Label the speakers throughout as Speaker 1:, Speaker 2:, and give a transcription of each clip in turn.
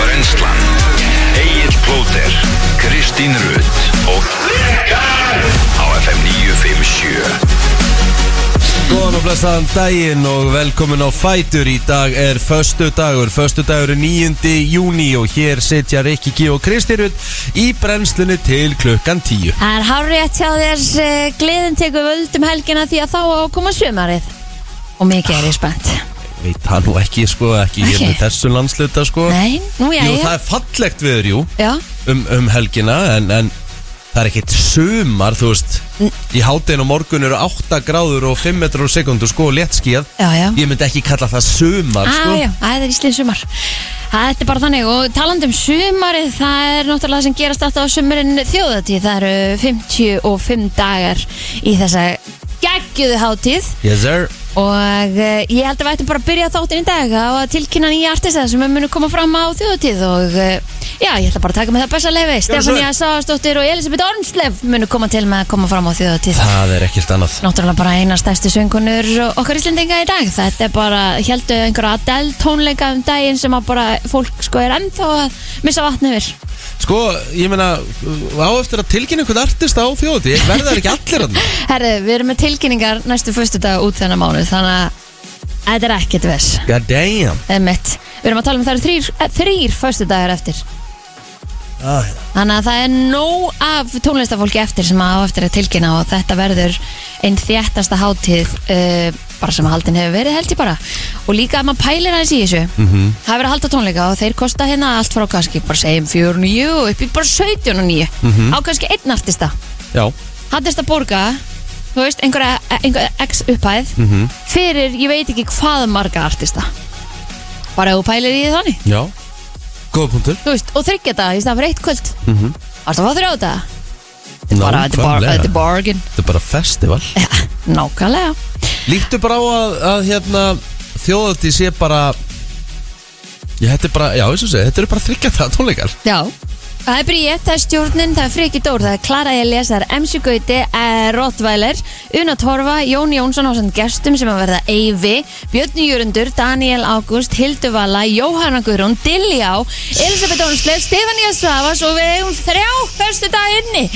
Speaker 1: Brennslan Egil Plóter Kristín Rutt og á FM 957
Speaker 2: Góðan og blessaðan daginn og velkomin á Fætur Í dag er föstu dagur, föstu dagur er 9. júni og hér sitja Rikki G og Kristi Rutt í brennslunni til klukkan 10
Speaker 3: Það er hárétt hjá þér eh, gleðin tekur völdum helgina því að þá á að koma sumarið og mikið er ég spennt
Speaker 2: Veit það nú ekki sko, ekki hér
Speaker 3: Ekki.
Speaker 2: með þessum landsluta sko
Speaker 3: Nei, nú já,
Speaker 2: Jú,
Speaker 3: já,
Speaker 2: það er fallegt viður jú
Speaker 3: já.
Speaker 2: um, um helgina en, en það er ekkit sumar, þú veist Í hátinn og morgun eru 8 gráður og 5 metrar á sekundu sko, léttskíð
Speaker 3: Já, já.
Speaker 2: Ég myndi ekki kalla það
Speaker 3: Á,
Speaker 2: sumar sko
Speaker 3: Ah, já, Æ, það er íslið sumar Það þetta er bara þannig og talandi um sumarið það er náttúrulega það sem gerast alltaf á sumarinn þjóðatíð, það eru 55 dagar í þessa geggjuðu hátíð
Speaker 2: Yes sir
Speaker 3: og uh, ég held að við ættum bara að byrja þáttin í dag á að tilkynna nýja artista sem munu koma fram á þjóðutíð og uh, já, ég ætla bara að taka með það besta leifi Stefania Sáastóttir og Elisabeth Ormslev munu koma til með að koma fram á þjóðutíð
Speaker 2: Það er ekkert annað
Speaker 3: Náttúrulega bara eina stærsti söngunur okkar Íslendinga í dag Þetta er bara, heldur einhverja Adele tónleika um daginn sem að bara fólk sko er ennþá að missa vatn yfir
Speaker 2: Sko, ég meina, á eftir að tilkynna einhvern artist á þjóði, verða ekki allir hann
Speaker 3: Herðu, við erum með tilkynningar næstu föstu út þennan mánu þannig að þetta er ekkert vers
Speaker 2: God damn
Speaker 3: Emmett, við erum að tala um það eru þrýr, þrýr föstudagar eftir
Speaker 2: ah,
Speaker 3: Þannig að það er nóg af tónlistafólki eftir sem að á eftir að tilkynna og þetta verður einn þjættasta hátíð uh, bara sem að haldin hefur verið held ég bara og líka að maður pælir aðeins í þessu
Speaker 2: Mhm.
Speaker 3: -hmm. það er verið að halda tónleika og þeir kosta hérna allt frá kannski bara segjum 4 og 9 og upp í bara 17 og 9 á kannski einn artista
Speaker 2: Já,
Speaker 3: hann þess að borga þú veist, einhverja, einhverja x upphæð
Speaker 2: Mhm.
Speaker 3: fyrir ég veit ekki hvað marga artista bara ef þú pælir í því þannig
Speaker 2: já Góða punktur
Speaker 3: þú veist, og þryggja þetta í staðan fyrir eitt kvöld mm -hmm. að fá þrjá þetta bara, þetta er bar-
Speaker 2: Mhm. Nákvæmlega.
Speaker 3: þetta er bargain
Speaker 2: Þetta er bara festival
Speaker 3: Já, nákvæmlega
Speaker 2: Líktu bara á að, að hérna, þjóðati sé bara Já, þetta er bara, já, eins og sé, þetta eru bara þryggja það tónleikar
Speaker 3: já Það er Bríett, það er Stjórnin, það er Freki Dór, það er Klara Elias, það er MC Gauti, eh, Rottweiler, Una Torfa, Jón Jónsson ásand gestum sem að verða Eyvi, Björn Jörundur, Daniel Ágúst, Hildur Vala, Jóhanna Guðrún, Dilljá, Elisabeth Ónsleif, Stefania Svavas og við eigum þrjá fyrstu dag inni.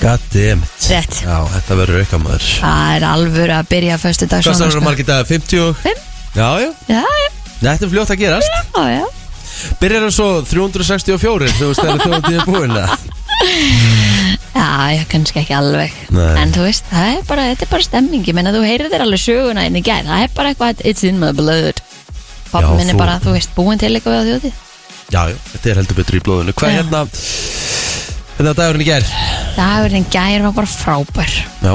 Speaker 2: God damn it
Speaker 3: Rétt.
Speaker 2: Já, þetta verður eitthvað maður
Speaker 3: Það er alvöru að byrja fyrstu dag svona.
Speaker 2: Hvað
Speaker 3: sko.
Speaker 2: stafur margir dagar? 50 og...
Speaker 3: Fimm.
Speaker 2: Já, já,
Speaker 3: Já, já,
Speaker 2: þetta er fljótt að gerast
Speaker 3: já, já.
Speaker 2: Byrjar það svo 364, þú veist, það er þjóðati búin að
Speaker 3: Já, já, kannski ekki alveg
Speaker 2: Nei.
Speaker 3: En þú veist, það er bara, þetta er bara stemming Ég menna, þú heyrir þér alveg söguna inn í gær Það er bara eitthvað, it's in my blood
Speaker 2: Já,
Speaker 3: Pappi minn er
Speaker 2: þú-
Speaker 3: bara, þú veist, búin til eitthvað á þjóti
Speaker 2: Já, já, þetta er heldur betur í blóðinu Hvað er
Speaker 3: Já.
Speaker 2: hérna Hérna dagurinn í gær
Speaker 3: Dagurinn í gær var bara frábær
Speaker 2: Já,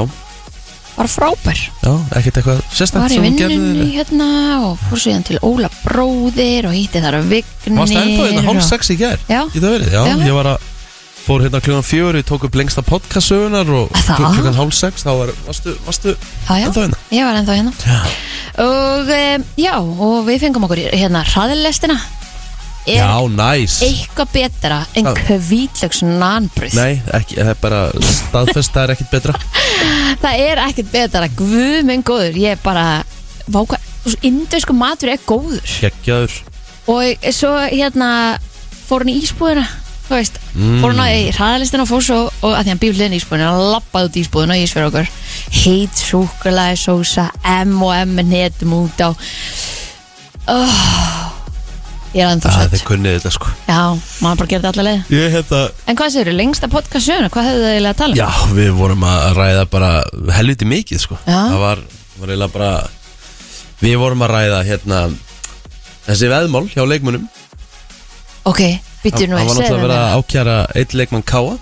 Speaker 3: Bara frábær
Speaker 2: já, ekkert eitthvað sérstætt
Speaker 3: Var í vinnunni hérna og fór síðan til Óla bróðir og hýtti þar að vignir
Speaker 2: Varst það ennþá hérna hálf
Speaker 3: og-
Speaker 2: sex í gær
Speaker 3: Já.
Speaker 2: Í það verið, já,
Speaker 3: Já.
Speaker 2: ég var að Fór hérna klukkan fjögur, ég tók upp lengsta podcastsögunar Og
Speaker 3: Að það?
Speaker 2: kl- klukkan hálf sex, þá var Varstu, varstu
Speaker 3: Já, já,
Speaker 2: ennþá hérna?
Speaker 3: ég var ennþá hérna Og um, já, og við fengum okkur hérna hraðilestina Er
Speaker 2: Já, næs
Speaker 3: eitthvað betra en
Speaker 2: Það-
Speaker 3: kvítlöks nanbröð
Speaker 2: Nei, ekki, það er bara staðfest, það er ekkert betra
Speaker 3: það er ekkert betra, guð minn góður ég er bara, váka indösku matur er góður
Speaker 2: Kekkjaður
Speaker 3: og svo hérna fór hann í ísbúðina þú veist,
Speaker 2: Mm.
Speaker 3: fór hann á hraðalistin og fór svo og að því hann býr hliðin í ísbúðina hann lappaði út í ísbúðina og ég sver okkur heit súkulæði sósa M&M með netum út á oh, ég er aðeins þá
Speaker 2: Það
Speaker 3: sett
Speaker 2: er kunnið Ah, þetta sko
Speaker 3: já, maður bara gerði allar leið
Speaker 2: Ég hérna- hef það
Speaker 3: en hvað segir, lengsta podcast söguna, hvað hefðu það eiginlega að tala um?
Speaker 2: Já, við vorum að ræða bara helviti mikið sko
Speaker 3: Já.
Speaker 2: Það var, var eiginlega bara Við vorum að ræða hérna Þessi veðmál hjá leikmunum
Speaker 3: ok, byttu nú
Speaker 2: Það var
Speaker 3: segðu
Speaker 2: náttúrulega að
Speaker 3: mér.
Speaker 2: vera að ákjara eitt leikmann Káa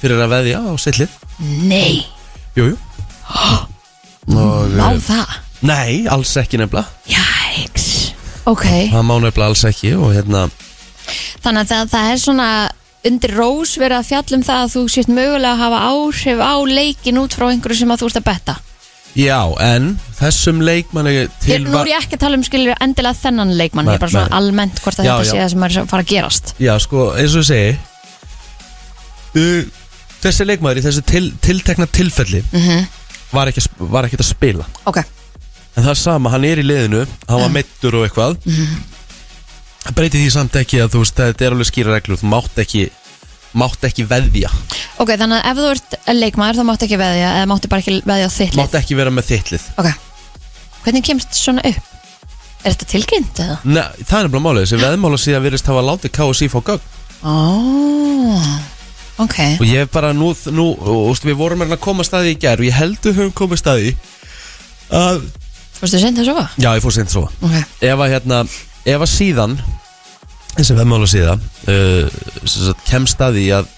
Speaker 2: Fyrir að veðja á sillið
Speaker 3: nei,
Speaker 2: Jú, jú Og,
Speaker 3: má
Speaker 2: eh,
Speaker 3: það
Speaker 2: Nei, alls ekki nefnilega
Speaker 3: Jæks Ok,
Speaker 2: Það má nefnilega alls ekki Og hérna,
Speaker 3: þannig að það, það er svona undir rós verið að fjallum það að þú sért mögulega að hafa áhrif á leikin út frá einhverju sem að þú ert að betta
Speaker 2: já, en Þessum leikmanni til
Speaker 3: Ég, Nú er ég ekki að tala um skilur endilega þennan leikmann,
Speaker 2: Nei,
Speaker 3: ég er bara svona
Speaker 2: nei.
Speaker 3: almennt hvort að
Speaker 2: Já,
Speaker 3: þetta
Speaker 2: já.
Speaker 3: sé það sem er að fara að gerast
Speaker 2: Já, sko, eins og ég segi uh, Þessi
Speaker 3: Mhm,
Speaker 2: leikmaður í þessu til, tiltekna tilfelli -hmm. var, ekki, að sp- var ekki að spila
Speaker 3: Ok,
Speaker 2: En það er sama, hann er í liðinu Hann var meittur og eitthvað
Speaker 3: mhm.
Speaker 2: Það breytir því samt ekki að þú veist Þetta er alveg skýra reglur, þú mátt ekki Mátt ekki veðja
Speaker 3: Ok, þannig að ef þú ert leikmaður þá máttu ekki veðja eða máttu bara ekki veðja á þitt lið
Speaker 2: Mátt ekki vera með þittlið
Speaker 3: Ok, hvernig kemst svona upp? Er þetta tilgjönd eða?
Speaker 2: Nei, það er bara málið, þessi veðmála síðan virðist hafa látið KSI fá gögn
Speaker 3: Ó, ok
Speaker 2: og ég hef bara nú, nú og, og, við vorum hérna að koma staði í gær og ég heldur höfum komið staði að,
Speaker 3: Fórstu sent að sofa?
Speaker 2: já ég fór sent svo
Speaker 3: Ok,
Speaker 2: ef að hérna, ef að síðan þessi veðmála síðan uh, sem sagt, kemst að því að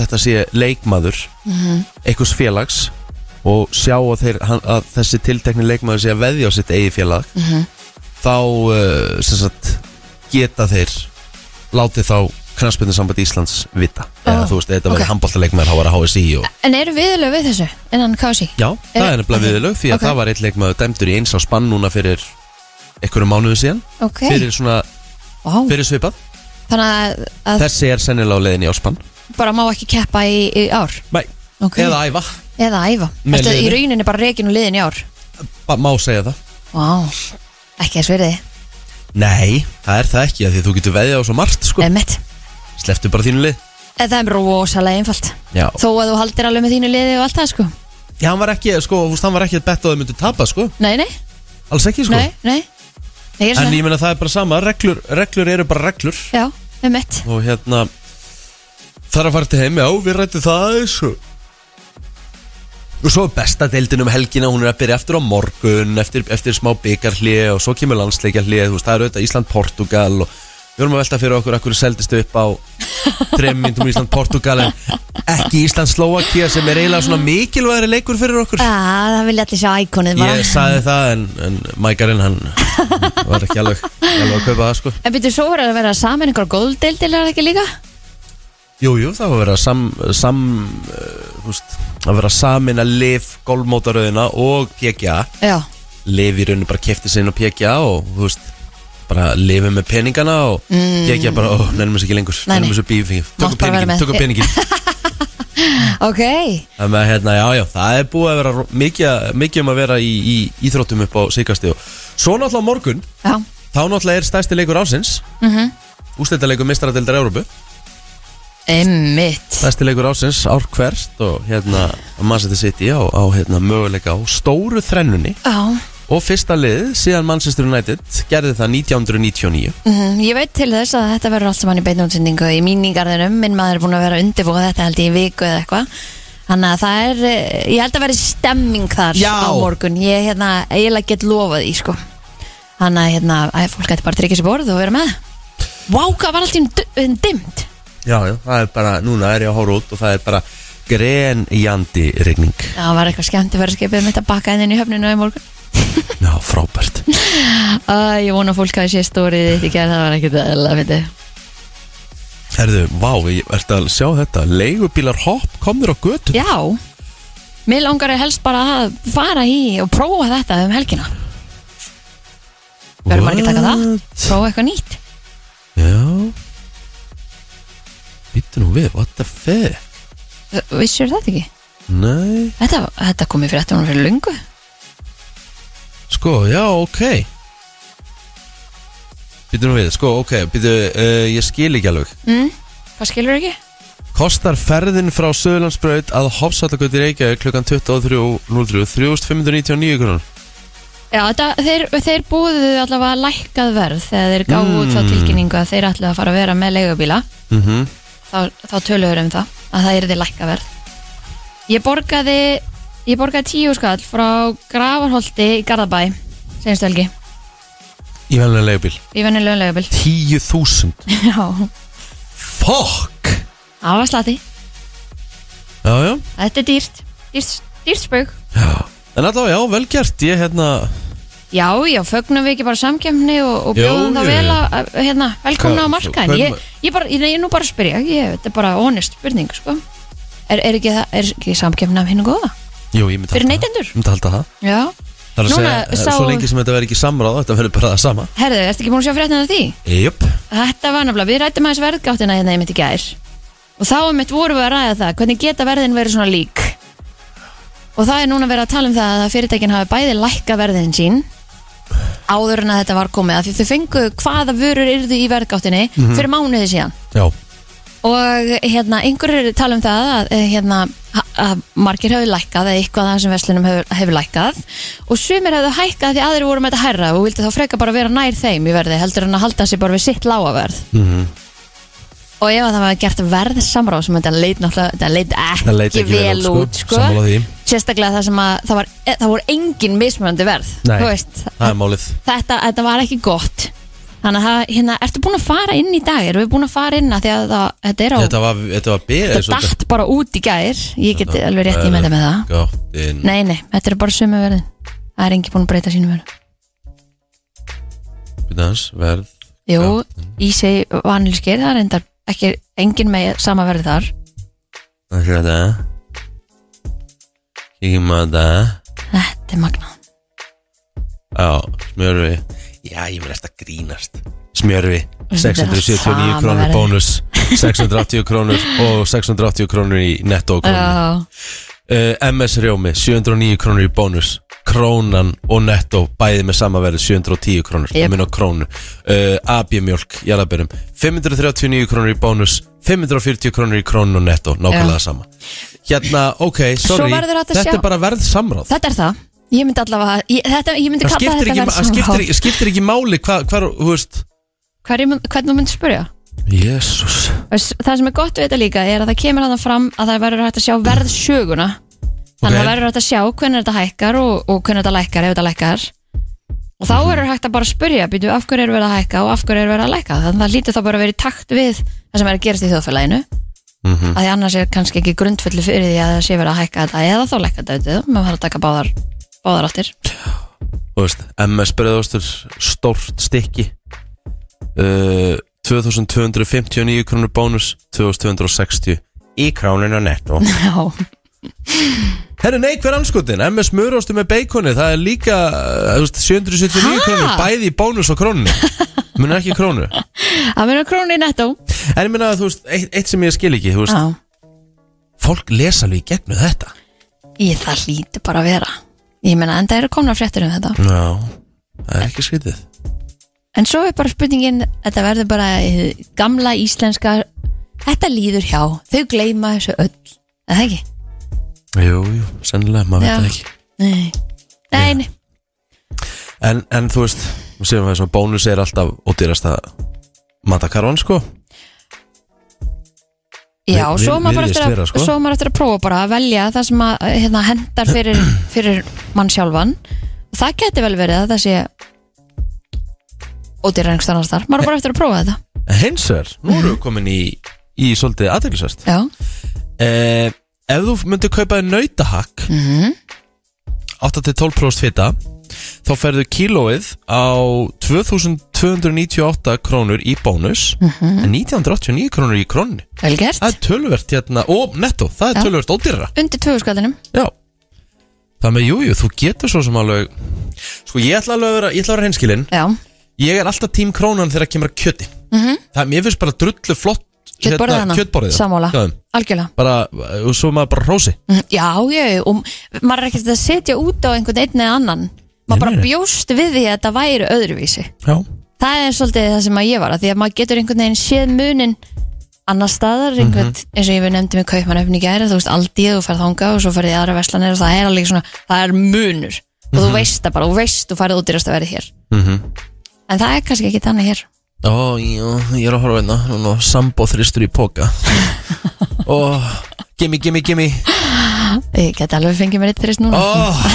Speaker 2: þetta sé leikmaður mm
Speaker 3: Mhm.
Speaker 2: einhvers félags og sjá að, þeir, hann, að þessi tiltekni leikmaður sé að veðja á sitt eigi félag
Speaker 3: Mhm.
Speaker 2: þá uh, sem sagt, geta þeir látið þá knarspöndin samband Íslands vita eða
Speaker 3: Ah,
Speaker 2: þú veist, ef þetta
Speaker 3: ok.
Speaker 2: okay. verið handbóltaleikmaður þá var að HSI og
Speaker 3: en eru viðlög við þessu innan KSI?
Speaker 2: Já, það
Speaker 3: Eh,
Speaker 2: er nefnilega
Speaker 3: ok,
Speaker 2: viðurlög því að
Speaker 3: ok.
Speaker 2: það var eitt leikmaður dæmdur í eins á spann núna fyrir einhverju mánuðu síðan
Speaker 3: Ok,
Speaker 2: fyrir svona,
Speaker 3: vá
Speaker 2: fyrir svipað
Speaker 3: Þannig að, að
Speaker 2: Þessi er sennilega á leiðinni á spann
Speaker 3: bara má ekki keppa í, í ár
Speaker 2: Nei,
Speaker 3: Ok.
Speaker 2: eða æfa
Speaker 3: Eða æfa
Speaker 2: Með
Speaker 3: Þetta í
Speaker 2: liðinu.
Speaker 3: rauninni bara rekin og liðin í ár
Speaker 2: ba Má segja það
Speaker 3: Vá, ekki að sverði
Speaker 2: Nei, það er það ekki af því að þú getur veðið á svo margt sko.
Speaker 3: Emmett
Speaker 2: Sleftu bara þínu lið
Speaker 3: Það er rosalega einfalt
Speaker 2: Já,
Speaker 3: Þó að þú haldir alveg með þínu liði og allt það sko
Speaker 2: Já hann var ekki, sko, þú veist, hann var ekki að betta að þau myndu tapa sko.
Speaker 3: Nei, nei,
Speaker 2: Alls ekki, sko
Speaker 3: nei, nei Ég er
Speaker 2: En
Speaker 3: svona,
Speaker 2: ég meina það er bara sama, reglur, reglur eru bara reglur
Speaker 3: já, um emmett
Speaker 2: Og hérna Þar að fara til heim, já, við rættum það aðeins og- Og svo er besta deildin um helgina Hún er að byrja eftir á morgun Eftir, eftir smá byggarhlið Og svo kemur landsleikjarhlið Þú veist, það er auðvitað Ísland-Portugal Og við vorum að velta fyrir okkur Akkur seldistu upp á Tremmyndum Ísland-Portugal En ekki Ísland-Slovakia Sem er eiginlega svona mikilvægri leikur fyrir okkur
Speaker 3: Ah, Það vilja allir sjá íkonið bara
Speaker 2: Ég sagði það en, en Mækarinn hann Var ekki alveg, alveg að kaupa það sko
Speaker 3: En byrju, svo er að vera saman einhver gólddeildir er það ekki líka?
Speaker 2: Jú, jú, það var að vera sam, sam uh, húst, að vera samin að lif golfmótaröðina og PGA
Speaker 3: Já,
Speaker 2: Lif í rauninu bara kefti sig inn á PGA og þú veist, bara lifið með peningana og mm. PGA bara, ó, nefnum þessu ekki lengur
Speaker 3: Nei, nei.
Speaker 2: nefnum þessu bífi,
Speaker 3: Mátt
Speaker 2: tökum
Speaker 3: bara vera
Speaker 2: peningin,
Speaker 3: með.
Speaker 2: tökum peningin
Speaker 3: ok
Speaker 2: Þannig að hérna, já, já, það er búið að vera ro- mikið, mikið um að vera í, í íþróttum upp á síkasti og svo náttúrulega á morgun,
Speaker 3: Já,
Speaker 2: þá náttúrulega er stærsti leikur ásins mm
Speaker 3: Mhm.
Speaker 2: -hmm. ústættaleikur mistaradildar Európu
Speaker 3: emmitt
Speaker 2: Besti leikur ásins, ár hvert og hérna Manchester City á, á hérna, möguleika á stóru þrennunni
Speaker 3: Já,
Speaker 2: og fyrsta lið síðan Manchester United gerði það 1999
Speaker 3: mhm, ég veit til þess að þetta verður allt saman í beinútsendingu í míningarðinum Minn maður er búin að vera að undirbúa þetta held ég í viku eða eitthvað Þannig að það er, eh, ég held að verði stemming þar
Speaker 2: Já.
Speaker 3: á morgun Ég hérna, eiginlega get lofað því sko Þannig að hérna, að fólk ætti bara að tryggja sér borð og vera með Vá, hvað var allt í um dimmt
Speaker 2: Já, já, það er bara, núna er ég að hóra út og það er bara grenjandi rigning
Speaker 3: Já, var eitthvað skemmt að vera skipið mitt að bakka henni inn í höfninu í morgun
Speaker 2: Já, frábært
Speaker 3: Æ, ég vona að fólk hafi sé stórið þitt í gerð, það var ekkert aðeins að finna.
Speaker 2: Herðu, vá, ég ert að sjá þetta leigubílar hopp komnir á götu
Speaker 3: Já, mér langar að helst bara að fara í og prófa þetta um helgina. Verður maður ekki að taka það? Prófa eitthvað nýtt.
Speaker 2: Já Býttu nú við, what the fuck?
Speaker 3: Vissur þetta ekki?
Speaker 2: Nei
Speaker 3: Þetta, þetta komið fyrir eftir hún fyrir lungu.
Speaker 2: Sko, já, ok Býtu nú við, sko, ok Býtu, uh, ég skil ekki alveg
Speaker 3: Hvað skilur ekki?
Speaker 2: Kostar ferðin frá Söðurlandsbraut að Hofsallagötu í Reykjavík klukkan 23.03 3599 krónur
Speaker 3: Já, þetta, þeir, þeir búðu allavega lækkað verð þegar þeir gáðu út þá tilkynningu að þeir ætlaðu að fara að vera með leigubíla.
Speaker 2: mm
Speaker 4: Mhm.
Speaker 2: -hmm.
Speaker 3: Þá, þá töluður um það, að það er þið lækkað verð. Ég borgaði, ég borgaði tíu skall frá Grafarholti í Garðabæ, senstu helgi,
Speaker 2: Í venlega leigubíl
Speaker 3: í vennilegum leigubíl.
Speaker 2: 10.000
Speaker 3: Já,
Speaker 2: Fuck
Speaker 3: það var slati
Speaker 2: Já, já,
Speaker 3: Þetta er dýrt, dýrt, dýrt spög
Speaker 2: já. En allavega, já, vel gert Ég, hérna,
Speaker 3: Já, já, fögnum við ekki bara samkemni og, og
Speaker 2: Jú,
Speaker 3: bjóðum þá
Speaker 2: jú,
Speaker 3: vel
Speaker 2: jú.
Speaker 3: að, að- hérna, velkomna á
Speaker 2: Hvað-
Speaker 3: markaðin
Speaker 2: hvern-
Speaker 3: ég, ég, bara, ég, ég er nú bara að spyrja, ég, þetta er bara honest spurning, sko Er, er ekki, það- er ekki samkemni af hennu góða?
Speaker 2: jú, ég myndi
Speaker 3: Fyrir
Speaker 2: halda það.
Speaker 3: neytendur?
Speaker 2: Ég myndi halda það
Speaker 3: Já
Speaker 2: Það er að
Speaker 3: Núna
Speaker 2: segja, eh,
Speaker 3: sá-
Speaker 2: svo lengi sem þetta verður ekki samráð Þetta verður bara það sama
Speaker 3: Herðu, ertu ekki búin að sjá fréttina af því?
Speaker 2: Jöp
Speaker 3: Þetta var nefnilega, við rættum aðeins verðgáttina hérna einmitt í gær Og þá einmitt vorum við að ræða það Hvernig geta verðin verið svona lík Og það er núna verið að tala um það að fyrirtækin hafi bæði lækka verðin sín áður en að þetta var komið af því þau fengu hvaða vörur yrðu í verðgáttinni fyrir mánuði síðan
Speaker 2: Já,
Speaker 3: og hérna einhverjur tala um það að eh, hérna ha- að margir hefur lækkað eða eitthvað af þessum verslunum hefur, hefur lækkað og sumir hefur hækkað því aðrir voru með þetta herra og vildi þá freka bara vera nær þeim í verði heldur en að halda sig bara við sitt lágaverð
Speaker 2: Mhm.
Speaker 3: og ef að það var gert verð samráð sem þetta leit náttúrulega þetta leit ekki,
Speaker 2: Það leit ekki vel
Speaker 3: vel
Speaker 2: út, sko.
Speaker 3: út sko.
Speaker 2: Sammála því.
Speaker 3: sérstaklega það sem að það, var, e, það voru engin mismunandi verð
Speaker 2: Nei.
Speaker 3: Þú veist,
Speaker 2: það er málið
Speaker 3: þetta, þetta var ekki gott Þannig að það, hérna, ertu búin að fara inn í dag? Erum við búin að fara inn að því að það, þetta er á
Speaker 2: Þetta var, þetta var byrð
Speaker 3: Þetta datt bara út í gær Ég get alveg rétt í með það með það
Speaker 2: Gáttin
Speaker 3: Nei, nei, þetta er bara sömu verðin Það er engi búin að breyta sínum verðin
Speaker 2: Byrðans, verð
Speaker 3: Jú, í segi vanilskir Það er endar ekki engin með sama verði þar
Speaker 2: Akkur þetta Kíkjum að þetta
Speaker 3: Þetta er magnað
Speaker 2: Já, smjörfi Já, ég verðist að grínast Smjörfi,
Speaker 3: Þetta er
Speaker 2: 679
Speaker 3: sama
Speaker 2: krónur
Speaker 3: verðið.
Speaker 2: bónus 680 krónur og 680 krónur í netto krónur
Speaker 3: Já,
Speaker 2: uh, MS Rjómi, 709 krónur í bónus Krónan og netto bæði með sama verið 710 krónur
Speaker 3: Jep.
Speaker 2: yep. minn á krónu uh, AB mjölk, jarðabyrjum 539 krónur í bónus 540 krónur í krónu og netto nákvæmlega sama Hérna, ok, sorry,
Speaker 3: verður þetta
Speaker 2: þetta
Speaker 3: sjá-
Speaker 2: er bara verðsamráð
Speaker 3: þetta er það Ég myndi allavega, ég, þetta, ég myndi
Speaker 2: Það
Speaker 3: kalla
Speaker 2: skiptir
Speaker 3: þetta
Speaker 2: ekki, það skiptir, ekki- skiptir ekki máli hvað, hvað, þú veist
Speaker 3: Hver, Hvernig þú myndi spyrja?
Speaker 2: Jésús
Speaker 3: Það sem er gott við þetta líka er að það kemur hann fram að það verður hægt að sjá verðsöguna Þannig að
Speaker 2: Ok.
Speaker 3: það verður hægt að sjá hvernig þetta hækkar og, og hvernig þetta lækkar ef þetta lækkar Og þá verður hægt að bara spyrja býtu af hverju er verið að hækka og af hverju er verið að lækka Þannig að það lítið þá bara að vera í takt við það sem er að gerast í þjóðfélaginu
Speaker 2: mm
Speaker 5: Mhm.
Speaker 2: -hmm.
Speaker 3: að því annars er kannski ekki grundfulli fyrir því að það sé verið að hækka þetta eða þá lækka þetta auðvitað maður þarf að taka báðar, báðar áttir
Speaker 2: Þú veist, MS bröðostur stórt stykki uh, 2259 krónur bónus 2260 í króninu netto
Speaker 3: Já,
Speaker 2: Herri, nei, hver anskutin? MS mörostur með beikoni, það er líka uh, þú veist, 779
Speaker 3: Ha?
Speaker 2: krónur, bæði í bónus og króninu Mun ekki krónu
Speaker 3: það verður krónu í nettó
Speaker 2: En ég minna, þú veist, eitt, eitt sem ég skil ekki þú veist,
Speaker 3: Já,
Speaker 2: Fólk lesa alveg í gegnum þetta
Speaker 3: ég það lítið bara að vera Ég meina, enda eru komna fréttir um þetta
Speaker 2: Já, það er ekki skrítið
Speaker 3: En svo er bara spurningin, þetta verður bara hið gamla íslenska, þetta líður hjá, þau gleyma þessu öll, er það ekki?
Speaker 2: Jú, jú, sennilega, maður veit
Speaker 3: Já.
Speaker 2: það ekki
Speaker 3: Nei, nei, nei.
Speaker 2: En, en þú veist, við séum við þessum bónus er alltaf ódýrasta matakarvan sko
Speaker 3: Já,
Speaker 2: Vi- vi-
Speaker 3: svo á maður bara
Speaker 2: virðist
Speaker 3: eftir, að,
Speaker 2: vera, sko.
Speaker 3: svo á maður eftir að prófa bara að velja það sem að hérna, hendar fyrir, fyrir mann sjálfan og það geti vel verið að það sé ódýra einhvers annars þar, maður á bara eftir að prófa þetta
Speaker 2: En hins vegar, nú erum við komin í, í svolítið aðteglisvært
Speaker 3: Mhm. Já,
Speaker 2: eh, Ef þú myndir kaupa þér nautahakk mm -hmm. 8-12% fita þá ferðu kílóið á 2298 krónur í bónus en 1989 krónur í krónni
Speaker 3: Mhm. vel gert,
Speaker 2: Það er tölvert hérna, og netto, það er
Speaker 3: Já.
Speaker 2: tölvert ódýrra
Speaker 3: undir tvöskaldinum
Speaker 2: Já Þannig, jú, jú, þú getur svo sem alveg Sko, ég ætla alveg að vera, ég ætla að vera hinskilinn
Speaker 3: Já, Mm. Mhm.
Speaker 2: Ég er alltaf tím krónan þegar kemur að kjöti -hmm. Það, mér finnst bara drullu flott hérna,
Speaker 3: Kjötborðið hana.
Speaker 2: Kjötborðið
Speaker 3: Sammála.
Speaker 2: Já,
Speaker 3: algjörlega
Speaker 2: Bara, og svo maður bara hrósi
Speaker 3: Mhm, Já, já, og maður er ekkert að setja út á einhvern einn eða annan maður
Speaker 2: Nei,
Speaker 3: bara
Speaker 2: nei.
Speaker 3: bjóst við því að þetta væri öðruvísi
Speaker 2: Já
Speaker 3: það er svolítið það sem að ég var að því að maður getur einhvern veginn séð munin annar staðar, einhvern,
Speaker 2: Mhm.
Speaker 3: eins og ég við nefndi með kaupmannöfn í gæri, þú veist aldið þú færð þanga og svo færði aðra verslanir og það er alveg svona það er munur og
Speaker 2: Mhm.
Speaker 3: þú veist það bara, þú veist þú færði út í resta verið hér
Speaker 2: mm
Speaker 6: Mhm.
Speaker 2: -hmm.
Speaker 3: en það er kannski ekki þannig hér
Speaker 2: Ó, jú, ég er að horfa einna Nú, sambó þristur í póka Ó, gimmi, gimmi, gimmi
Speaker 3: ég get alveg fengið mér eitt fyrir þess núna
Speaker 2: Ó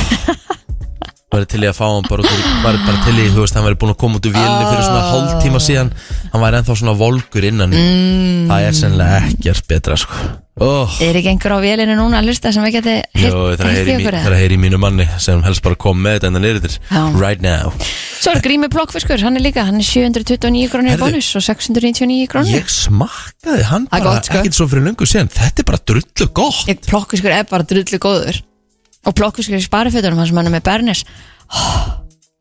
Speaker 2: Væri til í að fá hann bara, út úr- væri bara til í, þú veist, hann væri búin að koma út úr vélni fyrir
Speaker 3: Ah.
Speaker 2: svona hálftíma síðan Hann væri ennþá svona volgur innan í.
Speaker 3: Mm.
Speaker 2: Það er sennilega ekkert betra, sko Ó,
Speaker 3: er ekki einhver á vélinu núna að hlusta sem að geti
Speaker 2: Jó, það
Speaker 3: í
Speaker 2: er að
Speaker 3: okkur eða?
Speaker 2: heyra í mínu manni sem helst bara kom með þetta en það er þetta
Speaker 3: Já.
Speaker 2: Right now
Speaker 3: Svo er Grími Blokkfiskur, hann er líka, hann er 729 krónir í
Speaker 2: Herðu.
Speaker 3: bónus og 699 krónir
Speaker 2: Ég smakkaði hann
Speaker 3: Það er
Speaker 2: bara
Speaker 3: gott, sko.
Speaker 2: ekkert svo fyrir lungu síðan Þetta er bara drullu gott
Speaker 3: ég, Blokkfiskur er bara drullu góður og Blokkfiskur er í sparafötunum, hann sem hann er með Bernis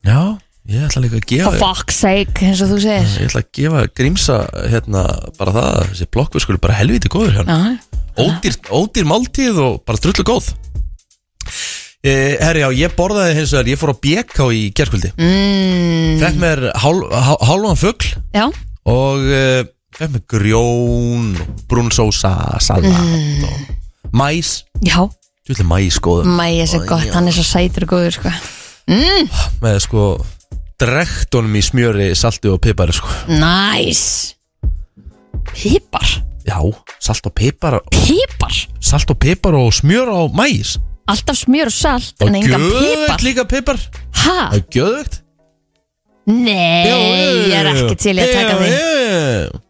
Speaker 2: Já, ég ætla líka að
Speaker 3: for
Speaker 2: gefa
Speaker 3: fuck's sake, eins og þú segir
Speaker 2: Ég ætla að gefa grímsa hérna bara það að Þessi blokkvið skuli bara helviti góður hérna
Speaker 3: Já,
Speaker 2: ódýr, ódýr máltíð og bara drullu góð Eh, Herri, já, ég borðaði hins vegar, ég fór á BK í gerkvöldi mm. Fekk mér hál- hál- hálfan fugl
Speaker 3: Já,
Speaker 2: og uh, fekk mér grjón og brúnsósa, salat og mæs
Speaker 3: já,
Speaker 2: Júli mæs góðum
Speaker 3: mæ ég sé gott, hann er svo sætur og góður sko
Speaker 2: með sko drektunum í smjöri, salti og pipari sko
Speaker 3: Næs Pípar
Speaker 2: Já, salt og pipar,
Speaker 3: Pípar
Speaker 2: salt og pipar og smjör á mæs
Speaker 3: Alltaf smjör og salt
Speaker 2: Og
Speaker 3: en engan
Speaker 2: gjöðvegt
Speaker 3: pípar
Speaker 2: líka pipar
Speaker 3: Ha?
Speaker 2: Það er gjöðvegt
Speaker 3: Nei, ég er ekki til í að taka því
Speaker 2: því er
Speaker 3: Æja,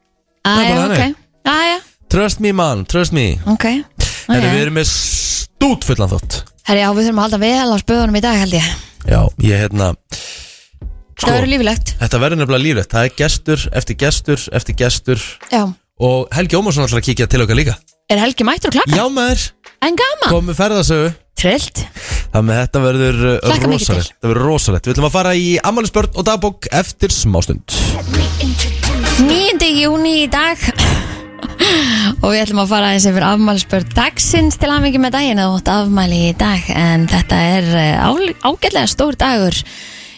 Speaker 2: bara
Speaker 3: ok
Speaker 2: þannig.
Speaker 3: Æja,
Speaker 2: Trust me man, trust me
Speaker 3: ok
Speaker 2: Þegar við
Speaker 3: Æja.
Speaker 2: erum með stút fullan þátt
Speaker 3: Herri, já, við þurfum að halda vel á spöðunum í dag held ég
Speaker 2: Já, ég hérna Sko.
Speaker 3: Það verður lífilegt
Speaker 2: Þetta verður nefnilega lífið Það er gestur, eftir gestur, eftir gestur
Speaker 3: Já
Speaker 2: Og Helgi Ómarsson ætlar að kíkja til okkar líka
Speaker 3: Er Helgi mættur og klaka?
Speaker 2: Já maður,
Speaker 3: En gaman
Speaker 2: komið ferðasögu
Speaker 3: Trillt
Speaker 2: Þannig að þetta verður uh,
Speaker 3: Hlakka mikið til.
Speaker 2: rosalegt Þetta verður rosalegt Við ætlum að fara í Amalisbörn og dagbók eftir smástund
Speaker 3: 9. júni í dag Og við ætlum að fara aðeins yfir afmælspörð dagsins til aðmyggjum með daginn að þú átt afmæli í dag en þetta er eh, ál- ágætlega stór dagur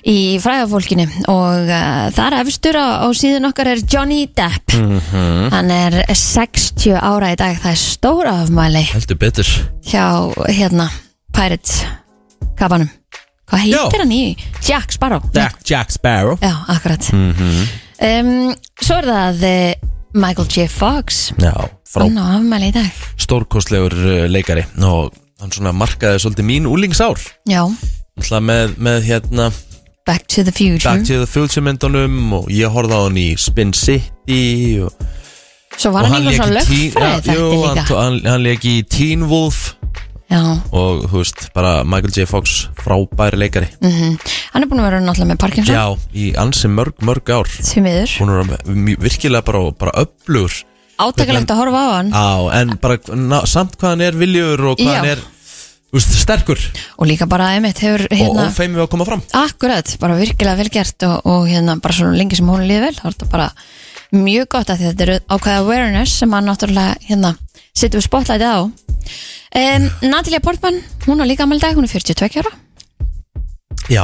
Speaker 3: í fræðafólkinu og uh, þar efstur á, á síðun okkar er Johnny Depp
Speaker 2: Mm. Mhm.
Speaker 3: hann er 60 ára í dag það er stór afmæli
Speaker 2: Heldur betur
Speaker 3: hjá hérna Pirates kapanum hvað heitir
Speaker 2: Já.
Speaker 3: hann í? Jack Sparrow
Speaker 2: Jack, Jack Sparrow Mhm.
Speaker 3: Já, akkurat um, Svo er það eh, Michael J. Fox
Speaker 2: Já, frá
Speaker 3: Hann á afmæli í dag
Speaker 2: stórkostlegur uh, leikari og hann svona markaði svolítið mín úlingsár
Speaker 3: Já,
Speaker 2: Náttúrulega með, með hérna
Speaker 3: Back to the Future
Speaker 2: Back to the Future myndunum og ég horfði á hann í Spin City og,
Speaker 3: Svo var
Speaker 2: og
Speaker 3: hann
Speaker 2: lék
Speaker 3: eitthvað svona
Speaker 2: Teen-
Speaker 3: lögfræði
Speaker 2: Já, jú,
Speaker 3: þetta
Speaker 2: hann,
Speaker 3: líka
Speaker 2: tó- hann, hann leik í Teen Wolf
Speaker 3: Já,
Speaker 2: og þú veist, bara Michael J. Fox frábæri leikari
Speaker 3: mhm. Hann er búin að vera náttúrulega með Parkinson
Speaker 2: Já, í ansi mörg, mörg ár
Speaker 3: Því miður
Speaker 2: Hún er mj- virkilega bara, bara öflugur
Speaker 3: Átakalegt að horfa á hann
Speaker 2: á, en bara na, samt hvað hann er viljur og hvað
Speaker 3: Mhm. Já.
Speaker 2: hann er þú veist, sterkur
Speaker 3: Og líka bara einmitt hefur
Speaker 2: og
Speaker 3: hérna
Speaker 2: ófeimið að koma fram
Speaker 3: Akkurat, bara virkilega vel gert og, og hérna bara svo lengi sem hún liði vel þá er þetta bara mjög gott að þetta eru ákveða awareness sem hann náttúrulega hérna setur við spotlightið á um, Natalia Portman, hún á líka amal dag hún er 42 ára
Speaker 2: Já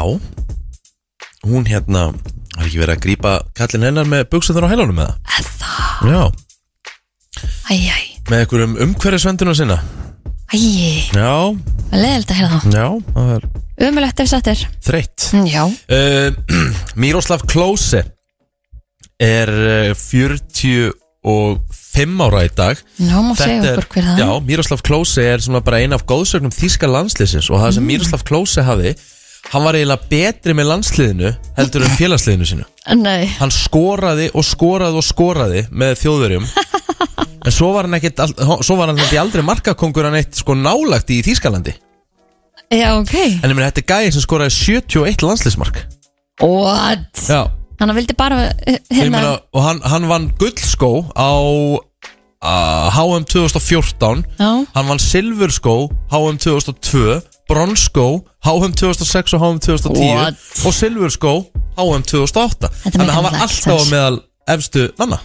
Speaker 2: Hún hérna Har ekki verið að grípa kallin hennar með buksunar á hælunum með
Speaker 3: Eða,
Speaker 2: það Já
Speaker 3: æjæ,
Speaker 2: Með einhverjum umhverfisvenduna sína
Speaker 3: æjæ
Speaker 2: Já,
Speaker 3: leðilt að hérna það,
Speaker 2: já, það er
Speaker 3: umulegt ef satt er
Speaker 2: þreytt
Speaker 3: Mm, Já,
Speaker 2: uh, Miroslav Klose Er uh, 45 ára í dag
Speaker 3: ná má segja okkur hver það
Speaker 2: Já,
Speaker 3: er
Speaker 2: Miroslav Klose er svona bara eina af góðsögnum þýska landslýsins og
Speaker 3: Mm.
Speaker 2: það sem Miroslav Klose hafi Hann var eiginlega betri með landsliðinu heldur en félagsliðinu sínu
Speaker 3: Nei,
Speaker 2: hann skoraði og skoraði og skoraði með þjóðverjum en svo var hann ekkit al- svo var hann held ég aldrei markakongur hann eitt sko nálagt í Þýskalandi en
Speaker 3: já ok
Speaker 2: ég meina þetta er gæði sem skoraði 71 landslismark
Speaker 3: What?
Speaker 2: já
Speaker 3: Hann vildi bara eh,
Speaker 2: ég
Speaker 3: hérna
Speaker 2: meina og hann, hann vann gullskó á uh, HM 2014
Speaker 3: Já,
Speaker 2: hann vann silfurskó HM 2002 bronsskó HM 2006 og HM 2010
Speaker 3: What?
Speaker 2: og silfurskó HM
Speaker 3: Þetta
Speaker 2: 2008
Speaker 3: um
Speaker 2: þannig að hann
Speaker 3: meikar
Speaker 2: var
Speaker 3: allt
Speaker 2: alltaf á
Speaker 3: sens.
Speaker 2: meðal efstu manna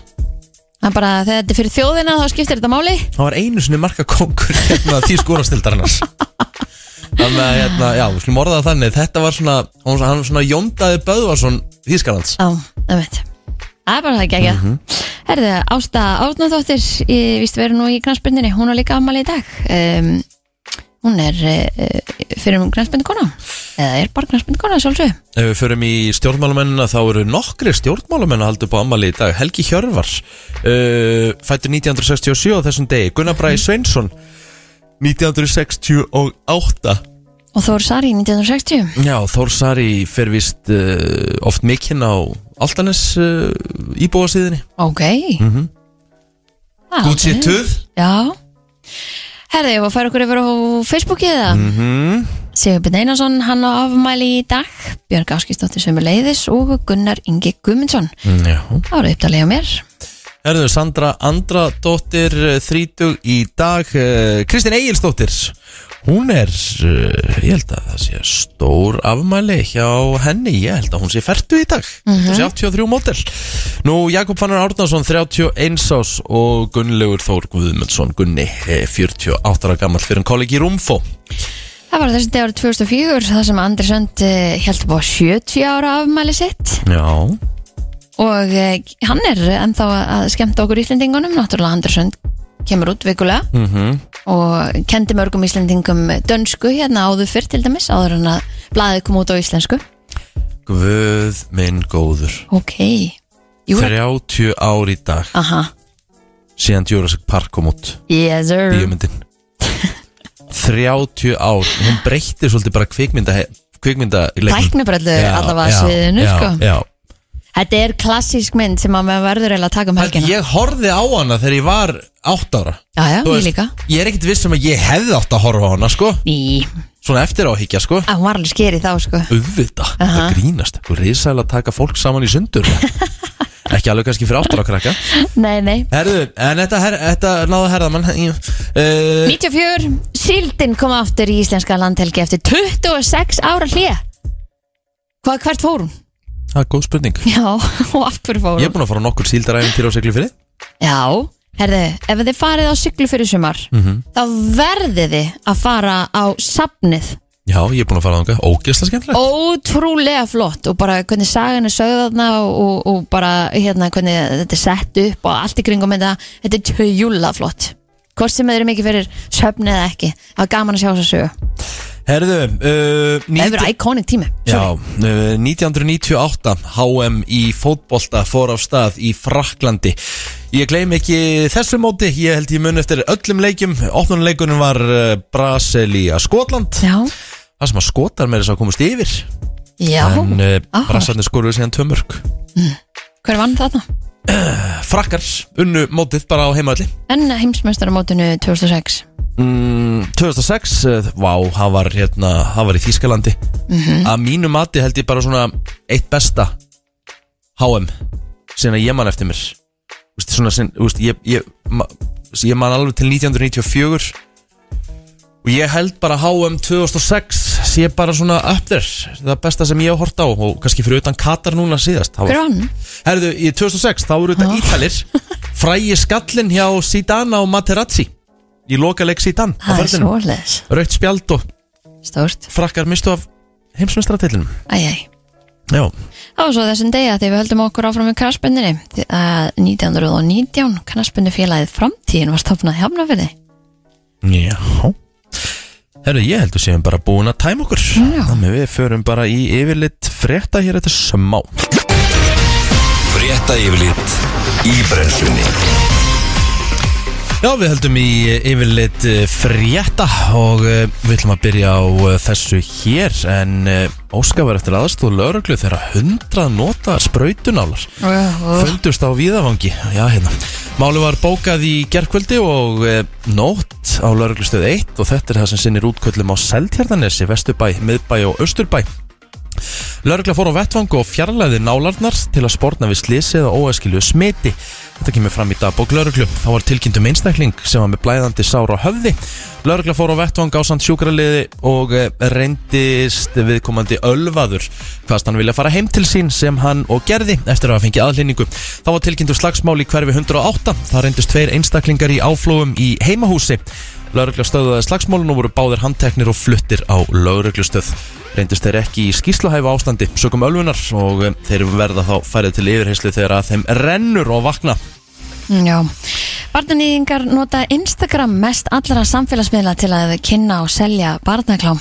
Speaker 3: hann bara þegar þetta er fyrir þjóðina þá skiptir þetta máli
Speaker 2: Það var einu sinni marka kongur hérna því skórastildarnas Þannig að hérna, já, við skulum orða það þannig Þetta var svona, hann var svona Jóndaði Böðvarsson Þýskalands Mhm.
Speaker 3: Já, það veit Það er bara það ekki ekki mm Herðu, Ásta Árnaþóttir Ég víst verið nú í knarspindinni Hún var líka afmæli í dag um, Hún er uh, fyrir um knarspindikona Eða er bara knarspindikona sjálfsög
Speaker 2: Ef við förum í stjórnmálamennina þá eru nokkri stjórnmálamenn að halda upp á ammali í dag Helgi Hjörvar uh, Fættur 1967 á þessum degi Gunnar Bræði Sveinsson 1968
Speaker 3: Og Þór Sari 1960
Speaker 2: Já, Þór Sari fer vist uh, oft mikinn á Altanes uh, Mhm. íbúasíðinni
Speaker 3: Ok mm -hmm.
Speaker 2: Gucci Tuð
Speaker 3: Já Herðu, ég var að færa okkur yfir á Facebookið eða mm -hmm.
Speaker 2: Mhm.
Speaker 3: Sigurbjörn Einarsson, hann á afmæli í dag Björg Áskistóttir sem er leiðis og Gunnar Ingi Gumundsson
Speaker 2: Já
Speaker 3: Það voru upptalið á mér
Speaker 2: Herðu, Sandra Andradóttir eh, þrítug í dag eh, Kristín Egilsdóttir Hún er, eh, ég held að það sé stór afmæli hjá henni Ég held að hún sé ferdu í dag Hún sé 83 mótel Nú, Jakob Fannar Árnason, 31 ás Og Gunnlaugur Þór Guðmundsson Gunni, eh, 48 ára gammal fyrir en kollegi í Rúmfó
Speaker 3: Það var þessi dagur 2004 þar sem Andri Sönd held upp á 70 ára afmæli sitt
Speaker 2: Já
Speaker 3: og eh, hann er ennþá að skemmta okkur Íslendingunum, náttúrulega Andri Sönd kemur út vikulega
Speaker 2: Mhm.
Speaker 3: og kendi mörgum Íslendingum dönsku hérna áður fyrr til dæmis, áður en að blaðið kom út á íslensku.
Speaker 2: Guð minn góður
Speaker 3: Ok, jú, Ah.
Speaker 2: 30 ár í dag
Speaker 3: aha,
Speaker 2: síðan Jurassic Park kom út
Speaker 3: yes sir,
Speaker 2: bíómyndin 30 ár hún breytti svolítið bara kvikmynda kvikmynda
Speaker 3: tæknabrellu allavega sviðinu, sko.
Speaker 2: já.
Speaker 3: Þetta er klassísk mynd sem að maður verður eiginlega að taka um
Speaker 2: Helgina.
Speaker 3: helgina.
Speaker 2: Ég horfði á hana þegar ég var 8 ára
Speaker 3: Já, já,
Speaker 2: Þú
Speaker 3: ég líka.
Speaker 2: Ég er ekkert viss um að ég hefði átt að horfa á hana sko
Speaker 3: Ný,
Speaker 2: Svona eftir áhyggja sko
Speaker 3: að hún var alveg skeri þá, sko.
Speaker 2: Uðvita, uh -huh.
Speaker 3: Aha.
Speaker 2: það grínast Þú risaðilega að taka fólk saman í sundur Ekki alveg kannski fyrir 8 ára krakka
Speaker 3: Nei, nei.
Speaker 2: Herðu, en þetta, her, þetta náðu herðamann uh,
Speaker 3: 94, síldin kom aftur í íslenska landhelgi eftir 26 ára hlið. Hvað, hvert fór hún?
Speaker 2: Það er góð spurning
Speaker 3: Já, og af hverju fór hún?
Speaker 2: Ég er búin að fara á nokkur síldaræfin til á seglu fyrir
Speaker 3: Já, herðu, ef þið farið á syklu fyrir sumar,
Speaker 2: Mhm.
Speaker 3: þá verðið þið að fara á safnið.
Speaker 2: Já, ég er búin að fara á þangað, ógeðslega skemmtilegt
Speaker 3: Ótrúlega flott og bara hvernig sagan er sögðarna og, og, og bara hérna hvernig þetta er sett upp og allt í kringum þetta, þetta er tjöjúla flott. Hvort sem þið eru mikið fyrir söfnið eða ekki, það er gaman að sjá þess að sögu.
Speaker 2: Herðu, uh,
Speaker 3: Það
Speaker 2: 19...
Speaker 3: er íkónik tími.
Speaker 2: Já, eh, 1998 HM í fótbolta fór af stað í Fraklandi Ég gleym ekki þessu móti Ég held ég mun eftir öllum leikjum Opnuleikunum var eh, Brasilía Skotland
Speaker 3: Já,
Speaker 2: Það sem að skotar með þess að komast yfir
Speaker 3: já,
Speaker 2: En uh,
Speaker 3: áhugavert.
Speaker 2: Brasarnir skoruðu síðan tömörk
Speaker 3: hver vann þarna?
Speaker 2: Frakkar unnu mótið bara á heimaðli
Speaker 3: En heimsmeistaramótinu 2006.
Speaker 2: Mm, 2006, eh, vá, það var hérna, það var í Þýskalandi Að mínu mati held ég bara svona eitt besta HM síðan að ég man eftir mér Vist, svona, sin, vist, ég, ég, ma, ég man alveg til 1994 og ég held bara HM 2006 sé bara svona upp þér það besta sem ég hef hort á og kannski fyrir utan Katar núna síðast Það var-
Speaker 3: Hver vann?
Speaker 2: Herðu, í 2006 þá voru þetta Ítalir frægi skallin hjá Zidane og Materazzi í lokaleik Zidane á
Speaker 3: Það er
Speaker 2: ferðinum
Speaker 3: svoleiðis.
Speaker 2: Raukt spjald og
Speaker 3: Stórt.
Speaker 2: frakkar mistu af heimsmeistratillinum
Speaker 3: Æjæj.
Speaker 2: Já,
Speaker 3: Það var svo þessum degi að þegar við höldum okkur áfram með kraspendinni að 1919 kraspendufélagið framtíðin var stopnað í hafnafyrði.
Speaker 2: já Herðu, ég heldur séum bara búin að tæma okkur
Speaker 3: Já.
Speaker 2: Þannig við förum bara í yfirleitt frétta hér þetta smá
Speaker 1: Frétta yfirlit í brennslunni
Speaker 2: Já, við höldum í eh, yfirleitt eh, frétta og eh, við ætlum að byrja á eh, þessu hér en eh, Óskar var eftir aðstóð lauruglu þegar hundrað nota sprautunálar
Speaker 4: Ah.
Speaker 2: fundust á Víðavangi Já, hérna Máli var bókað í gerkvöldi og e, nótt á lauruglustöð 1 og þetta er það sem sinnir útköllum á Seltjarnanesi, Vesturbæ, Miðbæ og Östurbæ Laurugla fór á vettvang og fjarlæði nálarnar til að spórna við slisi eða óæskilu smiti. Þetta kemur fram í dagbók lauruglu. Þá var tilkynntum einstakling sem var með blæðandi sár á höfði. Laurugla fór á vettvang á samt sjúkraliði og eh, reyndist viðkomandi ölvaður. Hvaðast hann vilja fara heim til sín sem hann og gerði eftir að hafa fengið aðlýningu. Þá var tilkynntum slagsmál í hverfi 108. Það reyndust tveir einstaklingar í áflóum í heimahúsi. Laurugla stöðuði slagsmálun og voru báðir handteknir og fluttir á lauruglustöð reyndist þeir ekki í skýslahæfu ástandi sögum ölfunar og eh, þeir verða þá færið til yfirheyslu þegar að þeim rennur og vakna.
Speaker 3: Já. Barnanýðingar nota Instagram mest allra samfélagsmiðla til að kynna og selja barnaklám.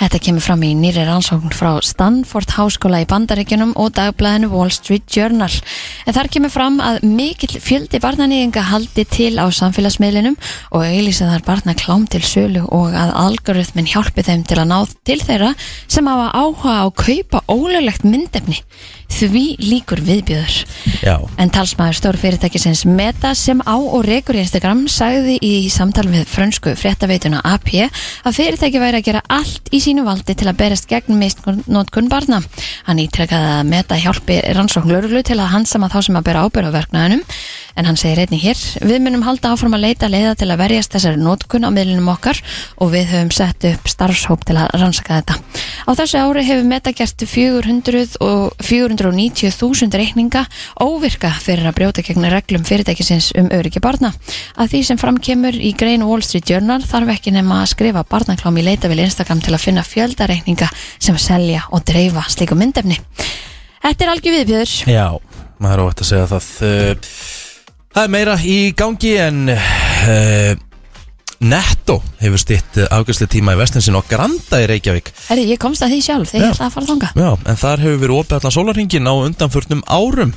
Speaker 3: Þetta kemur fram í nýri rannsókn frá Stanford Háskóla í Bandaríkjunum og dagblæðinu Wall Street Journal. En þar kemur fram að mikill fjöldi barnanýðinga haldi til á samfélagsmiðlinum og auðlýsa þar barnaklám til sölu og að algoritmin hjálpi þeim til að ná til þeirra sem hafa áhuga á að kaupa ólöglegt myndefni. Því líkur viðbjöður.
Speaker 2: Já.
Speaker 3: En talsmaður stór fyrirtækisins Meta sem á og rekur í Instagram sagði í samtal við frönsku fréttaveituna AP að fyrirtæki væri að gera allt í sínu valdi til að berjast gegn mistnótkun barna. Hann ítrekkaði að Meta hjálpi rannsókn lauruglu til að hansama þá sem að bera ábyrð á verknaðinum En hann segir einnig hér, við munum halda áfram að leita leiða til að verjast þessari nótkun á miðlunum okkar og við höfum sett upp starfshóp til að rannsaka þetta. Á þessu ári hefur Meta gert 400 og 490.000 reikninga óvirka fyrir að brjóta gegn reglum fyrirtækisins um öryggi barna. Að því sem framkemur í grein Wall Street Journal þarf ekki nema að skrifa barnaklám í leitavél Instagram til að finna fjöldareikninga sem selja og dreifa slíku myndefni. Þetta er algjör viðbjöður.
Speaker 2: Já, maður er óvægt að segja það Uh, Það er meira í gangi en uh, Netto hefur stýtt afgjörslu tíma í vestinsin og Granda í Reykjavík
Speaker 3: Herri, ég komst að því sjálf þegar
Speaker 2: Já.
Speaker 3: ég ætlaði að fara þanga.
Speaker 2: Já, en þar hefur verið opið allan sólarhingin á undanförnum árum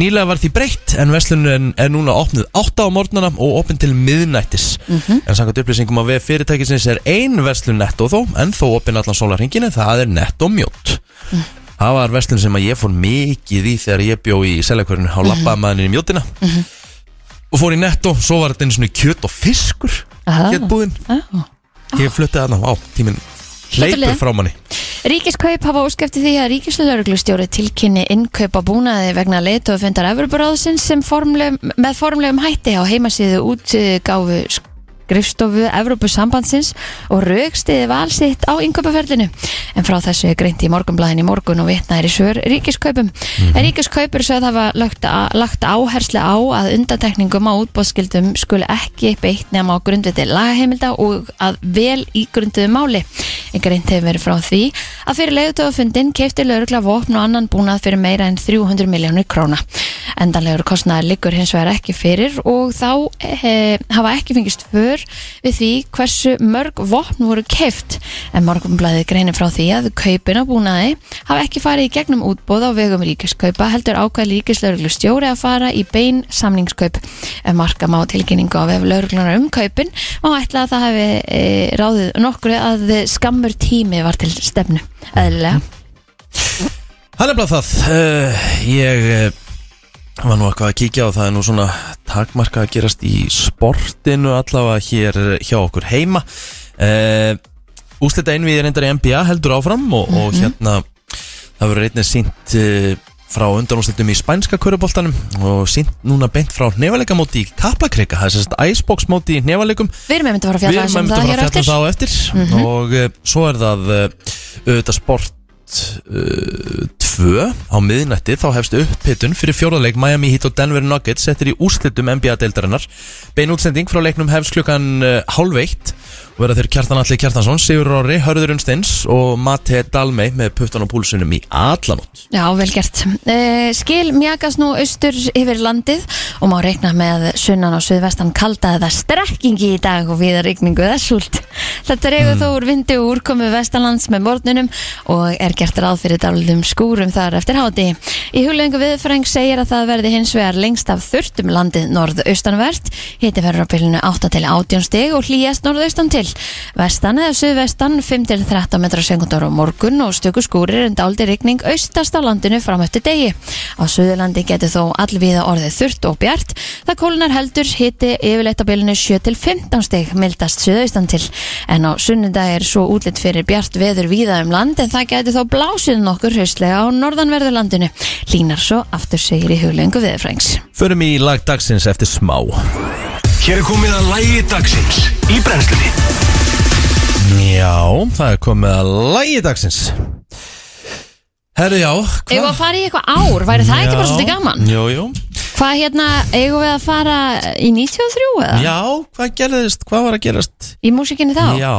Speaker 2: Nýlega var því breytt en veslunum er núna opnuð 8 á morgnana og opin til miðnættis En samkvæmt upplýsingum á vef fyrirtækisins er ein veslun Netto þó En þó opin allan sólarhingin en það er Netto mjótt Það var veslun sem að ég fór mikið í þegar ég bjó í seljakvörinu á lappaða maðurinn í mjóttina Og fór í Netto, svo var þetta einu svona kjöt og fiskur
Speaker 3: Aha.
Speaker 2: Kjötbúðin
Speaker 3: Já.
Speaker 2: Ég flutti þarna, á, tíminn hleypur
Speaker 3: liðinn.
Speaker 2: frá manni
Speaker 3: Ríkiskaup hafa óskæfti því að Ríkislauglustjóri tilkynni innkaupa búnaði vegna leiðtofundar Evroparáðsins sem formleg, með formlegum hætti á heimasíðu útgáfu skrifstofu Evropasambandsins og raukstiði valsitt á innkaupaferlinu. En frá þessu er greint í morgunblæðin í morgun og vitnaðir í svör Ríkiskaupum. En Ríkiskaupur sögð hafa lagt, a, lagt áherslu á að undantekningum á útbóðskildum skuli ekki beitt nema á grundviti lagaheimilda og að vel ígrunduðu máli. En greint hefur verið frá því að fyrir leiðutöðafundin keifti lögregla vopn og annan búnað fyrir meira en 300 miljónir króna. Endanlegur kostnaðar liggur hins vegar ekki fyrir og þá e, hafa ekki fengist för við því hversu mörg vopn voru keift. En morgunblæðið greinir frá því að kaupin á búnaði hafa ekki farið í gegnum útbóð á vegum ríkiskaupa heldur ákveð ríkislauruglu stjóri að fara í bein samningskaup. Ef marka má tilkynningu á vef lauruglunar um kaupin má ætla að það hafi e, ráðið nokkru að skammur tími var til stefnu. Eðlilega.
Speaker 2: Það er bara það uh, Ég uh, var nú eitthvað að kíkja og það er nú svona takmarka að gerast í sportinu allavega hér hjá okkur heima uh, Úslita einvið er endar í NBA heldur áfram og, og
Speaker 3: Mhm.
Speaker 2: hérna það verður einnig sínt uh, frá undanúslitum í spænska köruboltanum og sínt núna beint frá nefaleikamóti í Kaplakrika, það er sérst Icebox móti í nefaleikum
Speaker 3: Við erum einmitt að fara að
Speaker 2: Við
Speaker 3: fjalla
Speaker 2: erum
Speaker 3: aðeins um
Speaker 2: einmitt að
Speaker 3: það
Speaker 2: fara
Speaker 3: hér
Speaker 2: að
Speaker 3: á eftir. Mhm.
Speaker 2: fjalla um það á eftir og uh, svo er það uh, auðvitað sport uh, 2 á miðnætti þá hefst upphitun fyrir fjórðarleik Miami Heat og Denver Nuggets settir í úrslitum NBA-deildarinnar bein útsending frá leiknum hefst klukkan uh, hálfveitt og verða þeir Kjartan Alli Kjartansson, Sigur Róri, Hörður Unsteins og Mate Dalmei með puttan og púlsunum í allanótt
Speaker 3: Já, vel gert. Eh, Skil mjagast nú austur yfir landið og má reikna með sunnan og suðvestan kalda eða strekkingi í dag og viða regningu eða súlt. Þetta reyðu þó úr vindi og úrkomu vestanlands með morgunum og er gert ráð fyrir dálum skúrum þar eftir háti. Í huglegingu viðfræng segir að það verði hins vegar lengst af þurftum landið norðaustanvert, hiti verður á bylunu 8 til 18 stig og hlýjast norðaustan til. Vestan eða suðvestan 5 til 13 metrar sekundar á morgun og stöku skúrir en dáldi rigning austast á landinu fram eftir degi. Á suðurlandi getur þó allvíða orðið þurrt og bjart. Það kólunar heldur hiti yfirleitt á bylunu 7 til 15 stig mildast suðaustan til. En á sunnudag er svo útlitt fyrir bjart veður víða um land en það getur þó blásið nokkur hauslega á norðanverðu landinu. Línar svo aftur segir í huglengu viðfrængs.
Speaker 2: Förum í lag dagsins eftir smá
Speaker 1: Hér er komið að lægi dagsins í brennslunni
Speaker 2: Já, það er komið að lagi dagsins Herru já,
Speaker 3: Eigum við að fara í eitthvað ár? Væri það ekki bara svolítið gaman?
Speaker 2: Jú, jú,
Speaker 3: Hvað hérna, eigum við að fara í 93 eða?
Speaker 2: Já, hvað gerðist, hvað var að gerast?
Speaker 3: Í músikinni þá?
Speaker 2: Já,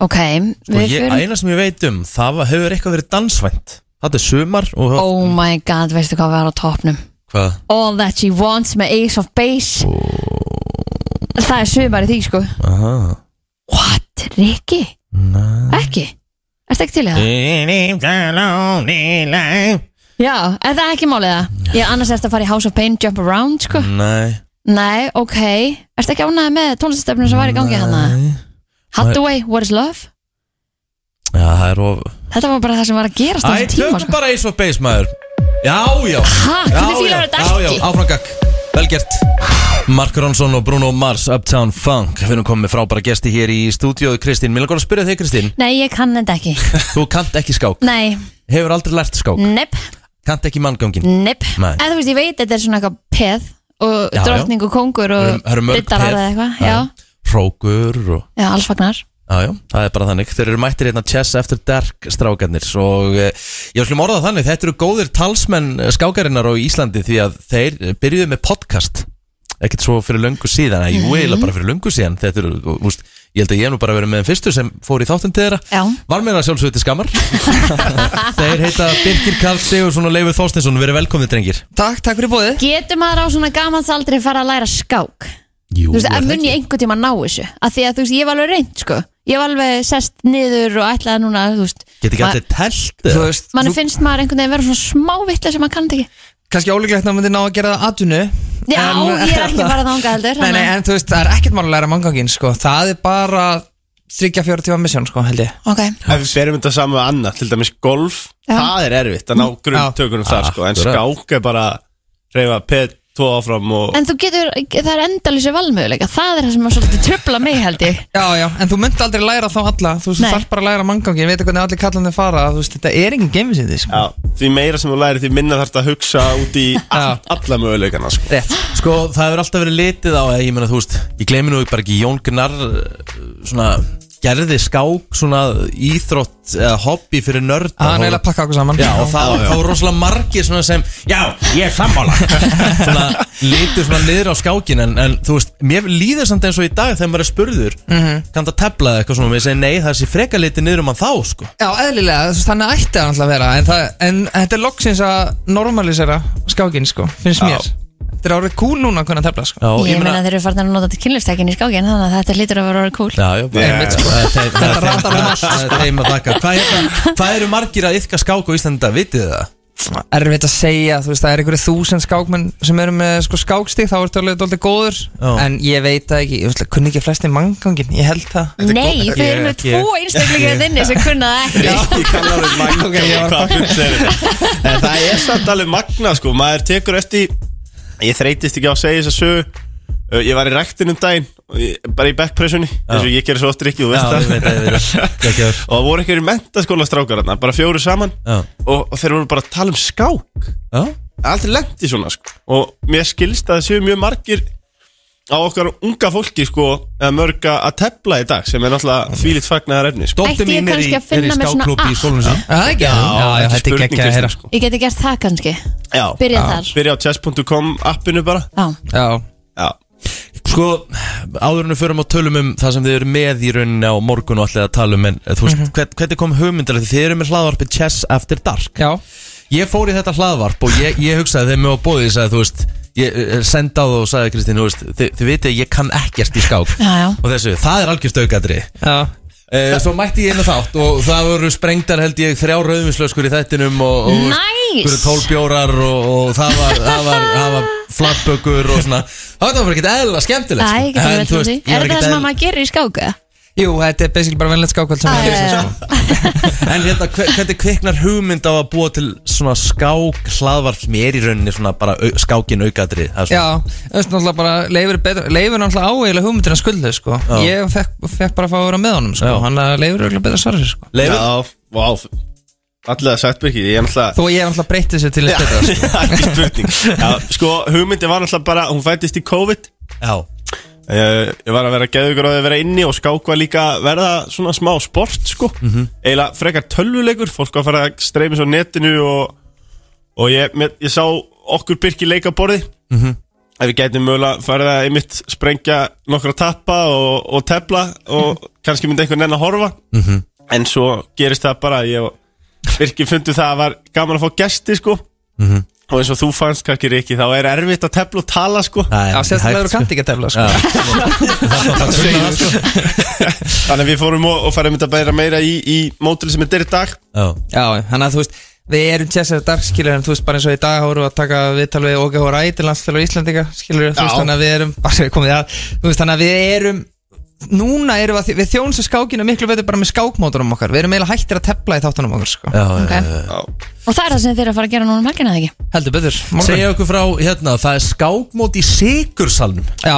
Speaker 3: Ok,
Speaker 2: og
Speaker 3: við
Speaker 2: ég,
Speaker 3: fyrir...
Speaker 2: eina sem ég veit um, það var, hefur eitthvað verið dansvænt. Þetta er sumar og
Speaker 3: Oh my god, veistu hvað var á topnum?
Speaker 2: hvað?
Speaker 3: All that she wants með Ace of Base Það er sumar í því sko
Speaker 2: Aha.
Speaker 3: What, Rikki?
Speaker 2: Nei.
Speaker 3: Ekki? Ertu ekki til í það?
Speaker 2: Nei.
Speaker 3: Já, er það ekki málið það? Ég annars ertu að fara í House of Pain, Jump Around sko
Speaker 2: Mm.
Speaker 3: Nei, ok Ertu ekki ánægð með tónlistastöfnum sem var í gangi hann?
Speaker 2: Nei.
Speaker 3: Hathaway, What is Love?
Speaker 2: Já, það er of...
Speaker 3: Þetta var bara það sem var að gerast á
Speaker 2: Æ,
Speaker 3: þessum tíma
Speaker 2: tökum
Speaker 3: sko
Speaker 2: bara eins og base, maður. Já, já.
Speaker 3: Ha, hvernig
Speaker 2: Já,
Speaker 3: fílar
Speaker 2: já,
Speaker 3: þetta
Speaker 2: Já, já,
Speaker 3: ekki?
Speaker 2: áframgakk, velgert Mark Ronsson og Bruno Mars, Uptown Funk Við erum komið með frábæra gesti hér í stúdíóðu Kristín, mér langar að spyrja þig Kristín
Speaker 3: Nei, ég kann þetta ekki
Speaker 2: Þú kant ekki skák,
Speaker 3: Nei,
Speaker 2: hefur aldrei lært skák
Speaker 3: nepp
Speaker 2: Kant ekki manngangin
Speaker 3: Nipp,
Speaker 2: Nei.
Speaker 3: eða þú veist, ég veit þetta er svona eitthvað peð og
Speaker 2: Já, já.
Speaker 3: drottning og kongur
Speaker 2: Það
Speaker 3: og
Speaker 2: eru- það eru mörg
Speaker 3: riddarar eða
Speaker 2: peð.
Speaker 3: eitthvað já,
Speaker 2: Hrókur og
Speaker 3: já, allfagnar
Speaker 2: Já, já, það er bara þannig. Þeir eru mættir hérna Chess eftir Dark strákarnir og eh, ég ætlum orða það þannig, þetta eru góðir talsmenn eh, skákarinnar á Íslandi því að þeir eh, byrjuðu með podcast ekkert svo fyrir löngu síðan, að jú, eiginlega bara fyrir löngu síðan þetta eru, þú veist, ég held að ég hef nú bara verið með þeim fyrstu sem fór í þáttinn til þeirra
Speaker 3: Já.
Speaker 2: var meira sjálfsögðu til skammar þeir heita Birgir Karl Sigursson og Leifur Þóstinsson, verið velkomnið drengir
Speaker 7: Takk, takk fyrir bóðið
Speaker 3: Getur maður á svona gamans aldrei fara að læra skák?
Speaker 2: Jú,
Speaker 3: Þú veist, að
Speaker 2: er það
Speaker 3: mun
Speaker 2: ekki?
Speaker 3: ég einhvern tíma ná þessu að Því að þú veist, ég var alveg reynd, sko Ég var alveg sest niður og ætlaði núna, þú veist
Speaker 2: Geti ekki
Speaker 3: ma-
Speaker 2: allir telt
Speaker 7: Þú
Speaker 2: eða?
Speaker 7: veist,
Speaker 3: Manni
Speaker 7: þú,
Speaker 3: finnst maður einhvern veginn vera svona smávitlega sem maður kann þetta ekki
Speaker 7: kannski ólíklegt að myndi ná að gera það atvinnu
Speaker 3: Já,
Speaker 7: en-
Speaker 3: ég er ekki bara þangað heldur
Speaker 7: Nei, nei,
Speaker 3: þannig að-
Speaker 7: en þú veist, það er ekkert mál að læra mangangin, sko Það er bara 34 tíma misjón, sko, held ég
Speaker 3: Ok,
Speaker 4: Ef við berum þetta saman við annað, til dæmis golf
Speaker 3: Já.
Speaker 4: Það er erfitt að ná grunntökunum þar sko, En
Speaker 2: Akkurat.
Speaker 4: skák er bara reyfa P2 áfram og
Speaker 3: en þú getur, það er endalísi valmöguleika Það er það sem er svolítið tröfla mig, held ég
Speaker 7: Já, já, en þú myndi aldrei læra þá alla Þú veist, þú
Speaker 3: Nei.
Speaker 7: þarf bara að læra mangangin, veit hvernig allir kallanir fara Þú veist, þetta er engin geimisindi, sko
Speaker 4: já, Því meira sem þú læri því minna þarf þetta að hugsa út í all, alla möguleikana sko.
Speaker 7: Rétt
Speaker 2: Sko, það hefur alltaf verið litið á ég meina, þú veist, ég gleymi nú bara ekki Jón Gunnar eh, svona gerði skák svona íþrótt eða hobby fyrir nörd
Speaker 7: Það er Ah, eiginlega að pakka okkur saman
Speaker 2: Já, og það þá voru rosalega margir svona sem Já, ég er sammála Svona litur svona niður á skákin en, en þú veist, mér líður samt eins og í dag þegar maður er spurður mm
Speaker 7: Mhm.
Speaker 2: -hmm. Kann það tefla eða eitthvað svona Mér segi nei, það sé freka litið niður um hann þá sko
Speaker 7: Já, eðlilega, þú veist, þannig ætti það náttúrulega að vera en, það, en þetta er loksins að normalisera skákin, sko, finnst mér Þetta er árið kúl núna að kunna tefla, sko
Speaker 2: Já,
Speaker 3: Ég meina þeir eru farin að nota til kynlistækin í skákin Þannig að þetta lítur að vera orðið cool
Speaker 2: Já, já, bara
Speaker 4: Yeah.
Speaker 2: einmitt, sko. Það er þeim- það er
Speaker 7: ratar um
Speaker 2: þeim-
Speaker 7: allt,
Speaker 2: það er þeim að taka Hvað hérna- Hvað eru margir að yfka skák á Íslandi að vitið þið það?
Speaker 7: erfitt að segja, þú veist, það er einhverju þúsund skákmenn sem eru með sko, skákstík, þá ertu alveg doldið góður,
Speaker 2: Já.
Speaker 7: en ég veit það ekki, ég veist, kunni ekki flestir manngangin, ég held það
Speaker 3: Nei, þau eru með
Speaker 2: Ég- ég-
Speaker 3: tvo einstaklingar þinni sem kunna það ekki
Speaker 4: Ég kann alveg magna
Speaker 7: Ok, ég var að
Speaker 4: hvað buks er þetta. En það er samt alveg magna sko. Maður tekur eftir Ég þreytist ekki á að segja þess að sög Ég var í ræktinum daginn og ég- Bara í backpressunni Þess að ég gerir svo oft ekki, þú
Speaker 2: Já,
Speaker 4: veist
Speaker 2: ég veit að þið eru geggjaður.
Speaker 4: Og það voru einhverjir mentaskóla strákar þarna, bara fjóru saman
Speaker 2: Já.
Speaker 4: og, og þeir voru bara að tala um skák
Speaker 2: Já,
Speaker 4: Aldrei lent í svona sko Og mér skilst að það séu mjög margir á okkar unga fólki sko eða mörga að tepla í dag sem er náttúrulega þvílitt fagnaðar efni sko.
Speaker 2: dóttir
Speaker 3: Ætti ég
Speaker 2: mín er í,
Speaker 3: kannski að
Speaker 2: er í
Speaker 3: finna mér svona
Speaker 2: skáklúpi í
Speaker 3: app?
Speaker 2: skólunum sinni
Speaker 7: Já, það er ekki, já, já,
Speaker 4: ekki
Speaker 7: þetta er
Speaker 4: spurning,
Speaker 7: ekki að heyra
Speaker 4: Kristín, sko.
Speaker 3: Ég geti gert það kannski
Speaker 4: Já,
Speaker 3: Byrja
Speaker 7: Já.
Speaker 3: þar
Speaker 4: byrja á chess.com appinu bara
Speaker 3: Já
Speaker 7: Já,
Speaker 4: Já,
Speaker 2: Sko, áðurinn við förum og tölum um það sem þið eru með í rauninni á morgun og allir að tala um en eh, þú veist, hvern, hvernig kom hugmyndar þið eru með hlaðvarpi Chess After Dark
Speaker 7: já,
Speaker 2: Ég fór í þetta hlaðvarp og ég, ég hugsaði þegar mér var bóðið, ég sagði, þú veist ég eh, sendi á það og sagði Kristín, þú veist þið, þið vitið, að ég kann ekkert í skák
Speaker 3: Já, já.
Speaker 2: og þessu, það er algjörst aukadri
Speaker 7: já
Speaker 2: Eh, Svo mætti ég inn á þátt og það voru sprengdar held ég þrjá rauðvinslöskur í þettinum og, og
Speaker 3: Nice.
Speaker 2: nice. tólbjórar og, og það var, það var, það var flatbökur og svona Það var bara ekkert eðla skemmtilegt
Speaker 3: Æ,
Speaker 2: sko.
Speaker 3: ég getur
Speaker 2: En,
Speaker 3: vel
Speaker 2: þú
Speaker 3: trúið því.
Speaker 2: veist, ég
Speaker 3: Er
Speaker 2: var
Speaker 3: þetta
Speaker 2: ekkert
Speaker 3: það sem að
Speaker 2: eðla-
Speaker 3: maður gerir í skáka?
Speaker 7: Jú, þetta er basically bara vennlegt skákvöld sem
Speaker 3: Já,
Speaker 7: er
Speaker 3: Ah, já,
Speaker 7: fyrir
Speaker 3: já.
Speaker 7: sem
Speaker 2: En hérna, hve- hvernig kviknar hugmynd á að búa til svona skák hlaðvarp sem er í rauninni svona bara au, skákin aukadri
Speaker 7: Já, þú veist, náttúrulega bara Leifur er betra, Leifur er náttúrulega áeigilega hugmyndina skuldu, sko
Speaker 2: Já.
Speaker 7: Ég fekk, fekk bara að fá að vera með honum, sko
Speaker 2: Já.
Speaker 7: Hann að Leifur er örugglega betra svarið, sko
Speaker 2: Leifur,
Speaker 4: já, vá Allega sagt byrki, ég er náttúrulega
Speaker 7: Þó ég er náttúrulega breytið sér til þess betra, sko
Speaker 4: ekki spurning já, Sko, hugmyndin var náttúrulega bara, hún fættist í COVID
Speaker 2: já,
Speaker 4: Ég, ég var að vera geðugur á því að vera inni og skák var líka að verða svona smá sport sko mm
Speaker 7: Mhm.
Speaker 4: Eila frekar tölvuleikur, fólk var að fara að streymi svo á netinu og, og ég, mér, ég sá okkur Birki leikaborði mm
Speaker 7: Mhm.
Speaker 4: Ef við gætum mögulega farið að einmitt sprengja nokkra tappa og, og tepla og
Speaker 7: Mhm.
Speaker 4: kannski myndi einhvern enn að horfa -hmm. En svo gerist það bara að ég og Birki fundu það að var gaman að fá gesti sko Og eins og þú fannst kannski Riki, þá er erfitt að tepla og tala sko
Speaker 2: það
Speaker 7: Já,
Speaker 2: er
Speaker 7: sérst að Leifur kannt ekki að tefla, sko
Speaker 2: ekki
Speaker 4: Þannig að við fórum og, og farum þetta bara meira í, í mótil sem þetta er í dag
Speaker 2: hægt
Speaker 7: Já, þannig að þú veist Við erum tjessar dagskilur en þú veist bara eins og í dag vorum við að taka viðtal við OKH Ræ til landsfélag Íslandinga skilur þú
Speaker 4: Já.
Speaker 7: veist þannig að við erum bara komið að þú veist þannig að við erum núna erum við að við þjónsa skákina miklu betur bara með skákmótunum okkar við erum eiginlega hættir að tefla í þáttunum okkar sko.
Speaker 2: Já, já,
Speaker 3: Ok.
Speaker 2: já
Speaker 3: Og það er það sem þeir eru að fara að gera núna um helgina, eða ekki?
Speaker 7: heldur betur
Speaker 2: Segja
Speaker 7: Morgun.
Speaker 2: okkur frá, hérna, það er skákmót í Sigursalnum
Speaker 7: Já,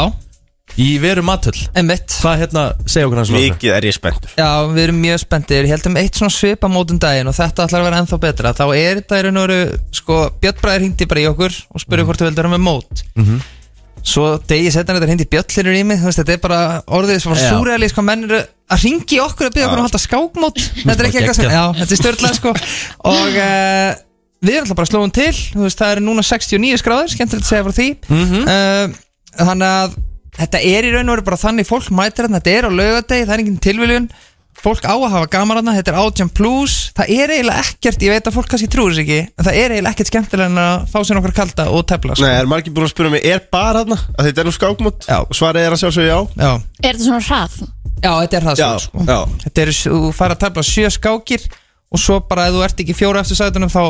Speaker 2: Í veru matöll
Speaker 7: einmitt
Speaker 2: Hvað hérna, segja okkur hans
Speaker 4: Mikið er ég spenntur
Speaker 7: Já, við erum mjög spenntir, ég held um eitt svona svipa mótum daginn og þetta ætlar að vera ennþá betra þá
Speaker 2: Mhm.
Speaker 7: er þetta í raun og veru, sko, Björn Bræðir hindi bara í okkur og spurði hvort þú vildur vera með mót Svo degi setna þetta hindi bjöllinur í mig þú veist, Þetta er bara orðið sem var
Speaker 2: Já.
Speaker 7: súræðalís Hvað menn eru að ringi okkur að byggja okkur um að halda skákmót Þetta er ekki
Speaker 2: bara
Speaker 7: eitthvað sem
Speaker 2: geggjað.
Speaker 7: Já, þetta er störla sko Og uh, við erum alltaf bara að slóum til þú veist, Það eru núna 69 skráður Skemmtilegt að segja frá því
Speaker 2: Mhm.
Speaker 7: uh, Þannig að þetta er í raun og veru bara þannig Fólk mætir þarna, þetta er á laugardegi Það er engin tilviljun Fólk á að hafa gaman þarna, þetta er 18 plus Það er eiginlega ekkert, ég veit að fólk kannski trúir sig ekki En það er eiginlega ekkert skemmtilega en að fá sér nokkar kalda og tefla sko.
Speaker 4: Nei, er margir búin að spyrja mig, er bar þarna? Að þetta er nú skákmót
Speaker 7: Já.
Speaker 4: Og svarið er að sjálfsögja já
Speaker 7: Já
Speaker 3: Er þetta svona hrað?
Speaker 7: Já, þetta er það
Speaker 4: Já,
Speaker 7: sem, sko.
Speaker 4: já.
Speaker 7: Þetta er, þú fær að tafla sjö skákir og svo bara ef þú ert ekki fjóra eftir sætunum þá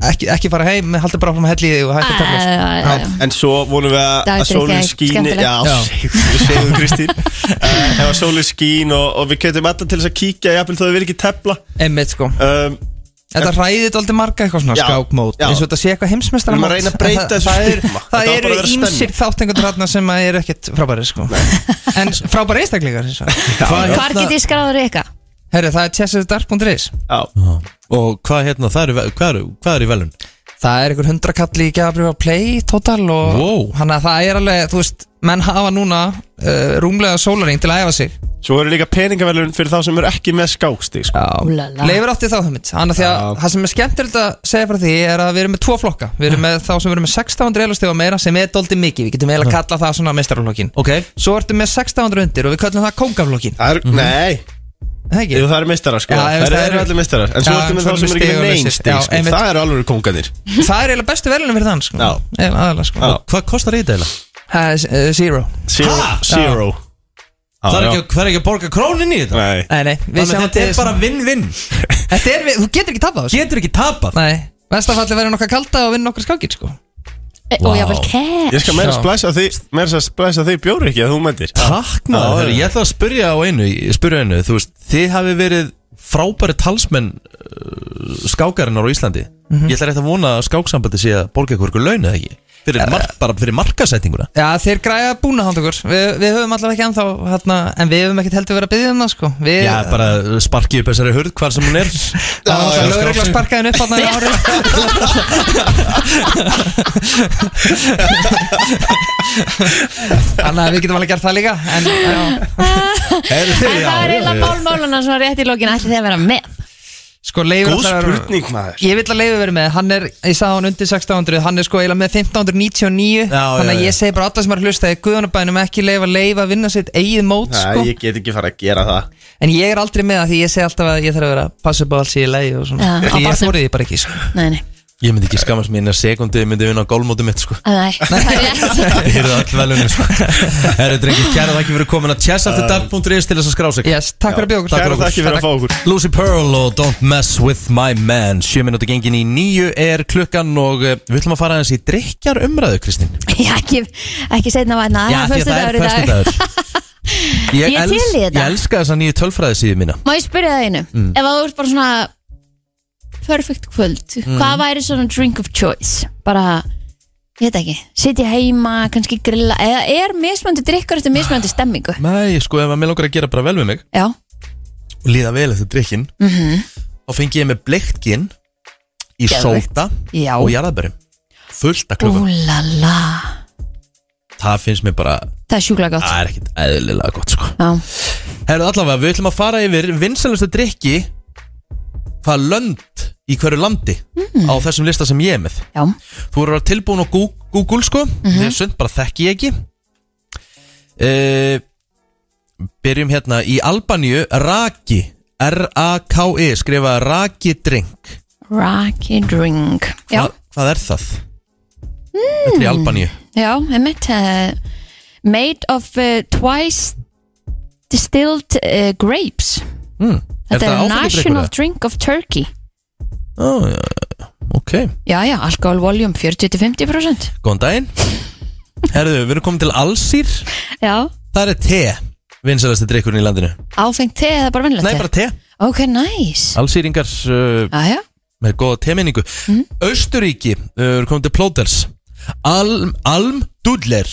Speaker 7: ekki, ekki fara heim, haldur bara áfram að helli þig og hætti að tafla sko.
Speaker 3: Æ, æ, æ, æ.
Speaker 4: En svo vonum við að- að
Speaker 3: Dagdrykkja
Speaker 4: sólinn
Speaker 3: er
Speaker 4: skíni
Speaker 3: skemmtileg.
Speaker 4: Já, segðu segðu Kristín Eh, Ef að sólinn skín og, og við kjöndum alla til þess að kíkja Jafnvel þó þau vil ekki tepla
Speaker 7: Einmitt, sko.
Speaker 4: um,
Speaker 7: Þetta ræðið aldrei marga eitthvað svona
Speaker 4: Já,
Speaker 7: skákmót
Speaker 4: já.
Speaker 7: eins og þetta sé eitthvað heimsmestara
Speaker 4: Við erum að reyna að breyta þessu stigma. Þetta
Speaker 7: Það
Speaker 4: á bara
Speaker 7: eru
Speaker 4: að vera
Speaker 7: ímsir þáttengundur hérna sem að eru ekkert frábæri sko. En frábæri einstaklingar hins vegar.
Speaker 2: Hvað hérna-
Speaker 3: Hvar get ég skráður ykkar?
Speaker 7: Herri, það er chessesdark.is
Speaker 4: Já,
Speaker 2: Og hvað hérna, það eru, ve- hvað eru, hvað eru í velun?
Speaker 7: Það er einhver hundrakall í Gabriel Play total og
Speaker 2: Wow.
Speaker 7: hann að það er alveg, þú veist, menn hafa núna uh, rúmlega sólaring til að æfa sig
Speaker 4: svo eru líka peningavelun fyrir þá sem eru ekki með skákstík sko.
Speaker 3: Úlala.
Speaker 7: Leifur átti þá hugmynd Þannig að því að það sem er skemmtilegt að segja frá því er að við erum með tvo flokka Við erum með þá sem við erum með 600 elustíð og meira sem er doldið mikið Við getum eiginlega að kalla það svona meistaraflokkin
Speaker 2: Ok,
Speaker 7: Svo ertu með 600 undir og við kallum það kóngaflokkin
Speaker 4: Það er, nei,
Speaker 7: Það ekki?
Speaker 4: jú, það eru meistarar sko
Speaker 7: Já, ef
Speaker 4: Það
Speaker 7: það
Speaker 4: eru
Speaker 7: eru-
Speaker 4: allir meistarar En svo
Speaker 7: Já,
Speaker 4: ertu
Speaker 7: en
Speaker 4: með
Speaker 7: svo
Speaker 4: þá
Speaker 7: erum
Speaker 4: sem
Speaker 7: við
Speaker 4: eru ekki með
Speaker 7: stigalausir.
Speaker 4: neins stík
Speaker 7: Já,
Speaker 4: sko.
Speaker 7: einmitt.
Speaker 4: Það eru alveg konganir
Speaker 7: Það er eiginlega bestu velunum fyrir þann sko
Speaker 4: Já.
Speaker 7: Ef aðalega sko
Speaker 4: Já.
Speaker 2: hvað kostar þetta eiginlega?
Speaker 7: Það er, uh, Zero
Speaker 4: Zero, zero. Já,
Speaker 2: Það er
Speaker 4: já.
Speaker 2: ekki, það er ekki að borga krónin í þetta?
Speaker 4: Nei
Speaker 7: Nei, nei,
Speaker 2: Þannig
Speaker 7: við
Speaker 2: að
Speaker 7: sjáum
Speaker 2: þetta er
Speaker 7: til-
Speaker 2: bara vinn-vinn
Speaker 7: Þetta er, við- þú getur ekki tapað þessu.
Speaker 2: Getur ekki tapað
Speaker 7: Nei, vestafalli verður nokkar kalda og vinna nokkar skákir sko
Speaker 3: Eh, Og ég vil
Speaker 4: Ég
Speaker 3: kæ
Speaker 4: skal meira
Speaker 7: Já.
Speaker 4: splæsa því Meira að splæsa því bjóri ekki að þú mætir
Speaker 2: Takk
Speaker 4: Já,
Speaker 2: maður,
Speaker 4: já.
Speaker 2: ég ætla að spyrja á einu, spyrja á einu Þú veist, þið hafi verið frábæri talsmenn uh, skákarinnar á Íslandi
Speaker 7: Mhm.
Speaker 2: Ég ætla rétt að vona að skáksambandi sé að borga ykkur ykkur laun eða ekki fyrir
Speaker 7: Eh,
Speaker 2: mar Bara fyrir markasetninguna
Speaker 7: Já, þeir græða búna handa okkur Vi, Við höfum allavega ekki ennþá hérna, En við höfum ekkert heldur verið að byggja um það sko við,
Speaker 2: Já, bara sparki upp þessari hurð hvar sem hún er
Speaker 7: Það
Speaker 2: já,
Speaker 7: var alltaf lögregla
Speaker 2: skáksvið.
Speaker 7: sparkaðin upp Þannig árið Þannig að við getum alveg gert það líka En já,
Speaker 2: Er
Speaker 3: En það er eiginlega bálmáluna svona rétt í lókinu Ætli þið að vera með
Speaker 7: sko leifur
Speaker 4: Góð spurning maður
Speaker 7: Ég vil að leifu verið með, hann er, ég sagði hann undir 1600 Hann er sko eiginlega með 1599
Speaker 2: Já, já,
Speaker 7: Þannig að
Speaker 2: já.
Speaker 7: ég segi bara alla sem er að hlusta Ég guðanabænum ekki leifa leifa að vinna sitt eigið mót
Speaker 4: Nei,
Speaker 7: sko.
Speaker 4: ég get ekki fara að gera það
Speaker 7: En ég er aldrei með það því ég segi alltaf að ég þarf að vera að passa upp á alls í lagi og svona
Speaker 3: Já, á
Speaker 7: Því ég
Speaker 3: barnum.
Speaker 7: þorði því bara ekki sko.
Speaker 3: Nei, nei,
Speaker 2: Ég myndi ekki skammast mér en að sekundi myndi vinna á gólmóti mitt sko
Speaker 3: nei, það er rétt
Speaker 2: Þið eru öll velunum sko Það eru drengir, kæra þakki fyrir komin að chessafterdark.is til þess að skrá sig
Speaker 7: Yes, takk fyrir að bjóða okkur
Speaker 4: Kæra þakki fyrir að fá okkur
Speaker 2: Lucy Pearl og Don't Mess With My Man 7 minúti gengin í nýju er klukkan og eh, við ætlum að fara aðeins í drikjar umræðu Kristín
Speaker 3: Já, ekki, ekki setna væna Það er
Speaker 2: því að
Speaker 3: föstudagur í dag
Speaker 2: föstudagur.
Speaker 3: Ég
Speaker 2: Ég,
Speaker 3: er
Speaker 2: els,
Speaker 3: til í
Speaker 2: ég
Speaker 3: þetta.
Speaker 2: elska þessa nýju tölfræði síðu mína
Speaker 3: Má ég spyrja það einu?
Speaker 2: Mm.
Speaker 3: Ef að þú ert bara svona perfect kvöld,
Speaker 2: Mm.
Speaker 3: hvað væri svona drink of choice? Bara, ég veit ekki, sitja heima, kannski grilla, eða er mismöndi drikkur eftir mismöndi stemmingu?
Speaker 2: Nei, sko, ef að mér langar að gera bara vel við mig
Speaker 3: Já, Mhm.
Speaker 2: og líða vel eftir drikkin mm -hmm. og fengi ég með bleikt ginn í
Speaker 3: Geðveikt.
Speaker 2: sóta
Speaker 3: já,
Speaker 2: og jarðabörum fullt af klukkum
Speaker 3: úlala,
Speaker 2: það finnst mér bara,
Speaker 3: það er sjúkla gott.
Speaker 2: það er ekkit eðlilega gott sko
Speaker 3: Já,
Speaker 2: Herðu allavega, við ætlum að fara yfir vinsalustu drikki hvað lönd í hverju landi á þessum lista sem ég er með
Speaker 3: Mm. já, Mhm.
Speaker 2: Þú eru að vera tilbúin á Gú- Google sko mm -hmm. Sund bara þekki ég ekki uh, Byrjum hérna í Albaníu Raki R-A-K-I E, skrifa Raki drink
Speaker 3: rocky drink. Já, Mm.
Speaker 2: Hva, Hvað er það? Þetta er í Albaníu
Speaker 3: já, einmitt, uh, made of uh, twice distilled uh, grapes.
Speaker 2: mm.
Speaker 3: Þetta er, national
Speaker 2: áfengisdrykkur?
Speaker 3: drink of Turkey.
Speaker 2: Ó, já, já, Ok,
Speaker 3: Já, já, alkohol volume 40-50%.
Speaker 2: góðan daginn Herðu, við erum komin til Alsýr
Speaker 3: Já,
Speaker 2: Það er te Vinsalasti drikkurinn í landinu
Speaker 3: áfengt te eða bara vennilegt
Speaker 2: Nei,
Speaker 3: te?
Speaker 2: bara te
Speaker 3: Ok, næs
Speaker 2: Allsýringar uh,
Speaker 3: Jæja,
Speaker 2: með góða teminningu Austuríki uh, komið til Plóters Alm, Alm Dudler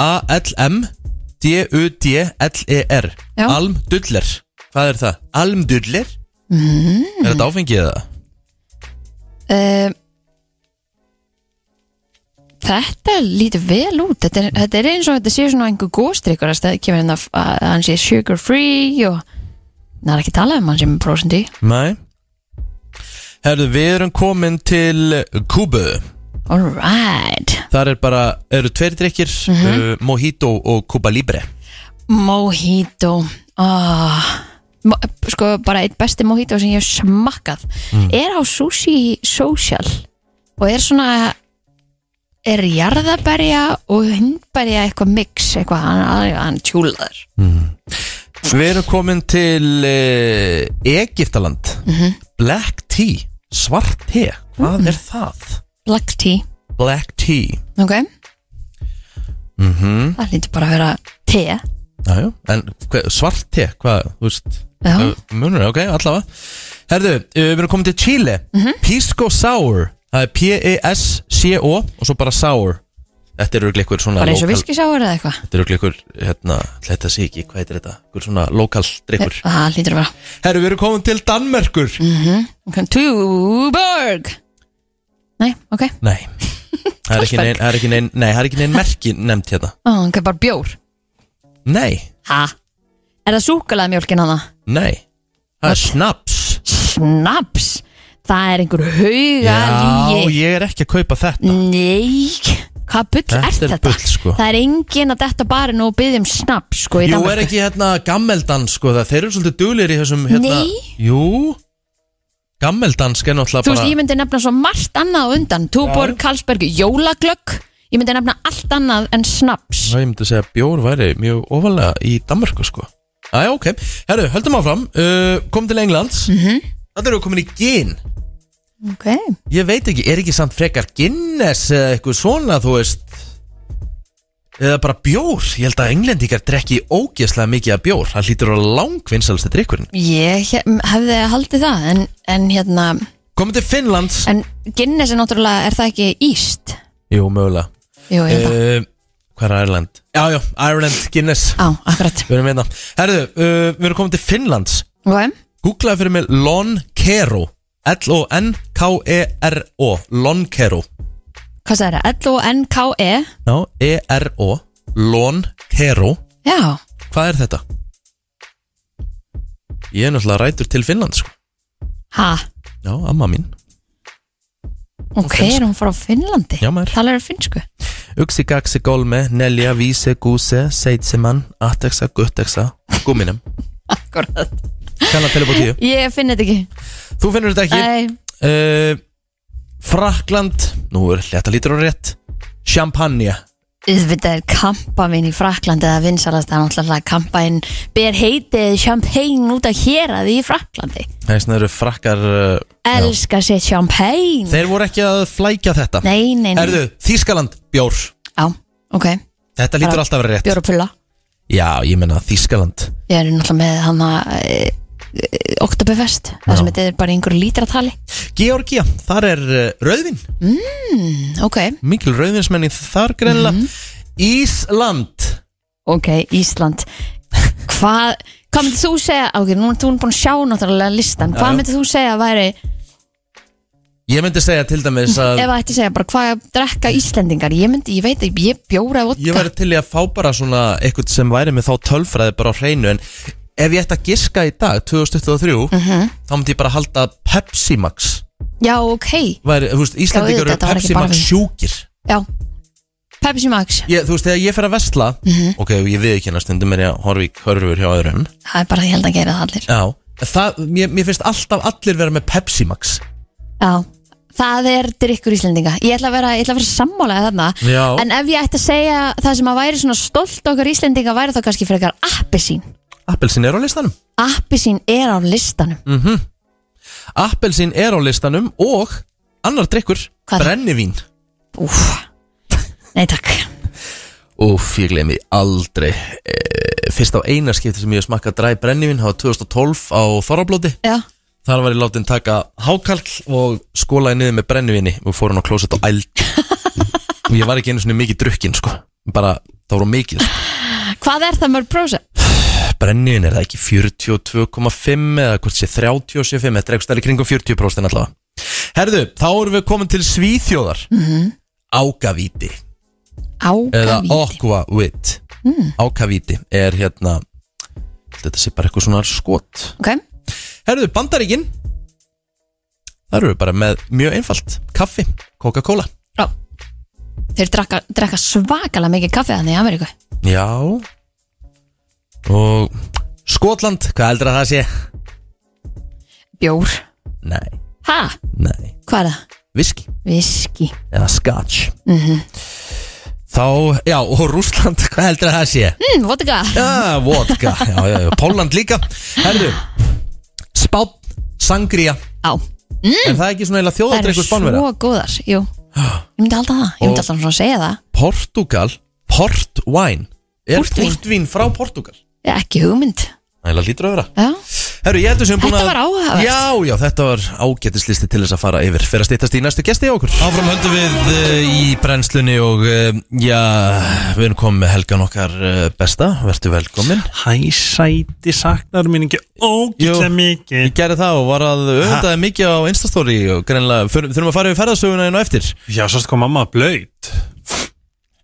Speaker 2: A-L-M D-U-D-L-E-R
Speaker 3: Já.
Speaker 2: E Alm Dudler Hvað er það? Alm Dudler?
Speaker 3: Mhm.
Speaker 2: Mm. Er þetta áfengið eða?
Speaker 3: uh, Þetta lítur vel út Þetta er, þetta er eins og þetta sé svona einhver góðstrykkur að það kemur hérna að, að hann sé sugar free og það er ekki talað um hann sem prosent í
Speaker 2: Nei Herðu, við erum komin til Kúbu
Speaker 3: Alright
Speaker 2: Þar er bara, eru tveir drikkir uh, Mojito og Cuba Libre
Speaker 3: Mojito oh. Sko bara eitt besti mojito sem ég hef smakkað
Speaker 2: Mm.
Speaker 3: Er á Sushi Social og er svona er jarðaberja og hundberja eitthvað mix eitthvað hann, hann- hann tjúlaður
Speaker 2: Mhm. Við erum komin til uh, Egiptaland
Speaker 3: Mhm.
Speaker 2: Black Tea, svart te Hvað er það?
Speaker 3: black Mm. tea
Speaker 2: Black Tea
Speaker 3: ok -hmm. það lítur bara að vera te
Speaker 2: Jájú, en hver, svart te, hvað, þú veist
Speaker 3: Já.
Speaker 2: uh, Munur, ok, allavega Herðu, uh, við erum komin til Chile
Speaker 3: Mhm.
Speaker 2: Pisco Sour Það er P-E-S-C-O og svo bara Sour Þetta eru eitthvað svona
Speaker 3: bara eins og
Speaker 2: lokal-
Speaker 3: viskisáur eða eitthvað
Speaker 2: Þetta eru eitthvað, hérna, þetta sé ekki, hvað heitir þetta? Eitthvað svona lokal drikkur
Speaker 3: það lítur að vera Mhm.
Speaker 2: Herru, við erum komin til Danmerkur
Speaker 3: okay. Tuborg nei, ok
Speaker 2: Nei, það er ekki neinn, það er ekki neinn, nei, það er ekki neinn merki nefnd hérna
Speaker 3: Ó, ok, bara bjór
Speaker 2: Nei,
Speaker 3: ha? er það súkulega mjólkin hana?
Speaker 2: nei, það er snaps
Speaker 3: snaps það er einhver hauga
Speaker 2: Já,
Speaker 3: lígi
Speaker 2: ég er ekki að kaupa þetta
Speaker 3: nei hvað bull
Speaker 2: Þetta
Speaker 3: er
Speaker 2: er
Speaker 3: þetta?
Speaker 2: bull, sko.
Speaker 3: það er engin að detta barinn og byggja um snaps sko, í
Speaker 2: Jú,
Speaker 3: Danmörku.
Speaker 2: er ekki hérna gammeldans, sko, það þeir eru svolítið duglir í þessum, hérna
Speaker 3: Nei.
Speaker 2: Jú, gammeldansk er náttúrulega
Speaker 3: Þú veist, ég
Speaker 2: bara
Speaker 3: myndi nefna svo margt annað á undan Túborg, Karlsberg, Jólaglögg Ég myndi nefna allt annað en snaps
Speaker 2: Ná, ég myndi að segja að bjór væri mjög ofalega í Danmörku, sko Æja, ok, herru, höldum áfram, uh, kom til Englands mm -hmm. Þetta eru komin í gin
Speaker 3: Ok
Speaker 2: Ég veit ekki, er ekki samt frekar Guinness eða eitthvað svona, þú veist eða bara bjór ég held að englendingar drekki ógeðslega mikið af bjór, það hlýtur á langvinnsalsti drikkurinn.
Speaker 3: Ég he- hefði haldið það En, en hérna
Speaker 2: Komum til Finnlands
Speaker 3: En Guinness er náttúrulega, er það ekki íst?
Speaker 2: Jú, mögulega
Speaker 3: Jú, ég held það
Speaker 2: uh, Hvað er Ireland? Já, já, Ireland, Guinness
Speaker 3: Á, akkurat
Speaker 2: Við erum einna Herðu, uh, við erum komin til Finnlands
Speaker 3: Ok
Speaker 2: Googlaði fyrir mig Lonkero E L-O-N-K-E-R-O Lonkero
Speaker 3: Hvað það er? L-O-N-K-E
Speaker 2: Já, E-R-O Lonkero
Speaker 3: Já
Speaker 2: Hvað er þetta? Ég er náttúrulega rætur til Finnland sko.
Speaker 3: Ha
Speaker 2: Já, amma mín
Speaker 3: Ok, er hún frá Finnlandi?
Speaker 2: Já, maður.
Speaker 3: Talar er finnsku
Speaker 2: Uxi gaxi gólme, nelja, víse, gúse, seitsemann, attexa, guttexa, gúminum
Speaker 3: Akkurat
Speaker 2: Kannan telebóð 10
Speaker 3: Ég finn þetta ekki
Speaker 2: Þú finnur þetta ekki
Speaker 3: Æ,
Speaker 2: uh, Frakland, nú er þetta lítur og rétt Champagne
Speaker 3: Þetta er kampavinn í Frakland eða vinsalast, það er náttúrulega kampavinn ber heitið champagne út af hér að því í Fraklandi.
Speaker 2: Þessna eru frakkar uh, já.
Speaker 3: Elska sér champagne.
Speaker 2: Þeir voru ekki að flækja þetta
Speaker 3: Nei, nei, nei.
Speaker 2: Erðu, Þískaland, bjór
Speaker 3: Já, ok.
Speaker 2: Þetta lítur alltaf að vera rétt
Speaker 3: Bjór og pulla.
Speaker 2: Já, ég menna Þískaland
Speaker 3: Ég er náttúrulega með hann að e, e, Oktoberfest, það sem þetta er bara í einhverju lítratali.
Speaker 2: Georgia, þar er uh, rauðvin
Speaker 3: Mm, Ok,
Speaker 2: mikil rauðvinsmenni þar greinlega
Speaker 3: Mhm.
Speaker 2: Ísland
Speaker 3: ok, Ísland. Hvað, hvað myndir þú segja, ok, nú er þú búin að sjá náttúrulega listan,
Speaker 2: Já, já.
Speaker 3: hvað myndir þú segja að væri,
Speaker 2: Ég myndi segja til dæmis að
Speaker 3: ef að ætti að segja bara hvað drekka Íslendingar, ég myndi, ég veit ekki, ég bjóra vodka.
Speaker 2: ég væri til í að fá bara svona eitthvað sem væri með þá tölfræði bara á hreinu en ef ég ætti að giska í dag 2023
Speaker 3: Mhm.
Speaker 2: þá myndi ég bara halda að Pepsi Max
Speaker 3: Já, ok.
Speaker 2: væri, þú veist, Íslandingur
Speaker 3: auðvitað,
Speaker 2: eru
Speaker 3: þetta var ekki
Speaker 2: Pepsi
Speaker 3: bara
Speaker 2: Max
Speaker 3: við.
Speaker 2: sjúkir
Speaker 3: Já Pepsi Max,
Speaker 2: ég, þú veist, þegar ég fer að vesla
Speaker 3: Mhm,
Speaker 2: ok, ég við ekki hérna stundum er ég að horfa í körfur hjá öðrum
Speaker 3: það er bara ég held að gera það allir
Speaker 2: já, það, mér, mér finnst alltaf allir vera með Pepsi Max
Speaker 3: Já, það er drikkur Íslendinga Ég ætla að vera, ég ætla að vera sammálaðið þarna
Speaker 2: Já.
Speaker 3: En ef ég ætti að segja það sem að væri svona stolt okkar Íslendinga væri þá kannski frekar appelsín
Speaker 2: Appelsin er á listanum Mhm.
Speaker 3: Appelsín er á listanum
Speaker 2: Appelsín er á listanum og annar drikkur,
Speaker 3: Hvað?
Speaker 2: brennivín
Speaker 3: Úf, nei takk
Speaker 2: Úf, ég gleymi aldrei eh, Fyrst á eina skipti sem ég smakka dræ brennivín Það var 2012 á Þorrablóti
Speaker 3: Já,
Speaker 2: Þar var ég látin taka hákarl og skólaði niður með brennivíni og fór hann á klósett og æld og ég var ekki einu svona mikið drukkin sko bara, það voru mikið sko.
Speaker 3: hvað er það mörg prósent?
Speaker 2: brennivín er það ekki 42,5 eða hvort sé 37,5
Speaker 3: Mhm.
Speaker 2: þetta er eitthvað stærri kringum 40% allavega Herðu, þá erum við komin til Svíþjóðar mm ágavíti eða
Speaker 3: Ágavíti
Speaker 2: aquavit
Speaker 3: Mhm.
Speaker 2: mm. ágavíti er hérna þetta sé bara eitthvað svona skot
Speaker 3: Ok,
Speaker 2: Herðu, bandaríkin þar eru bara með mjög einfalt kaffi, Coca-Cola
Speaker 3: já Þeir drakka, drakka svakalega mikið kaffi þannig í Ameríku
Speaker 2: Já og Skotland, hvað heldur að það sé?
Speaker 3: Bjór
Speaker 2: Nei,
Speaker 3: Ha?
Speaker 2: nei,
Speaker 3: Hvað er það?
Speaker 2: viski
Speaker 3: Viski Mhm.
Speaker 2: eða scotch -hmm. Þá, já, og Rússland, hvað heldur að það sé?
Speaker 3: Hmm, vodka
Speaker 2: Já, vodka, já, já, já, Pólland líka Herðu, Spán, Sangria
Speaker 3: Já
Speaker 2: Er það ekki svona eila
Speaker 3: Það eru
Speaker 2: þjóðadrykkur Spánverja?
Speaker 3: svo góðar, jú Ég myndi alltaf það, ég myndi alltaf svona að segja það
Speaker 2: Portugal, Port Wine Er
Speaker 3: Portvín.
Speaker 2: portvín frá Portugal?
Speaker 3: Ég, Ekki hugmynd
Speaker 2: Æla lítur að vera
Speaker 3: Já,
Speaker 2: Herru, ég heldur sem búin að
Speaker 3: Þetta var áhugavert.
Speaker 2: Já, já, þetta var ágætislisti til þess að fara yfir Fyrir að stýttast í næstu gesti hjá okkur Áfram höldum við uh, í brennslunni og uh, Já, við erum komið með helgan okkar uh, besta Vertu velkomin
Speaker 5: Hæ, sæti, saknar mín ekki ógætlega
Speaker 2: Jú.
Speaker 5: mikið
Speaker 2: Ég gerði það og var að öfundaði mikið á Instastory og greinlega þurfum að fara yfir ferðasöguna inn á eftir
Speaker 5: Já, svo sko mamma blöyt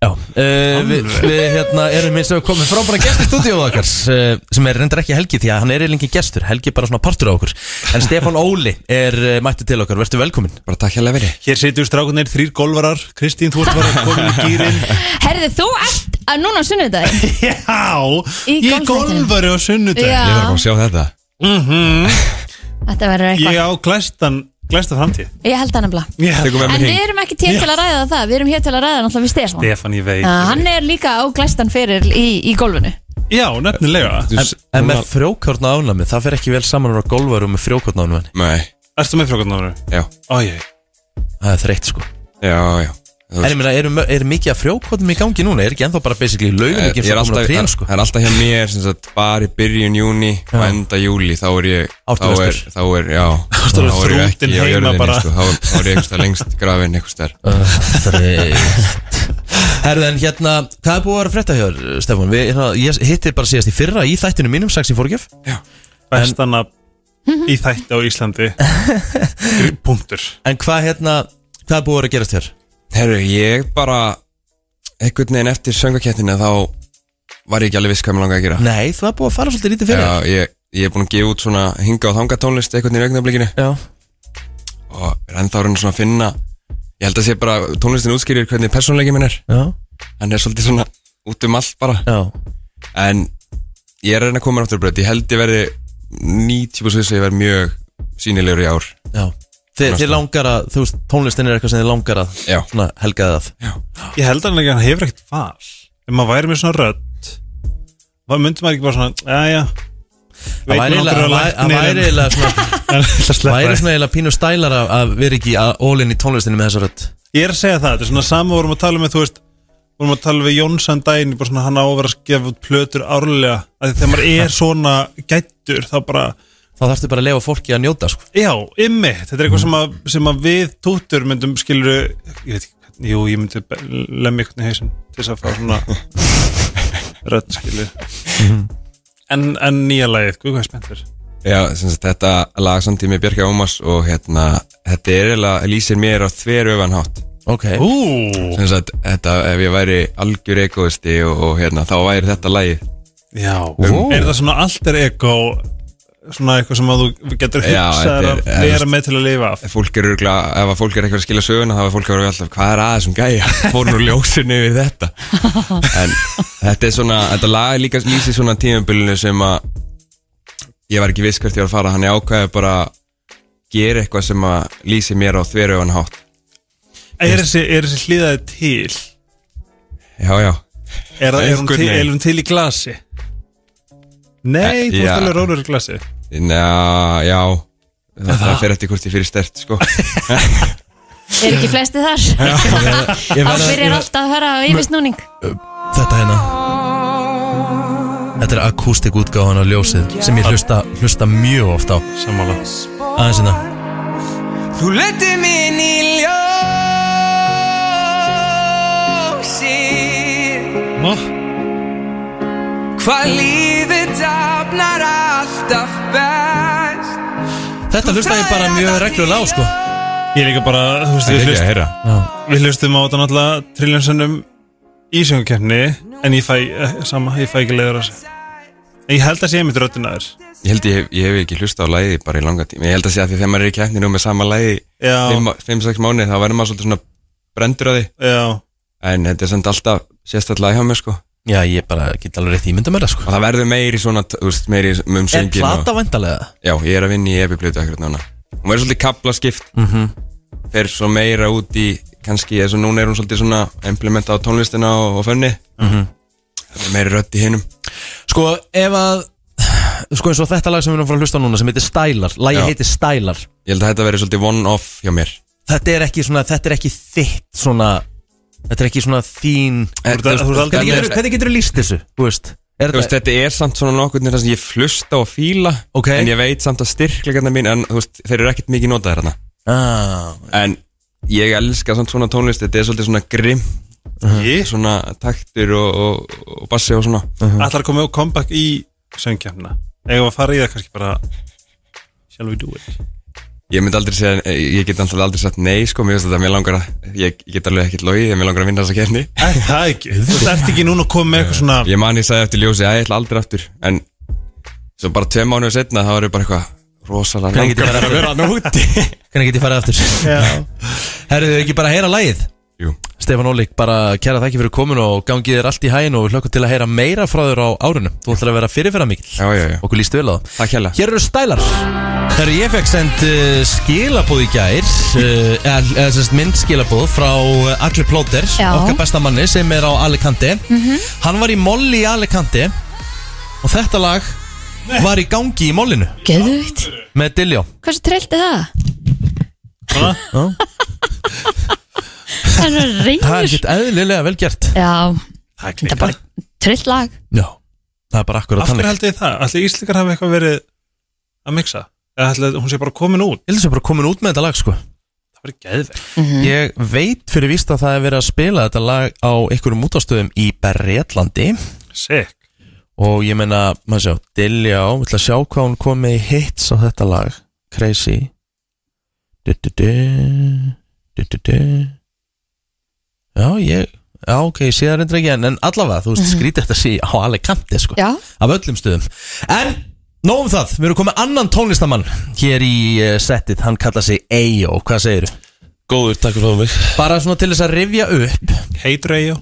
Speaker 2: Já, uh, við, við hérna erum eins og komið frábæra gest í stúdíóð okkar uh, sem er reyndar ekki Helgi því að hann er eiginlega enginn gestur Helgi er bara svona partur á okkur En Stefán Óli er uh, mættu til okkar, vertu velkomin
Speaker 6: Bara takk hérlega fyrir
Speaker 5: Hér setjum strákunir þrýr golvarar Kristín, þú ert bara komin í gýrin
Speaker 3: herði þú ert að núna á sunnudagi
Speaker 5: Já,
Speaker 3: Í
Speaker 5: ég er
Speaker 3: golfvellinum.
Speaker 5: golvari á sunnudag
Speaker 6: Ég verður bara að sjá þetta
Speaker 3: Þetta verður
Speaker 5: Ég
Speaker 3: eitthvað
Speaker 5: á Mhm. glæstan, glæsta framtíð
Speaker 3: Ég held það nefnilega
Speaker 5: yeah.
Speaker 6: Tökum með
Speaker 3: En
Speaker 6: mér
Speaker 3: við
Speaker 6: hing
Speaker 3: erum ekki til til að ræða það, við erum hér til að ræða náttúrulega við Stefán
Speaker 5: Stefán, ég veit
Speaker 3: Já, Ah, Hann er líka á glæstan fyrir í, í golfinu
Speaker 5: Já, nefnilega
Speaker 6: Þú
Speaker 2: En,
Speaker 6: s-
Speaker 2: en með
Speaker 6: núna-
Speaker 2: frjókortna ánæmi, það fer ekki vel saman að vera golvaru með frjókortna ánæmi
Speaker 6: Nei,
Speaker 5: Ertu með frákvæmdnáru?
Speaker 6: já,
Speaker 5: Ó, ég veit
Speaker 2: Það er þreytt sko
Speaker 6: já, já Þú
Speaker 2: En
Speaker 6: veist,
Speaker 2: ég meina, eru er mikið af frjókortnum í gangi núna? Er ekki ennþá bara basically laugum
Speaker 6: Eh, Ég
Speaker 2: ekki
Speaker 6: er
Speaker 2: eins og komin
Speaker 6: alltaf,
Speaker 2: á
Speaker 6: það
Speaker 2: trén
Speaker 6: er-
Speaker 2: sko
Speaker 6: það er alltaf hjá mér sem sagt, bara í byrjun júni og enda júli, þá er ég
Speaker 2: Ártu
Speaker 6: þá er,
Speaker 2: vestur.
Speaker 6: þá er, já þá
Speaker 5: alveg
Speaker 6: er ég ekki
Speaker 5: þrútinn
Speaker 6: á
Speaker 5: heima
Speaker 6: jörðinni,
Speaker 5: bara.
Speaker 6: sko, þá, þá er ég eitthvað lengst grafin eitthvað stær
Speaker 2: Ah, Þreytt Herðu en hérna, hvað er búið að vera að frétta hjá þér, Stefán? Við, hérna, ég hitti bara síðast í fyrra í þættinu mínum, Saxi Fórgjöf
Speaker 5: Bestana í þætti á Íslandi Punktur
Speaker 2: En hvað hérna, hvað er búið að vera að gerast hér?
Speaker 6: Herru, ég bara einhvern veginn eftir söngakettina þá var ég ekki alveg viss hvað mér langaði að gera
Speaker 2: Nei, þú er búið að fara svolítið lítið fyrir
Speaker 6: Já, ég, ég er búin að gefa út svona hinga og þanga tónlist einhvern veginn í augnablikinu
Speaker 2: Já.
Speaker 6: og er ennþá reyna svona að finna ég held að sé bara tónlistin útskýrir hvernig persónleiki minn er
Speaker 2: Já,
Speaker 6: hann er svolítið svona út um allt bara
Speaker 2: já,
Speaker 6: en ég er að reyna að koma aftur bröð ég held ég verði 90% þess að ég verði mjög sínilegur í ár
Speaker 2: já Þi,
Speaker 6: Næsta.
Speaker 2: Þið langar að, þú veist, tónlistin er eitthvað sem þið langar að
Speaker 6: Já.
Speaker 2: Svona helgaði að
Speaker 5: Ég held að hann hefur ekkert val Ef maður væri með svona rödd Hvað myndi maður ekki bara svona Jæja
Speaker 2: Það væri eiginlega-
Speaker 5: um
Speaker 2: það væri eiginlega svona Það
Speaker 5: eiginlega
Speaker 2: er svona eiginlega pínu stælar að, að vera ekki að ólinn í tónlistinu með þessa rödd
Speaker 5: Ég er að segja það, þetta er svona sama vorum að tala um með þú veist, vorum að tala við Jónsson dæin bara svona hann á að vera að gefa út plötur árlega að þegar maður er svona gættur þá bara,
Speaker 2: Þá þarfstu bara að lefa fólki að njóta sko.
Speaker 5: já, ymmi þetta er eitthvað sem að, sem að við tútur myndum skilur, ég veit ekki hvernig- jú, ég myndi be- lemja einhvern í hausinn til þess að fá svona rödd skilur en, en nýja lagið, guð hvað er spenntur
Speaker 6: Já, sem sagt, þetta lag samtíð með Björki Ómas og hérna, þetta er eiginlega lýsir mér á þver öfanhátt
Speaker 2: Ok
Speaker 5: Ú,
Speaker 6: sem sagt, þetta, ef ég væri algjör egoisti og, og hérna, þá væri þetta lagið
Speaker 5: já, er það svona alter ego svona eitthvað sem að þú getur
Speaker 6: Já,
Speaker 5: hugsað
Speaker 6: þetta
Speaker 5: að
Speaker 6: er-
Speaker 5: vera með til að lifa af
Speaker 6: Ef fólk er örgla, ef að fólk er eitthvað að skila söguna þá er fólk að vera alltaf, hvað er aðeins um gæja fórn úr ljósinu yfir þetta en þetta er svona, þetta lag er líka lýsið svona tímabilinu sem að ég var ekki viss hvert ég var að fara hann ég ákvæði bara að gera eitthvað sem að lýsi mér á þverjöfan hátt
Speaker 5: Er þessi, er þessi hlýðaði til?
Speaker 6: já, já,
Speaker 5: Er, er, hún
Speaker 6: Einhvern
Speaker 5: til,
Speaker 6: veginn.
Speaker 5: er hún til í glasi? Nei,
Speaker 6: Eh,
Speaker 5: þú ert
Speaker 6: já.
Speaker 5: alveg rónur í glasi
Speaker 6: Næ, já það, það fer eftir hvort ég fyrir stert sko.
Speaker 3: Er ekki flesti þar?
Speaker 2: Ég
Speaker 3: Þá
Speaker 2: verð að-
Speaker 3: byrjar alltaf að fara á yfirsnúning
Speaker 2: Þetta hérna Þetta er akústik útgáðan á ljósið sem ég hlusta, hlusta mjög oft á
Speaker 5: Sammála
Speaker 2: Aðeins hérna
Speaker 8: Þú letti minn í ljósi
Speaker 5: Nó,
Speaker 8: Hvað lífið dafnar alltaf best
Speaker 2: Þetta hlusta ég bara mjög reglulega á sko
Speaker 5: Ég líka bara, þú veist, ég
Speaker 6: ekki að
Speaker 5: hlust,
Speaker 6: heyra
Speaker 2: Já,
Speaker 5: Við hlustum á þetta náttúrulega triljónsennum í söngukeppni en ég fæ, eh, sama, ég fæ ekki leiður á þessu En Ég held að sé mitt röddina þér
Speaker 6: Ég held ég, ég hef ekki hlusta á læði bara í langa tíma Ég held að sé að því þegar maður er í keppninu og með sama læði
Speaker 5: Já.
Speaker 6: 5-6 mánuði þá verður maður svolítið svona brendur á því
Speaker 5: Já,
Speaker 6: En þetta er samt alltaf sérstaklega hjá mér sko Og
Speaker 2: Já, ég bara get alveg rétt ímynda með það sko
Speaker 6: það verður meiri svona, þú veist, meiri um
Speaker 2: Er
Speaker 6: söngin
Speaker 2: plata vandalega?
Speaker 6: og, Já, ég er að vinna í epiblötu akkurat núna Hún verður svolítið kaplaskipt mm
Speaker 2: Mhm.
Speaker 6: -hmm. Fer svo meira út í, kannski, eins og núna er hún svolítið svona implementa á tónlistina og, og fönni mm -hmm. Meiri rödd í hinum
Speaker 2: Mhm. Sko, ef að Sko eins og þetta lag sem við erum að fara að hlusta á núna sem heitir Stælar Lagi
Speaker 6: Já.
Speaker 2: heitir Stælar
Speaker 6: Ég held að þetta verður svolítið one-off hjá mér
Speaker 2: Þetta er ekki svona, þetta er ekki þitt svona Þetta er ekki svona þín
Speaker 6: En, þú veist,
Speaker 5: þú ert aldrei-
Speaker 2: Hvernig getur, hvernig getur þú líst þessu? Þú veist, er
Speaker 6: Þú veist,
Speaker 2: þetta
Speaker 6: þetta er samt svona nokkur þar sem ég flusta og fíla
Speaker 2: Ok.
Speaker 6: En ég veit samt að styrklegarna mín En þú veist, þeir eru ekkert mikið notaðir hana
Speaker 2: ah,
Speaker 6: En ég elska samt svona tónlist Þetta er svolítið svona grimm Svona taktur og, og, og bassi og svona
Speaker 2: Mhm.
Speaker 5: ætlar að koma og comeback í söngukeppnina Eða að fara í það kannski bara Shall we do it?
Speaker 6: Ég myndi aldrei segja, ég get alltaf aldrei sagt nei Sko, mér finnst þetta, mér langar að Ég ég get alveg ekkert logið, en mér langar að vinna þessa kefni
Speaker 5: Æ, Það er ekki, þú ert ekki núna að koma með eitthvað svona
Speaker 6: Ég man ég sagði eftir ljósi, að ég ætla aldrei aftur En svo bara tveim mánuðu setna Það var bara eitthvað rosalega
Speaker 2: Hvernig getur
Speaker 6: langar
Speaker 2: farið
Speaker 6: að vera hann úti
Speaker 2: Hvernig getur ég farið aftur?
Speaker 5: Já.
Speaker 2: Herðu ekki bara að heyra lagið?
Speaker 6: Jú,
Speaker 2: Stefán Ólík, bara kæra þakki fyrir komin og gangið þér allt í hægin og við hlökkum til að heyra meira frá þér á árunum. Þú ætlar að vera fyrirferða mikill.
Speaker 6: já, já, já
Speaker 2: Okkur líst vel á það.
Speaker 6: Takk hérlega.
Speaker 2: Hér eru stælar. Herru, ég fekk send uh, skilabóð í gær, uh, eða eða sem sagt myndskilabóð frá uh, Alli Plóter,
Speaker 3: Já.
Speaker 2: okkar besta manni sem er á Alicante.
Speaker 3: Mhm.
Speaker 2: Hann var í molli í Alicante og þetta lag var í gangi í mollinu
Speaker 3: Geðvitt
Speaker 2: með Dilljó.
Speaker 3: Hversu trillti það? Það er svo
Speaker 2: Það er
Speaker 3: reynir
Speaker 2: ekkert eðlilega vel gert.
Speaker 3: Já,
Speaker 5: Það er
Speaker 3: þetta er
Speaker 5: klikkað.
Speaker 3: bara trillt lag
Speaker 2: Já. Það er bara akkurat
Speaker 5: Af hverju
Speaker 2: þannig.
Speaker 5: haldið þið það? Allir Íslingar hafa eitthvað verið að mixa Eða ætli að hún sé bara komin út
Speaker 2: Ég held sem bara komin út með þetta lag sko.
Speaker 5: Það verið geðvegt
Speaker 2: Ég veit fyrir víst að það er verið að spila þetta lag á einhverjum útastöðum í Bretlandi
Speaker 5: Sick
Speaker 2: og ég meina, maður sjá, Dilljá, við ætla að sjá hvað hún kom með í hits á þetta lag Crazy Du-du-du Du-du-du Já, ég Já, ok, ég sé það reyndra ekki en, en allavega, þú veist, skrítið þetta sé á alveg kanti sko,
Speaker 3: Mhm. Já.
Speaker 2: af öllum stöðum En, nóg um það, við erum komið annan tónlistamann hér í uh, settið, hann kallar sig Eyo, hvað segirðu?
Speaker 9: Góður, takk fyrir mig
Speaker 2: Bara svona til þess að rifja upp
Speaker 5: Heitur Eyjó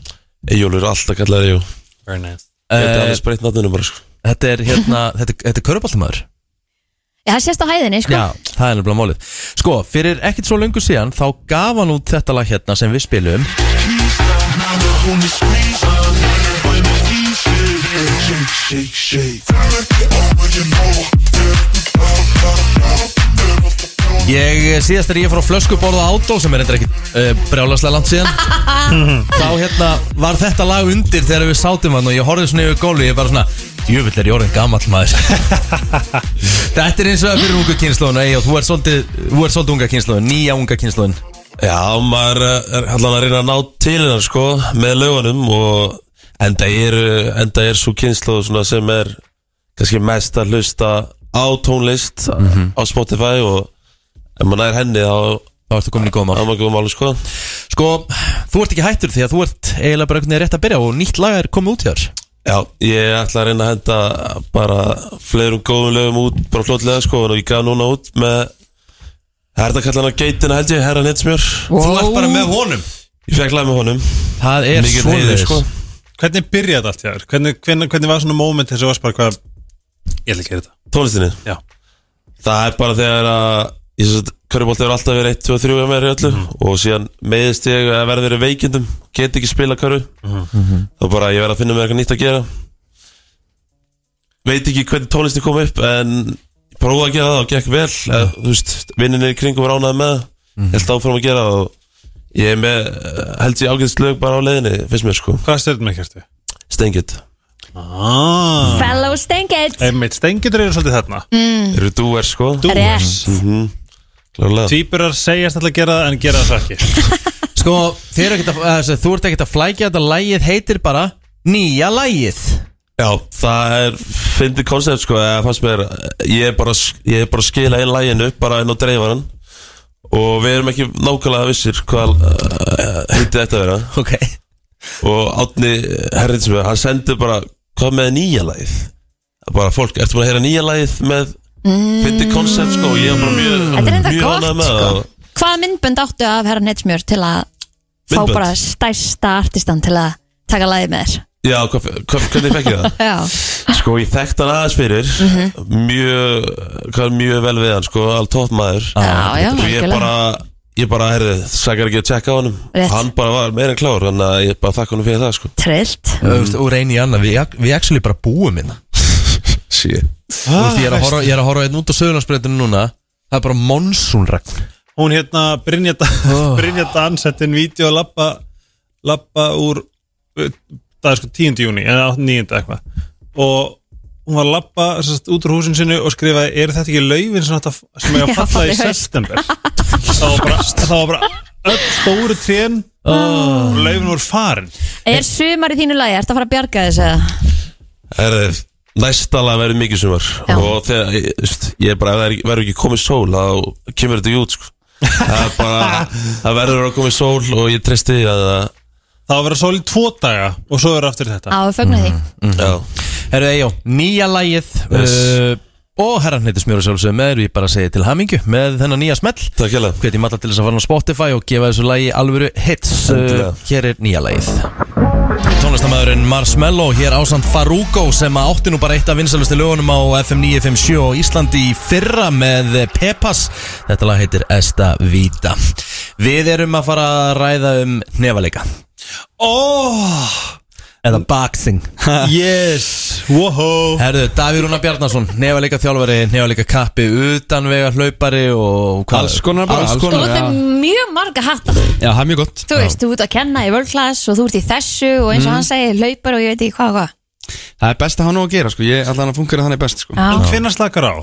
Speaker 9: Eyjól eru alltaf kallar Eyjól
Speaker 5: Very nice
Speaker 9: Þetta er
Speaker 2: uh,
Speaker 9: alveg spreitt náttúrulega bara sko
Speaker 2: Þetta er hérna, þetta, þetta er köruboltamæður
Speaker 3: Já, það sést á hæðinni, sko
Speaker 2: Já, það er nefnilega málið Sko, fyrir ekkert svo lengur síðan þá gaf hann út þetta lag hérna sem við spilum Ég síðast er ég frá flöskuborða ától sem er endur ekkit uh, brjálaslega langt síðan Þá hérna var þetta lag undir þegar við sátum hann og ég horfði svona yfir gólu Ég bara svona, djöfull er ég orðin gamall maður Þetta er eins og það fyrir unga kynnslóðun Eyjó, þú ert svolítið, þú ert svolítið unga kynnslóðun Nýja unga kynnslóðun
Speaker 9: Já, maður eh, er allan að reyna að ná til hennar sko með lögunum og enda er, eh, enda er svo kynslu svona sem er kannski mest að hlusta á tónlist
Speaker 2: Mhm.
Speaker 9: á Spotify og ef maður nær henni þá
Speaker 2: Þá ertu komin í góð mál
Speaker 9: á maður góðum máli sko
Speaker 2: Sko, þú ert ekki hættur því að þú ert eiginlega bara einhvern veginn rétt að byrja og nýtt lag er komið út hjá þér
Speaker 9: Já, ég ætla að reyna að henda bara fleirum góðum lögum út bara fljótlega sko og ég gaf núna út með herðakallan á geitina held ég, herra Netsmjör
Speaker 2: Þú ert bara með honum
Speaker 9: Ég fekk lag með honum
Speaker 2: Það er
Speaker 9: Mikill heiður,
Speaker 2: svoleiðis
Speaker 9: sko.
Speaker 5: Hvernig byrjaði þetta allt hjá þér? Hvernig, hvernig, hvernig var svona moment þess að varst bara hvað Ég ætla að gera þetta
Speaker 9: Tónlistinni
Speaker 5: Já.
Speaker 9: Það er bara þegar að ég svo Körubolt hefur alltaf verið 1, 2, 3 hjá mér í
Speaker 5: Mhm.
Speaker 9: öllu og síðan meðist ég að verða verið veikindum get ekki spila körfu
Speaker 5: Mhm.
Speaker 9: þá bara ég verð að finna mér eitthvað nýtt að gera veit ekki hvernig tónlistin kom upp en prófa að gera það og gekk vel
Speaker 5: Mhm.
Speaker 9: eða, þú veist, vinninni í kringum ránaði með mm -hmm. held áfram að gera það og ég er með, eh, held ég ágæðst lög bara á leiðinni, finnst mér sko,
Speaker 5: Hvað stjórnum ekki ertu?
Speaker 9: stengið
Speaker 5: Ah.
Speaker 3: Fellow Stengit
Speaker 5: Einmitt stengitur eru svolítið þarna mm.
Speaker 9: eru dúer sko, Mhm.
Speaker 3: Rétt
Speaker 9: klárlega
Speaker 5: Týpurar segjast alltaf að gera það en gera það svo ekki
Speaker 2: Sko, þið eru ekkert að, eh, að, þessi, þú ert ekkert að flækja þetta lagið heitir bara Nýja lagið
Speaker 9: Já, það er fyndið koncept sko, eða fannst mér, ég er bara, ég er bara að skila einn læginu, bara inn á dreifaran og við erum ekki nákvæmlega vissir hvað uh, heiti þetta að vera
Speaker 2: Ok
Speaker 9: og Átni Herrinsson hann sendi bara, hvað með nýja lagið bara fólk, ertu búin að heyra nýja lagið með mm. fyndi koncept sko og ég er bara
Speaker 3: Mm. Þetta er
Speaker 9: mjög
Speaker 3: enda
Speaker 9: mjög
Speaker 3: gott,
Speaker 9: ánægð með
Speaker 3: sko.
Speaker 9: það
Speaker 3: Hvaða myndbönd áttu af herra Netsmjör til að fá
Speaker 9: Myndbönd?
Speaker 3: bara stærsta artistan til að taka lagið með þér?
Speaker 9: já, hvað, hvað, hvernig fekk ég það?
Speaker 3: Já,
Speaker 9: Sko ég þekkt hann aðeins fyrir
Speaker 3: Mhm.
Speaker 9: Mjög, hvað er mjög vel við hann sko Allt topp maður
Speaker 3: Já, já,
Speaker 9: Og ég
Speaker 3: algjörlega.
Speaker 9: bara, ég bara, herði, sakar ekki að tjekka á honum
Speaker 3: Rétt.
Speaker 9: Hann bara var meira en klár Þannig að ég bara þakka honum fyrir það sko
Speaker 3: trillt
Speaker 2: Mm. Þú veist, úr einu í annað, við, við actually bara búum hérna
Speaker 9: Sí
Speaker 2: Þú veist, ég er að horfa, ég er að horfa einn út á söðunarsbreytinu núna Það er bara monsúnregn
Speaker 5: Hún hérna Brynja, oh. Brynja Dan sett inn vídeo að lappa, lappa úr uh, það er sko 10. júni eða 9. eitthvað og hún var að lappa sest, út úr húsin sinu og skrifaði er þetta ekki laufin sem, átti að- sem ég að
Speaker 3: Já,
Speaker 5: falla
Speaker 3: falla í
Speaker 5: í
Speaker 3: haust."
Speaker 5: september það var bara, það var bara öll stóru trén oh. og laufin voru farin
Speaker 3: Er sumar í þínu lagi, ertu að fara að bjarga þess að
Speaker 9: Herði, næsta lag verður mikið sumar
Speaker 3: Já.
Speaker 9: Og þegar, ég, þú veist, ég er bara Ef það er- verður ekki komið sól Þá kemur þetta ekki út sko Það er bara, það verður að komið sól Og ég treysti því að það
Speaker 5: það var að vera sól í tvo daga og svo verður aftur þetta
Speaker 3: á að fögna
Speaker 2: Mm.
Speaker 3: því?
Speaker 9: Já,
Speaker 2: Herru, Ejó, Mhm. nýja lagið
Speaker 9: Yes.
Speaker 2: uh, Og herran heitir smjóra sjálfsögum með Við bara segja til hamingju með þennan nýja smell
Speaker 9: takk hella
Speaker 2: Hvetjum alla til þess að fara á Spotify og gefa þessu lagi alvöru hits
Speaker 9: Endilega.
Speaker 2: uh, Hér er nýja lagið Tónlistamæðurinn Marshmello hér ásand Farugo sem að átti nú bara eitt af vinsalustu lögunum á FM 957 og Íslandi í fyrra með Pepas Þetta lag heitir Esta Vita Við erum að fara að ræða um nefaleika
Speaker 5: oh,
Speaker 2: Eða boxing
Speaker 5: yes, woho
Speaker 2: Herðu, Davíð Rúnar Bjarnason, nefaleika þjálfari, nefaleika kappi, utanvega hlaupari og hvað?
Speaker 10: Alls konar bara.
Speaker 2: Alls
Speaker 3: Þú
Speaker 2: konar
Speaker 3: ert með mjög marga hatta
Speaker 10: Já, það er mjög gott
Speaker 3: Þú veist, þú ert að kenna í world class og þú ert í þessu og
Speaker 5: Mhm.
Speaker 3: eins og hann segir laupar og ég veit ekki hvað og hvað
Speaker 10: Það er best að hafa nóg að gera, sko Ég allan að fungera þannig best, sko
Speaker 3: Já.
Speaker 5: hvenær slakar á?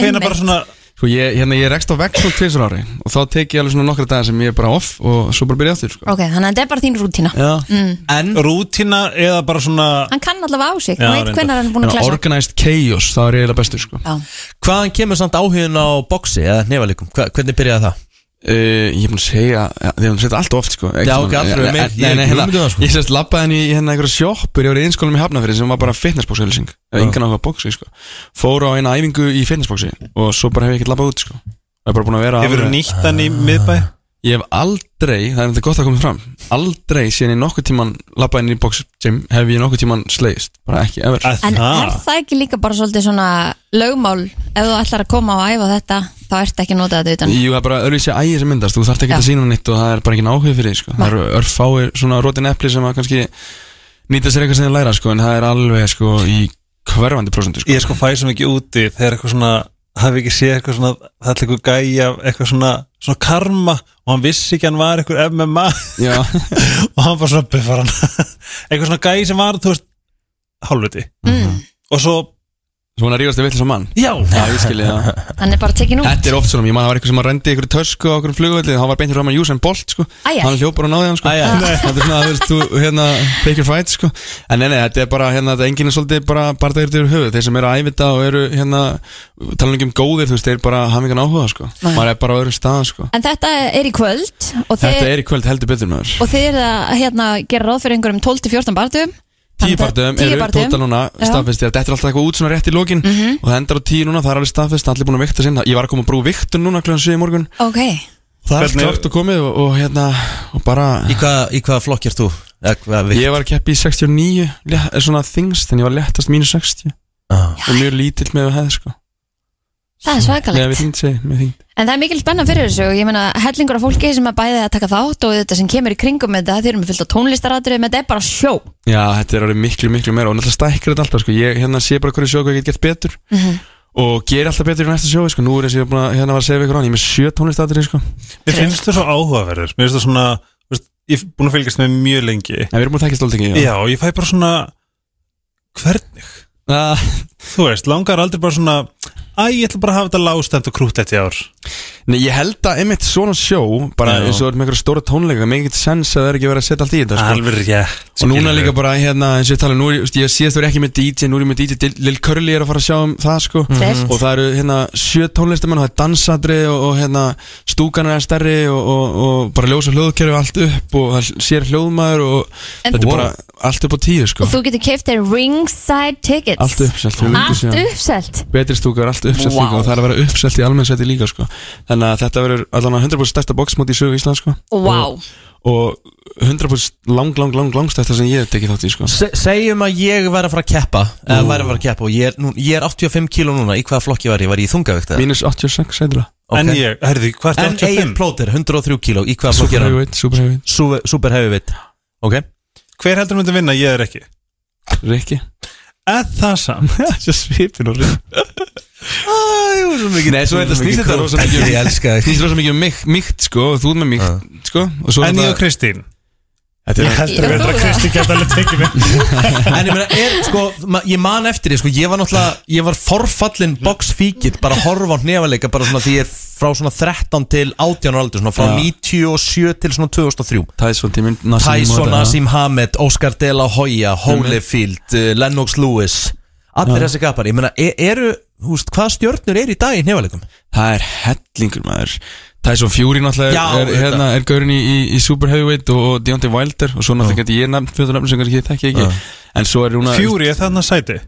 Speaker 5: hvenær bara svona
Speaker 10: Sko, ég, hérna, ég rekst á vexl tvisur ári Og þá tek ég alveg svona nokkra dagar sem ég er bara off Og svo bara byrja aftur, sko
Speaker 3: Ok, þannig að þetta er bara þín rútína Mm.
Speaker 2: En,
Speaker 5: rútina eða bara svona
Speaker 3: Hann kann allavega á sig,
Speaker 5: Já,
Speaker 3: hann veit
Speaker 5: reyndar.
Speaker 3: hvenær hann er búin að
Speaker 10: Hérna,
Speaker 3: klessa
Speaker 10: Organized chaos, það er eiginlega bestur, sko
Speaker 3: Já.
Speaker 2: hvaðan kemur samt áhugin á boxi eða nefalekum? Hva, hvernig byrjaði það?
Speaker 10: Uh, ég er búin að segja, ja, við hefum sett allt oft sko
Speaker 2: Já, ok, aldrei verið meir.
Speaker 10: Nei,
Speaker 2: Ég-
Speaker 10: nei,
Speaker 2: ég
Speaker 10: hérna,
Speaker 2: hugmyndi það, sko.
Speaker 10: ég sérst labbaði henni í hérna einhverja sjoppur Ég var í einskólanum í Hafnafyrir sem var bara fitnessbóksauðlýsing Engan áhuga á bóksi, sko Fóru á eina æfingu í fitnessbóksi Og svo bara hef ég ekkert labbað út, sko Það er bara búin að vera
Speaker 5: hefur
Speaker 10: alveg-
Speaker 5: nýtt hann í miðbæ
Speaker 10: Ég hef aldrei, það er þetta gott að koma fram Aldrei síðan ég nokkuð tíman labbaði henni í bóks gym Hef ég nokkuð tíman slegist, bara ekki, ever
Speaker 5: að
Speaker 3: En er það ekki líka bara svolítið svona lögmál ef þú ætlar að koma og æfa þetta þá ert ekki að nota þetta utan
Speaker 10: Jú, það er bara öðruvísi ægi sem myndast, þú þarft ekki
Speaker 3: Já.
Speaker 10: að sína nýtt og það er bara ekki náhuga fyrir því, sko. Það eru örfáir svona rotin epli sem að kannski nýta sér eitthvað sem þeir læra, sko, en það er alveg, sko, í hverfandi prósentu, sko.
Speaker 5: ég sko fæ sem ekki úti þegar eitthvað svona hafi ekki séð eitthvað svona það er eitthvað gæja, eitthvað svona svona karma og hann vissi ekki að hann var eitthvað MMA
Speaker 10: Já,
Speaker 5: og hann bara svona buffar hann eitthvað svona gæja sem var, þú veist hálfviti
Speaker 3: mm.
Speaker 5: og svo,
Speaker 10: Mhm. svona rífast þið vill sem mann.
Speaker 5: já,
Speaker 10: Já, ég skilji það.
Speaker 3: Hann er bara tekin út
Speaker 10: Þetta er oft svona, ég maður það var eitthvað sem að rendi ykkur tösku á okkur flugvöldi, þá var beintur fram að Usain Bolt, sko.
Speaker 3: Æja,
Speaker 10: Hann hljópar og náði hann, sko.
Speaker 2: Æja.
Speaker 10: Þetta er svona, þú veist, þú, hérna, pick your fight, sko. En nei, nei, þetta er bara, hérna, þetta enginn er svolítið bara bardagur til yfir höfuð. Þeir sem eru að æfita og eru, hérna, tala ekki um góðir, þú veist, þeir bara hafa engan áhuga, sko.
Speaker 3: Nei.
Speaker 10: Maður er bara á öðrum stað, sko.
Speaker 3: en þetta er í kvöld og
Speaker 10: Þetta
Speaker 3: þið,
Speaker 10: er í kvöld heldur betur maður
Speaker 3: og þið er að hérna, gera ráð fyrir einhverjum 12-14 barndum
Speaker 10: Tíu partum
Speaker 3: tíu
Speaker 10: eru
Speaker 3: barndum.
Speaker 10: tóta núna
Speaker 3: Já. Mhm.
Speaker 10: staðfest Þetta er alltaf eitthvað út svona rétt í lokin Og það endar á tíu núna, það er alveg staðfest Allir búin að vikta sinna Ég var að koma að brú viktun núna kljóðan 7 í morgun
Speaker 3: Ok,
Speaker 10: Það er allt
Speaker 5: Hvernig-
Speaker 10: klart og komið og, og hérna Og bara
Speaker 2: Í hvaða í hvaða flokk er þú? Eða hvað við-
Speaker 10: Ég var að keppi í 69 lé- er Svona þingst en ég var lettast mínus 60
Speaker 2: Ah.
Speaker 10: Og mjög lítill með að hefði sko
Speaker 3: það er
Speaker 10: Með að við
Speaker 3: svakalegt
Speaker 10: þingd segi með þingd
Speaker 3: En það er mikil spennan fyrir þessu og ég meina hellingur af fólki sem er bæðið að taka þátt og þetta sem kemur í kringum þetta þeir eru með fyllt á tónlistaratrið þetta er bara sjó
Speaker 10: Já, þetta er alveg miklu, miklu meira og náttúrulega stækkar þetta alltaf sko. Ég hérna sé bara hverju sjóku ég get gett betur
Speaker 3: Mhm.
Speaker 10: og ger alltaf betur í næsta sjói sko. Nú er þessi ég er búin að hérna var að segja við ykkur á hann Ég er með sjö tónlistatri sko.
Speaker 5: mér finnst það svo áhugaverður mér finnst það svona, þú veist, ég er búin að fylgjast með mjög lengi
Speaker 10: Nei, við erum búin að þekkja stóltingi
Speaker 5: já, og ég fæ bara svona hvernig,
Speaker 10: Uh,
Speaker 5: þú veist, langar aldrei bara svona æ, ég ætla bara að hafa þetta lágstend og krútt eitt í ár
Speaker 10: Nei, ég held að einmitt svona sjó bara
Speaker 5: Já.
Speaker 10: eins og er með einhverja stóra tónleika mikið sens að það er ekki verið að setja allt í þetta sko.
Speaker 5: Alveg rétt
Speaker 10: og núna líka bara hérna eins og ég tala nú, er ég- veist, ég síðast verið ekki með DJ nú er ég með DJ, Dil- Lil Curly er að fara að sjá um það sko
Speaker 3: Trist.
Speaker 10: og það eru hérna sjö tónlistamann og það er dansatri og, og hérna stúkan er stærri og, og, og bara ljósa hljóðkerfi allt upp og það sér hljóðmaður og
Speaker 3: En-
Speaker 10: þetta er bara allt upp á tíu sko
Speaker 3: Og þú getur keift þér ringside tickets
Speaker 10: allt uppselt fyrir löngu
Speaker 3: Allt
Speaker 10: síðan.
Speaker 3: uppselt
Speaker 10: betri stúkar, allt uppselt líka og það er að vera uppselt í almennsæti líka sko. þannig að þetta verður allan 100% stærsta boxmót í sögu Íslands sko.
Speaker 3: Wow
Speaker 10: og 100% lang, lang, lang, lang stærsta sem ég hef tekið þátt í sko.
Speaker 2: Se segjum að ég væri að fara að keppa eða væri að fara að keppa og ég er, nú, ég er 85 kíló núna, í hvaða flokki var ég? Var ég í þungavikt eða?
Speaker 10: mínus 86 sætila
Speaker 5: En ég, herðu, hvað
Speaker 2: En
Speaker 5: er
Speaker 2: Egil
Speaker 5: 85?
Speaker 2: Plóter, 103 kíló, í hvaða flokki
Speaker 10: super
Speaker 2: er hann?
Speaker 10: heavyweight, super heavyweight
Speaker 2: Super, super heavyweight Ok
Speaker 5: Hver heldur myndi vinna, ég er ekki
Speaker 10: Rikki
Speaker 5: Eð það samt
Speaker 10: svo svipin og rikki
Speaker 2: Nei, svo er þetta snýst þetta rosa
Speaker 10: um
Speaker 2: mikið Ég elska þig
Speaker 10: snýst rosa mikið um mýkt, mýkt sko og þú ert með mýkt sko og svo
Speaker 5: En ég og
Speaker 10: þetta
Speaker 5: Kristín
Speaker 10: þetta er
Speaker 3: Ég-
Speaker 5: Þetta
Speaker 3: þú-
Speaker 5: að Kristín geta alveg tekið mig
Speaker 2: En ég meina, er, sko, ma, ég man eftir því sko, Ég var náttúrulega, ég var forfallin boxfíkitt Bara að horfa á hnefaleika Bara svona því ég er frá svona 13 til 18 ára aldur Svona frá
Speaker 10: Já.
Speaker 2: 97 til svona 2003
Speaker 10: Tyson tíminn Nassim
Speaker 2: Tyson,
Speaker 10: Mohamed,
Speaker 2: Nassim Hamed, Oscar De La Hoya Holyfield,
Speaker 10: Mhm.
Speaker 2: uh, Lennox Lewis Allir þessi gapar, ég meina, e- eru húst, Hvaða stjörnur er í dag í hnefaleikum?
Speaker 10: Það er hellingur maður Tyson Fury náttúrulega
Speaker 2: Já,
Speaker 10: er, er,
Speaker 2: auðvitað.
Speaker 10: hérna, er gaurin í, í, í Super Heavyweight og, og Deontay Wilder og svo náttúrulega geti ég nefnt fyrir nefnum sem kannski ég þekki ekki en svo er hún að
Speaker 5: Fjúri er þarna sæti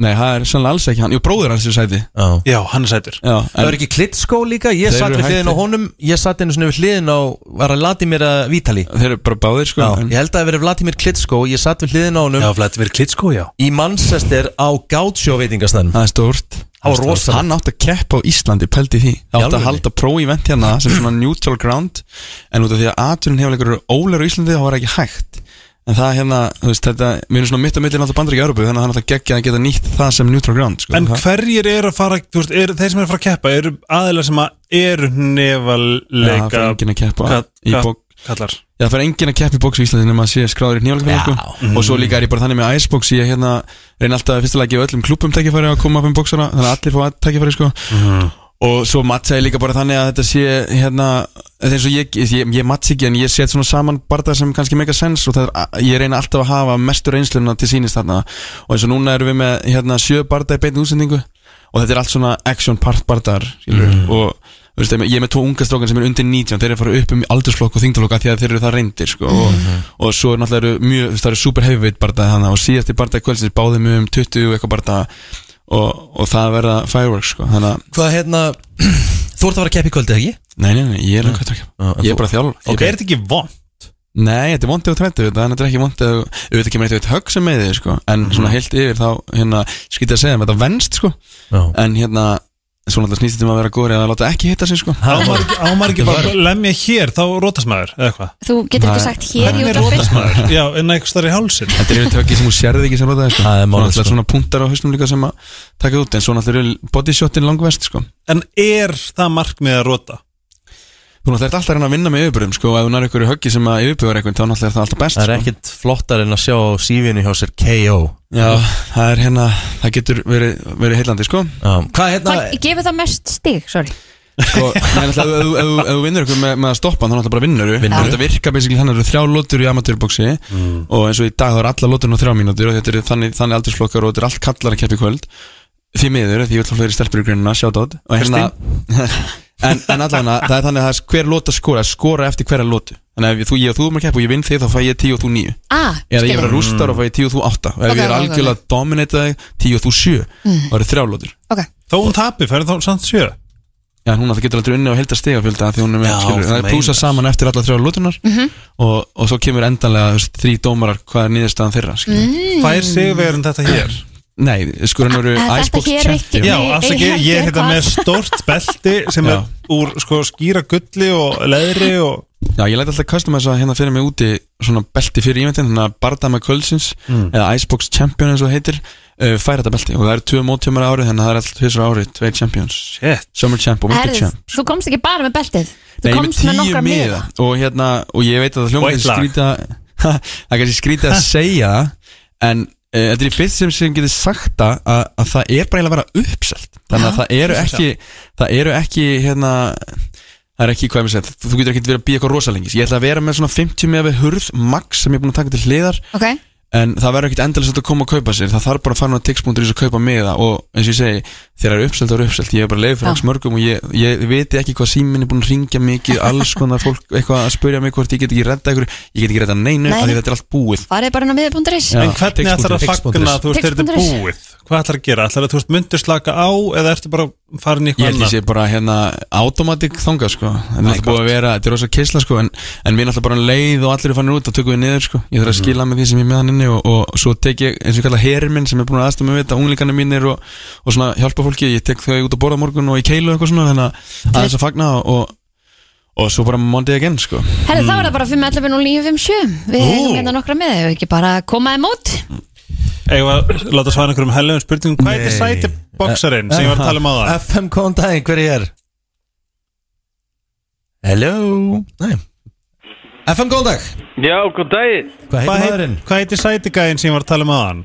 Speaker 10: Nei, það er sannlega alls ekki hann Jú, bróðir hans er sæti
Speaker 2: Já
Speaker 5: Já, hann er sætur
Speaker 10: Já,
Speaker 2: Það var
Speaker 10: en
Speaker 2: ekki Klitsko líka, ég
Speaker 10: Þeir
Speaker 2: satt
Speaker 10: eru
Speaker 2: við hliðin á
Speaker 10: hættir.
Speaker 2: honum Ég satt einu svona við hliðin á, var að lati mér að Vítali
Speaker 10: þeir eru bara báðir sko
Speaker 2: Já,
Speaker 10: en,
Speaker 2: ég held að það hafi verið Vladimir Klitsko og ég satt við hliðin á honum
Speaker 5: Vladimir Klitsko, já
Speaker 2: í Manchester á Gaucho veitingastæðin
Speaker 10: Það er stórt
Speaker 2: Það var rosalegt.
Speaker 10: Hann átti að keppa á Íslandi, pældi því Það átti
Speaker 2: alvöru?
Speaker 10: að halda pro-event hérna sem svona neutral ground En út af því að aturinn hefur leikur ólegur á Íslandi þá var ekki hægt En það hérna, þú veist, þetta Mér erum svona mitt á milli náttúrulega bandar ekki Európu Þannig að hann átti að gegja að geta nýtt það sem neutral ground sko.
Speaker 5: En
Speaker 10: Það-
Speaker 5: hverjir eru að fara, þú veist, er, þeir sem eru að fara að keppa eru aðilega sem að eru nefaleika
Speaker 10: Já, það fer enginn að keppa
Speaker 5: Kat-
Speaker 10: í
Speaker 5: kat-
Speaker 10: bók
Speaker 5: kallar
Speaker 10: Já, það fer enginn að keppa í bóks í Íslandi nema að sé skráður í nýjáleikafélagum og svo líka er ég bara þannig með Icebox ég hérna reyna alltaf fyrstilega að gefa öllum klubum tækifæri að koma upp um bóksana þannig að allir fá að tækifæri sko
Speaker 5: Mm-hmm.
Speaker 10: og svo matcha ég líka bara þannig að þetta sé hérna þetta er eins og ég, ég, ég matcha ekki en ég set svona saman barða sem kannski mega sens og það er, a- ég reyna alltaf að hafa mestu reynsluna til sýnist þarna og eins og núna erum við með hérna sjö barða í beinni útsendingu og þetta er allt svona action part barðar mm.
Speaker 2: Mhm.
Speaker 10: og þú veist, ég er með tvo unga strókan sem er undir 19 þeir eru að fara upp um aldursflokk og þingdalokk af því að þeir eru það reyndir sko,
Speaker 2: Mhm.
Speaker 10: og, og svo er náttúrulega eru mjög, þú veist, það eru super heavyweight barða þannig og síðasti barða kvöldsins báði mjög um 20 og eitthvað barða og, og það verða fireworks sko, þannig að
Speaker 2: Hvað hérna, þú ert að fara að keppa í kvöldið ekki? Ah,
Speaker 10: nei, nei, nei, ég er langt að
Speaker 2: Já, en
Speaker 10: ekki ég er bara að þjálfa
Speaker 5: Er þetta ekki von?
Speaker 10: Nei, þetta er vondið og trendið þetta, en þetta er ekki vondið og auðvitað kemur eitthvað högg sem með þið, sko en
Speaker 2: Mhm.
Speaker 10: svona heilt yfir þá, hérna, skýtti að segja með þetta venst, sko,
Speaker 2: Já.
Speaker 10: en hérna svona alltaf snýst þetta um að vera góri að láta ekki hitta sig, sko
Speaker 5: Ámar ekki, ámar ekki bara að lemja hér, þá rótast maður, eða hvað?
Speaker 3: Þú getur
Speaker 10: Nei.
Speaker 3: ekki sagt hér í
Speaker 5: Hvernig rótast
Speaker 3: útvarpi
Speaker 5: maður? Já, en eitthvað starf í hálsin
Speaker 10: Þetta er auðvitað höggið sem þú sérði ekki sem láta þið, sko
Speaker 2: Það er
Speaker 10: Svona
Speaker 2: málið,
Speaker 10: alltaf
Speaker 2: sko.
Speaker 10: svona punktar á hausnum líka sem að taka út, en svona alltaf eru bodyshotin langvest, sko
Speaker 5: En er það markmið að róta?
Speaker 10: Þú náttúrulega ert alltaf að reyna að vinna með yfirbyrðum, sko og ef þú nær ykkur í höggi sem að yfirbyrðar eitthvað, þá náttúrulega er það alltaf best,
Speaker 2: Það er
Speaker 10: sko
Speaker 2: ekkit flottar en að sjá sífinu hjá sér KO
Speaker 10: Já, það er hérna, það getur verið, verið heillandi, sko
Speaker 2: um, Hvað hérna,
Speaker 3: Hvað gefur það mest stig, sorry
Speaker 10: sko, nei, náttúrulega, ef, þú- ef, þú- ef þú vinnur ykkur með, með að stoppa hann, þá náttúrulega bara vinnur
Speaker 2: Vinnurðu.
Speaker 10: þetta virkar basically þannig að það eru þrjá lótur í amatörboksi og eins og í dag þá eru alla lóturinn á þrjá mínútur og þetta eru þannig, þannig aldursflokkar og þetta eru allt kallar að keppa í kvöld því miður, því ég vil þá fleiri stelpur í grunna, shout out og hérna- en, en allavega, það er þannig að það er hver lót að skora, skora eftir hverja lótu þannig að ef þú, ég og þú erum að keppa og ég vinn þig þá fæ ég 10 og þú 9
Speaker 3: Ah,
Speaker 10: eða ég
Speaker 3: skilja.
Speaker 10: verið rústar og fæ ég 10 og þú 8 og
Speaker 3: Ok,
Speaker 10: ef ég er
Speaker 3: ok, ok.
Speaker 10: algjörlega að dominata þig 10 og þú 7, þá eru þrjá lótur
Speaker 3: Ok,
Speaker 5: Þó hún tapir, færðu þá samt sjö
Speaker 10: Já, en hún alltaf getur aldrei unni á heldar stegafjölda því hún er með,
Speaker 5: Já,
Speaker 10: skilur,
Speaker 5: þú
Speaker 10: það er púsa
Speaker 5: meinar.
Speaker 10: saman eftir alla þrjá lútunar
Speaker 3: Mhm.
Speaker 10: og, og svo kemur endanlega þú veist, þrý dómarar hvað er niðurstaðan þeirra, skilur
Speaker 5: Fær sigurverðin þetta hér?
Speaker 10: Nei, sko hann eru
Speaker 3: Að- að þetta
Speaker 10: Icebox
Speaker 3: hér
Speaker 10: champion
Speaker 3: ekki-
Speaker 5: Já,
Speaker 3: Nei,
Speaker 5: afsaki,
Speaker 3: ég-
Speaker 5: ég
Speaker 3: ég-
Speaker 5: heita
Speaker 3: hvað?
Speaker 5: með stórt belti sem
Speaker 10: Já.
Speaker 5: er úr sko skýra gulli og leðri og
Speaker 10: Já, ég læt alltaf custom þess að hérna fyrir mig úti svona belti fyrir íventin, þannig að barða með kvöldsins
Speaker 5: Mm.
Speaker 10: eða Icebox champion eins og það heitir uh, fær þetta belti og það eru tvö mótjömar árið þannig að það er alltaf tvisar árið, tveir champions
Speaker 5: Shit.
Speaker 10: Summer champ og winter
Speaker 3: herðu,
Speaker 10: champ
Speaker 3: þú komst ekki bara með beltið Þú
Speaker 10: Nei, ég er með
Speaker 3: komst með
Speaker 10: tíu
Speaker 3: nokkra miða
Speaker 10: miða og, hérna, og ég veit að það
Speaker 5: Og
Speaker 10: hljóma
Speaker 5: eitt
Speaker 10: þessi
Speaker 5: lag.
Speaker 10: skrýta Það er kannski skrýta að segja það, En eh, Þetta er í fyrst sem, sem getur sagt það að, að það er bara eiginlega að vera uppselt Þannig að það eru ekki Það eru ekki hérna Það er ekki hvað ég með segja, þú getur ekki verið að býja eitthvað rosa lengi Ég ætla að vera með svona 50 með við hurð Max sem ég er búin að taka til hliðar
Speaker 3: ok,
Speaker 10: En það verður ekkit endalist að koma að kaupa sér Það þarf bara að fara náttúrulega tix.ri að kaupa miða Og eins og ég segi, þegar það er uppselt þá er uppselt Ég er bara leið fyrir
Speaker 3: Já.
Speaker 10: hans mörgum Og ég, ég veit ekki hvað síminn er búin að ringja mikið Alls konar fólk, eitthvað að spurja mig hvort Ég get ekki redda ykkur, ég get ekki redda neinu
Speaker 3: Nei.
Speaker 10: af Því þetta er allt búið
Speaker 3: farið bara inn á miðbúnduris
Speaker 10: Já,
Speaker 5: En hvernig ætlar að
Speaker 10: tix.is.
Speaker 5: fagna þú veist, er þetta
Speaker 3: Tix.is.
Speaker 5: búið? Hvað ætlar að gera? Ætlar að þú veist, myndur slaka á eða ertu bara farin í
Speaker 10: Ég
Speaker 5: eitthvað
Speaker 10: held ég sé bara hérna automatic þangað sko En það er búið að vera, þetta er rosa kisla sko En, en við náttúrulega bara um leið og allir er fannir út Það tökum við niður sko, ég þarf að skila með því sem ég er með hann inni og, og svo tek ég, eins og ég kalla herin minn Sem er búin að aðstofa með þetta, unglingarnir mínir og, og svona hjálpa fólki, ég tek þau út að borða á morgun Og ég keilu eitthvað svona, þannig að aðeins að fagna Og, og svo bara Monday again sko
Speaker 3: Herri,
Speaker 5: Hmm.
Speaker 3: þá er það bara 511 og 957 Við hefum hérna nokkra með þau, ekki bara koma þeim út
Speaker 5: Eða láta svara einhverjum helgum spurningum Hvað heitir
Speaker 2: Nei.
Speaker 5: sæti boxarinn sem ég var að tala um á það?
Speaker 2: FM kom daginn, hver ég er? Hello Nei FM góðan dag
Speaker 6: Já, góð daginn
Speaker 2: Hvað heitir
Speaker 5: Hvað heit-
Speaker 2: maðurinn?
Speaker 5: Hvað heitir sætigæðin sem ég var að tala um á hann?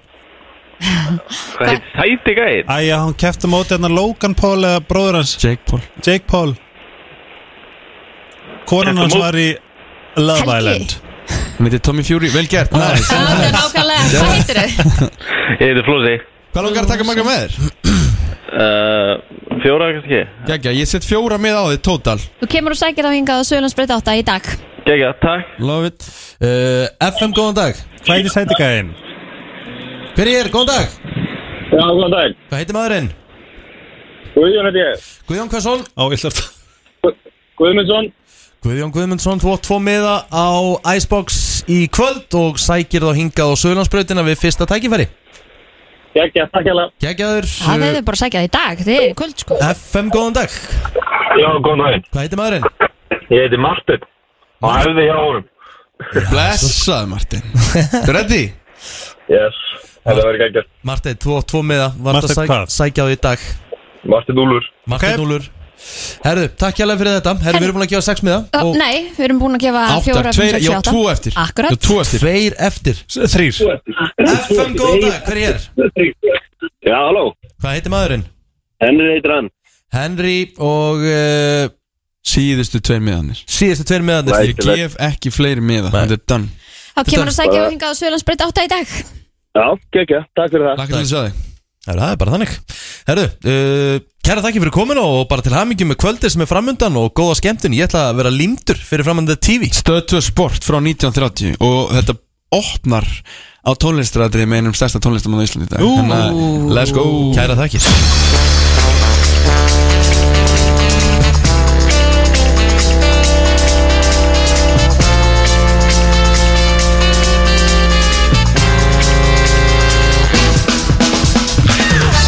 Speaker 6: Hvað heit sæti gæðin?
Speaker 5: Æja, hann kefti móti hérna Logan Paul eða bróður hans
Speaker 10: Jake Paul
Speaker 5: Jake Paul Konan
Speaker 6: Kefti
Speaker 5: hans
Speaker 6: mót-
Speaker 5: var í Love
Speaker 3: Helgi.
Speaker 5: Island
Speaker 10: Hann heitir Tommy Fury, vel gert nice.
Speaker 3: Já, það er nákvæmlega, hvað heitir þau?
Speaker 6: Ég heiti Flósi
Speaker 10: Hvað langar að taka marga með þér?
Speaker 6: uh, Fjóra kannski
Speaker 10: Jæja, ég set fjóra með á þig, total
Speaker 3: Þú kemur og sækir á hingað á Söðlandsbreyt 8 í dag
Speaker 6: Gægja, takk
Speaker 2: Love it uh, FM góðan dag
Speaker 5: Hvað heitir sætigæðin?
Speaker 2: Hver ég er? Góðan dag
Speaker 6: Já, góð dag
Speaker 2: Hvað heitir maðurinn?
Speaker 6: Guðjón heiti ég
Speaker 2: Guðjón Hversson
Speaker 5: Á, ég ætla að
Speaker 6: Guðmundsson
Speaker 2: Guðjón Guðmundsson, þú átt tvo miða á Icebox í kvöld og sækir þá hingað á Söðlandsbrautina við fyrsta tækifæri
Speaker 6: Gægja, takk hella
Speaker 2: Kækjaður
Speaker 3: Það hefur þau bara sækjað í dag, þið eru í kvöld sko
Speaker 2: FM góðan dag
Speaker 6: Já, góð daginn
Speaker 2: Hvað heitir maðurinn?
Speaker 6: Ég heiti Martin Og hefði hjá honum
Speaker 10: Blessaði Martin Ready?
Speaker 6: Yes, þetta verður gægja
Speaker 2: Marteinn, þú átt tvo miða Varst að
Speaker 5: Marteinn
Speaker 2: sæk,
Speaker 5: hvað?
Speaker 2: sækja á því í dag
Speaker 6: Martin Úlfur
Speaker 2: Marteinn Úlur Herðu, takk hérlega fyrir þetta Herðu, við erum búin að gefa sex miða
Speaker 3: Ó,
Speaker 2: og
Speaker 3: Nei, við erum búin að gefa
Speaker 10: Áttar,
Speaker 3: 4,
Speaker 10: tveir,
Speaker 3: 5,
Speaker 10: já,
Speaker 3: 6,
Speaker 10: tvo
Speaker 3: 8
Speaker 10: eftir
Speaker 3: Akkurat.
Speaker 10: Já, tvo eftir
Speaker 2: tveir eftir
Speaker 5: Þrýr
Speaker 2: FM góðan dag, hver er?
Speaker 6: Já, halló
Speaker 2: Hvað heitir maðurinn?
Speaker 6: Henry heitir hann
Speaker 2: Henry og uh,
Speaker 10: eh, Síðustu tveir miðanir
Speaker 2: síðustu tveir miðanir
Speaker 10: Ég gef ekki fleiri miða Þetta er done
Speaker 3: Þá kemur og sækjað á hingað á Söðlandsbreyt 8 í dag
Speaker 6: Já, gægja, takk fyrir það
Speaker 10: Laka til þess að þig
Speaker 2: Herðu, það er bara þannig Herðu, uh, kæra þakki fyrir komin og bara til hamingjum með kvöldið sem er framundan og góða skemmtun Ég ætla að vera límdur fyrir framönda TV
Speaker 10: Stöð 2 Sport frá 1930 Og þetta opnar á tónlistræðri með einum stærsta tónlistamann á Íslandi í dag Þannig að Hérna, let's go
Speaker 2: Kæra þakki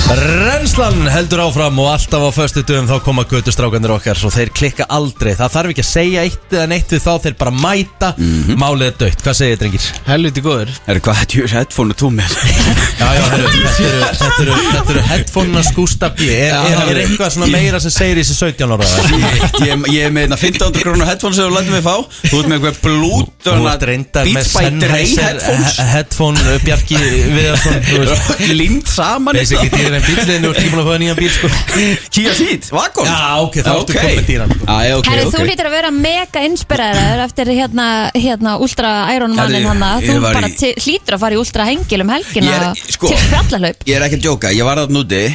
Speaker 2: Renslan heldur áfram og alltaf á föstu dögum þá koma gödustrákanir okkar og þeir klikka aldrei, það þarf ekki að segja eitt eða neitt við þá, þeir bara mæta
Speaker 10: Mhm.
Speaker 2: málið er dögt, hvað segir þið drengir?
Speaker 11: Helviti góður
Speaker 12: Er hvað þetta er headphone og tómið?
Speaker 2: Já, já, herru, þetta eru, þetta eru, þetta eru headphone skústa B er, er, er eitthvað svona meira sem segir í þessi 17 ára eða?
Speaker 12: Shit, ég, ég er með hérna 1500 krónu headphones sem þú lætið mig fá Þú ert með eitthvað blút
Speaker 2: Þú ert reyndar með Sennheiser
Speaker 12: headphones
Speaker 2: he- Headphone uh, Bjarki Viðarsson Þú veist
Speaker 12: Lind saman
Speaker 2: Þessi ekki dýrin en bílinn, þú ert ekki búin að fá nýjan bíl sko
Speaker 12: Kia Ceed, vagon
Speaker 2: Já, ok, þá ertu komin með dýran, sko.
Speaker 12: ah, okay,
Speaker 3: Herri, þú
Speaker 12: okay.
Speaker 3: lítur að vera mega inspiraður eftir hérna, hérna, ultra Iron Manin
Speaker 12: Herri,
Speaker 3: hann að
Speaker 12: ég
Speaker 3: þú
Speaker 12: var
Speaker 3: bara
Speaker 12: í-
Speaker 3: til, hlýtur að fara í ultra hengil um helgina
Speaker 12: Ég er- sko-
Speaker 3: til fjallalaup
Speaker 12: Ég er ekki að djóka, ég var þarna úti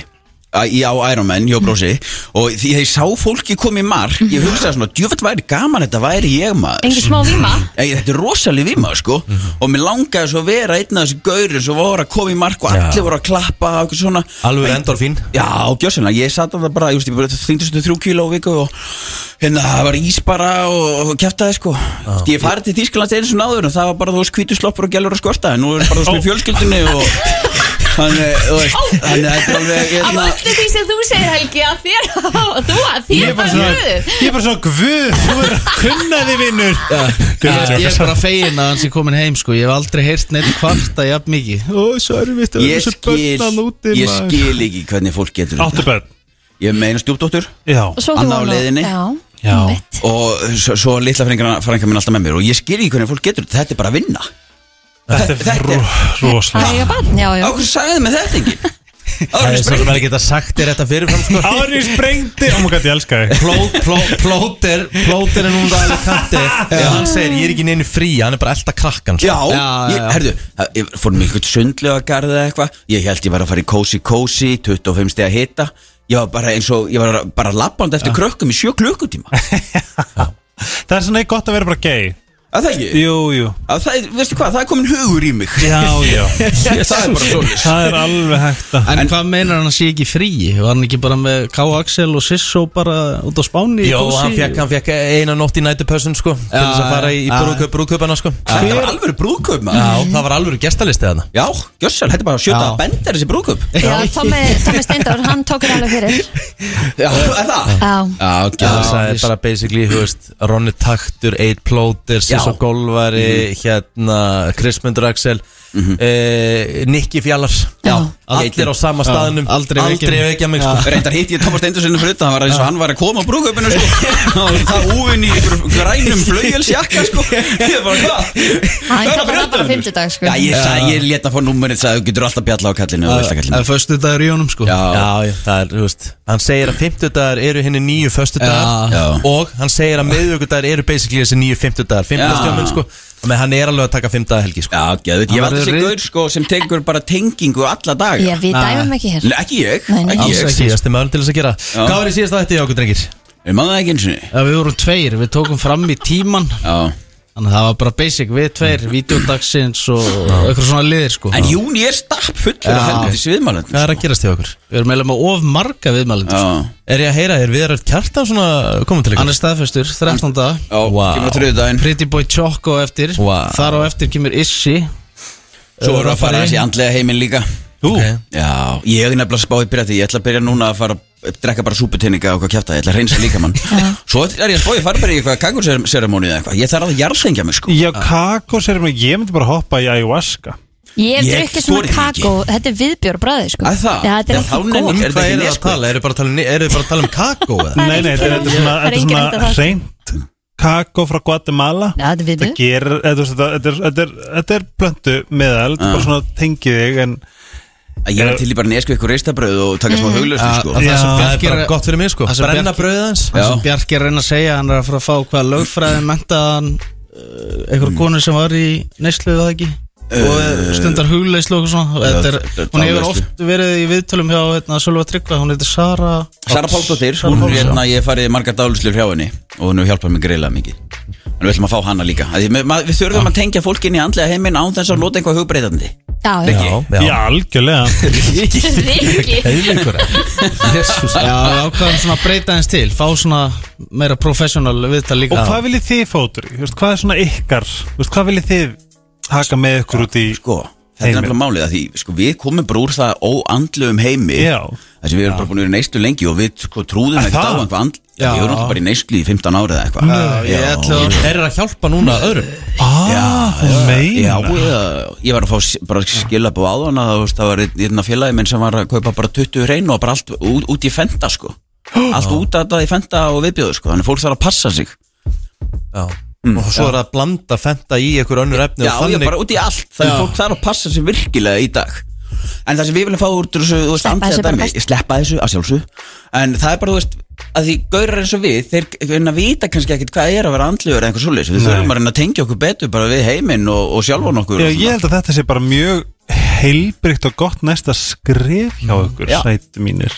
Speaker 12: að- í á Ironman hjá brósi og því að ég sá fólki komið mark ég hugsaði svona, djöfett væri gaman þetta væri ég maður
Speaker 3: Engi Mhm. smá víma Mhm.
Speaker 12: Ei, þetta er rosalega víma sko og mér langaði svo að vera einn af þessu gaurur sem voru að koma í mark og allir voru að klappa og eitthvað svona
Speaker 2: Alveg endorfín
Speaker 12: Já, gjössanlega, ég satt að það bara, ég veist, ég bara þyngdist um þrjú kíló á viku og hérna, það var ís bara og, og kæftaði sko Ég farið til Þýskalands eins og náður og það var bara þú veist hvítu sloppur og gælur að skorta en nú er bara þú veist með fjölskyldinni og þannig, þú veist, þannig að þetta er alveg
Speaker 3: Af
Speaker 12: hérna,
Speaker 3: öllu því sem þú segir Helgi að þér og þú að þér bara höfuð
Speaker 5: Ég er bara svo guð, þú er kunnaði vinnur
Speaker 11: Ég er bara fegin að hans er komin heim sko Ég hef aldrei heyrt neitt kvarta jafn mikið Ó, svo erfitt að
Speaker 12: ég skil ég skil ekki hvernig fólk getur þetta
Speaker 5: Áttu börn
Speaker 12: Ég meina stjúpdóttur
Speaker 5: Já
Speaker 3: Og svo þú
Speaker 12: Anna á
Speaker 3: hana.
Speaker 12: leiðinni.
Speaker 3: Já,
Speaker 5: Já.
Speaker 3: einmitt.
Speaker 12: og svo, svo litla frænka frænka minn alltaf með mér og ég skil ekki hvernig fólk getur þetta, þetta er bara að vinna
Speaker 5: Þetta er rosalega
Speaker 3: Það er bann, já, já
Speaker 6: Ákveð sagði með þetta ekki
Speaker 2: Það er svo sem að geta sagt þér þetta fyrirfram sko
Speaker 5: Árið sprengdi Oh my god, ég elska þig
Speaker 2: Pló- pló- Plóter Plóter er núna alveg kanti Ef hann segir ég er ekki neinu frí Hann er bara elda krakkan sko.
Speaker 12: Já, ég, herðu, það- ég fór mig ykkur sundlega að garða eða eitthvað Ég held ég var að fara í cozy cozy, 25 steg að hita Ég var bara eins og, ég var bara labband eftir krökkum í sjö klukkutíma
Speaker 5: Það er svona gott að vera bara gay
Speaker 12: Að það ekki,
Speaker 5: Jú, jú
Speaker 12: að það, veistu hvað, það er komin hugur í mig
Speaker 5: Já, já
Speaker 12: Það er bara svolítið
Speaker 5: Það er alveg hægt að
Speaker 11: En, hvað meinar hann að sé ekki frí? Var hann ekki bara með K. Axel og Sissó bara út á Spáni?
Speaker 2: Jó, hann fekk, hann fekk eina nótt í nætupössun sko Til
Speaker 11: Já,
Speaker 2: þess að fara í
Speaker 11: já.
Speaker 2: brúðkaupana sko
Speaker 12: Þetta var alveg brúðkaup maður
Speaker 2: Já, það var alveg gestalisti þarna
Speaker 12: Já, gjössal, þetta er bara sjöta að benda þessi brúðkaup
Speaker 3: Já, Tommi, Tommi Steindór, hann tók þetta alveg fyrir
Speaker 12: Já, er það?
Speaker 3: Já,
Speaker 12: Já,
Speaker 2: Það
Speaker 12: gjössal
Speaker 2: sagði bara basically, þú veist Ronny Taktur, Eid Plóter, Sissó
Speaker 12: Já. Mhm.
Speaker 2: Golvari Hérna, Krismundur Axel mm Nikki Fjallars
Speaker 3: Já.
Speaker 2: Allir á sama staðnum
Speaker 11: aldrei vekja mig.
Speaker 2: vekja mig sko
Speaker 12: Reyndar hitt ég Tómas Steindursson fyrir utan, það var eins og hann var að koma á brúðkaupinu sko Og það úvinn í ykkur grænum flögelsjakka sko Ég var hvað?
Speaker 3: hann
Speaker 12: Það er
Speaker 3: tók
Speaker 12: bara
Speaker 3: þetta bara
Speaker 12: utan.
Speaker 3: fymtudag, sko
Speaker 12: Já, ég, sa, ég leta fór númerið sagði, þú getur alltaf bjalla á kallinu og vilt að
Speaker 11: Það
Speaker 12: kallinu
Speaker 11: er föstu dagur í honum sko
Speaker 12: Já,
Speaker 2: Já, já, það er, þú veist Hann segir að fimmtudagar eru henni nýju föstudagar
Speaker 12: Já. Já.
Speaker 2: Og hann segir að miðvikudagar eru basically þessi nýju fimmtudagar Fimmtudagstjómin, sko Þannig að hann er alveg að taka fimmtudagar helgi, sko
Speaker 12: já, geðveit, ég var
Speaker 11: Hann verður
Speaker 12: þessi
Speaker 11: ri-
Speaker 12: gaur sko sem tekur bara tengingu alla dag
Speaker 3: Já, við dæmum ekki hér
Speaker 12: Ekki ég,
Speaker 3: Nei, nei.
Speaker 12: ekki
Speaker 2: Alls
Speaker 12: ég
Speaker 2: ekki síðasti maður til þess að gera Hvað var í síðasta þetta hjá okkur, drengir?
Speaker 12: Ég manna það ekki eins og niður
Speaker 11: Já, við vorum tveir, við tókum fram í tíman
Speaker 12: Já
Speaker 11: Þannig að það var bara basic, við tveir, videodagsins og eitthvað svona liðir sko
Speaker 12: En júni er stapp fullur að helgum til sviðmálandi
Speaker 2: Hvað er að gerast hjá okkur?
Speaker 11: Við erum eiginlega með of marga viðmælindu
Speaker 12: sko. Já,
Speaker 11: sko.
Speaker 2: Er ég að heyra þér? Við erum kjartan svona komin til
Speaker 11: Hann
Speaker 2: ykkur
Speaker 11: er staðfestur, 13 dag
Speaker 12: já,
Speaker 2: Vá.
Speaker 12: kemur á þriðudaginn
Speaker 11: Pretty Boy Choco eftir
Speaker 2: Vá.
Speaker 11: Þar á eftir kemur Issi
Speaker 12: Svo erum við að fara þessi andlega heiminn líka
Speaker 2: Þú?
Speaker 12: Já, ég er nefnilega að spá í byrja því Ég ætla að byrja núna að fara að drekka bara súputinninga og hvað kjæfta Ég ætla að reynsa líka mann Svo er ég að spá í fara bara í eitthvað kangurseremóni eða eitthvað Ég þarf að jarðsengja mig sko
Speaker 5: Já, kakos er mér Ég myndi bara hoppa í ayahuasca
Speaker 3: Ég hef
Speaker 12: Ég
Speaker 3: drukkið svona
Speaker 12: þori því ekki.
Speaker 3: kakó, þetta er viðbjör bræði, sko
Speaker 12: Að það?
Speaker 3: Já, þetta er
Speaker 12: Já, þá
Speaker 3: ekki góð
Speaker 2: Um hvað eru það
Speaker 12: nenni- Er þetta ekki
Speaker 2: að
Speaker 12: neskaupið?
Speaker 2: tala? Eru bara að tala, eru bara að tala um kakó eða?
Speaker 3: Það er
Speaker 5: Nei, nei,
Speaker 3: ekki-
Speaker 5: þetta er- þetta er svona,
Speaker 3: það er
Speaker 5: þetta er
Speaker 3: engin reynd að það.
Speaker 5: svona hreint kakó frá Guatemala
Speaker 3: Já, þetta er
Speaker 5: Það
Speaker 3: viðbjör
Speaker 5: gerir, eða þú veist, þetta- þetta er- þetta er- þetta er blöndu meðal Þetta er bara svona tengið þig En Eh,
Speaker 12: Ah. Að Ég er til í bara nesku eitthvað reistabröð og taka smá
Speaker 11: Mm.
Speaker 12: hauglustu sko
Speaker 11: Það
Speaker 5: Já.
Speaker 11: sem
Speaker 2: Það er
Speaker 11: Bjarki er
Speaker 2: bara gott fyrir mig, sko
Speaker 11: Það sem
Speaker 2: Brenna
Speaker 11: Bjarki-
Speaker 2: brauðið hans
Speaker 11: Það sem
Speaker 12: Já.
Speaker 11: Bjarki er að reyna að segja Hann er að fara að fá hvað lögfræði mentaðan uh, Einhver konu sem var í neyslu eða ekki Og eh, stundar hugleyslu og eitthvað svona Þetta er,
Speaker 12: þetta er
Speaker 11: Hún hefur
Speaker 12: dáleiðslu.
Speaker 11: oft verið í viðtölum hjá hérna, Sölva Tryggva, hún heitir Sara
Speaker 12: Sara Pálsdóttir,
Speaker 11: Sara
Speaker 12: hún er
Speaker 11: Pálsdóttir.
Speaker 12: hérna, ég hef farið í margar dáluslu hjá henni og hún hefur hjálpað mér greiðlega mikið en við ætlum að fá hana líka Af því með- ma- við þurfum að tengja fólk inn í andlega heiminn án þess að nota einhvað hugbreytandi
Speaker 3: Já, já
Speaker 5: já, algjörlega
Speaker 3: Rikki
Speaker 2: Heiðleikur Jésús
Speaker 11: Já, við ákvaðum svona að breyta hans til Fá svona meira professional viðtal
Speaker 5: Og
Speaker 11: líka
Speaker 5: hvað viljið þið fótur í? Þú veist, Hvað er svona ykkar? Þú veist, Hvað viljið þið haka með ykkur út í
Speaker 12: sko, þetta er
Speaker 5: Heiminn.
Speaker 12: nefnilega málið að því sko, við komum bara úr það óandlegum heimi
Speaker 5: Já.
Speaker 12: þess að við erum bara búin að vera í neyslu lengi og við sko, trúðum
Speaker 5: Er
Speaker 12: ekkert á
Speaker 5: það?
Speaker 12: einhvað andl
Speaker 11: Já.
Speaker 12: við erum alltaf bara í neyslu í 15 árið eða eitthvað
Speaker 11: Já, ég ætla að
Speaker 2: Er það að hjálpa núna öðrum?
Speaker 5: Ah, þú
Speaker 12: Já,
Speaker 5: meina
Speaker 12: ég, ég var að fá s- bara skilabú á hana þú veist, það var einn- einn af félagi minn sem var að kaupa bara 20 hrein og bara allt út, út í fenda sko allt út að það í fenda og viðbjóðu sko þannig fólk þarf að passa sig Mm.
Speaker 2: Já Og svo er það að blanda fenda í ykkur önnur efni
Speaker 12: Já,
Speaker 2: og
Speaker 12: já,
Speaker 2: þannig
Speaker 12: bara út í allt Þannig fólk þarf að passa sig virkilega í dag En það sem við viljum fá úr þessu, þú veist,
Speaker 3: Sleppa
Speaker 12: andlega
Speaker 3: þessu bara
Speaker 12: dæmi
Speaker 3: best.
Speaker 12: Ég Sleppa þessu, að sjálfsög En það er bara, þú veist, að því gaurar eins og við Þeir finna að vita kannski ekkit hvað er að vera andlegur eða eitthvað svoleiðis Við
Speaker 5: Nei.
Speaker 12: þurfum að reyna að tengja okkur betur bara við heiminn og, og sjálfan okkur
Speaker 5: Já, ég
Speaker 12: og svona.
Speaker 5: held að þetta sé bara mjög heilbrygt og gott næsta skrif hjá ykkur,
Speaker 12: Mm. Já. Mm.
Speaker 5: sæti mínir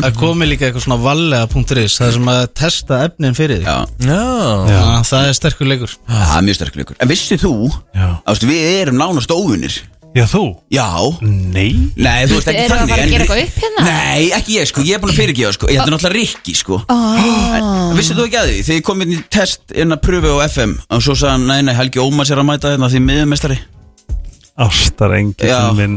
Speaker 11: Það komi líka eitthvað svona vallega.is Það sem að testa efnin fyrir
Speaker 12: Já.
Speaker 11: þig
Speaker 2: Já
Speaker 11: Já, Það er sterkur leikur
Speaker 12: Það er mjög sterkur ykkur En vissið þú,
Speaker 5: Já.
Speaker 12: að þú veist, við erum nánast óvinnir
Speaker 5: Já, þú?
Speaker 12: Já
Speaker 5: Nei
Speaker 12: Nei, þú veist ekki
Speaker 3: Erum við að
Speaker 12: þannig
Speaker 3: fara að
Speaker 12: en-
Speaker 3: gera eitthvað upp hérna?
Speaker 12: Nei, ekki ég sko, ég er búin að fyrirgefa sko Ég þetta er náttúrulega Rikki sko
Speaker 3: Ah.
Speaker 12: En Vissið þú ekki að því, þegar ég kom inn í test inn að pröfu á FM og svo sagði hann, nei, nei, Helgi Ómars er að mæta hérna því miðumestari
Speaker 5: Ástarengi
Speaker 12: Já.
Speaker 5: minn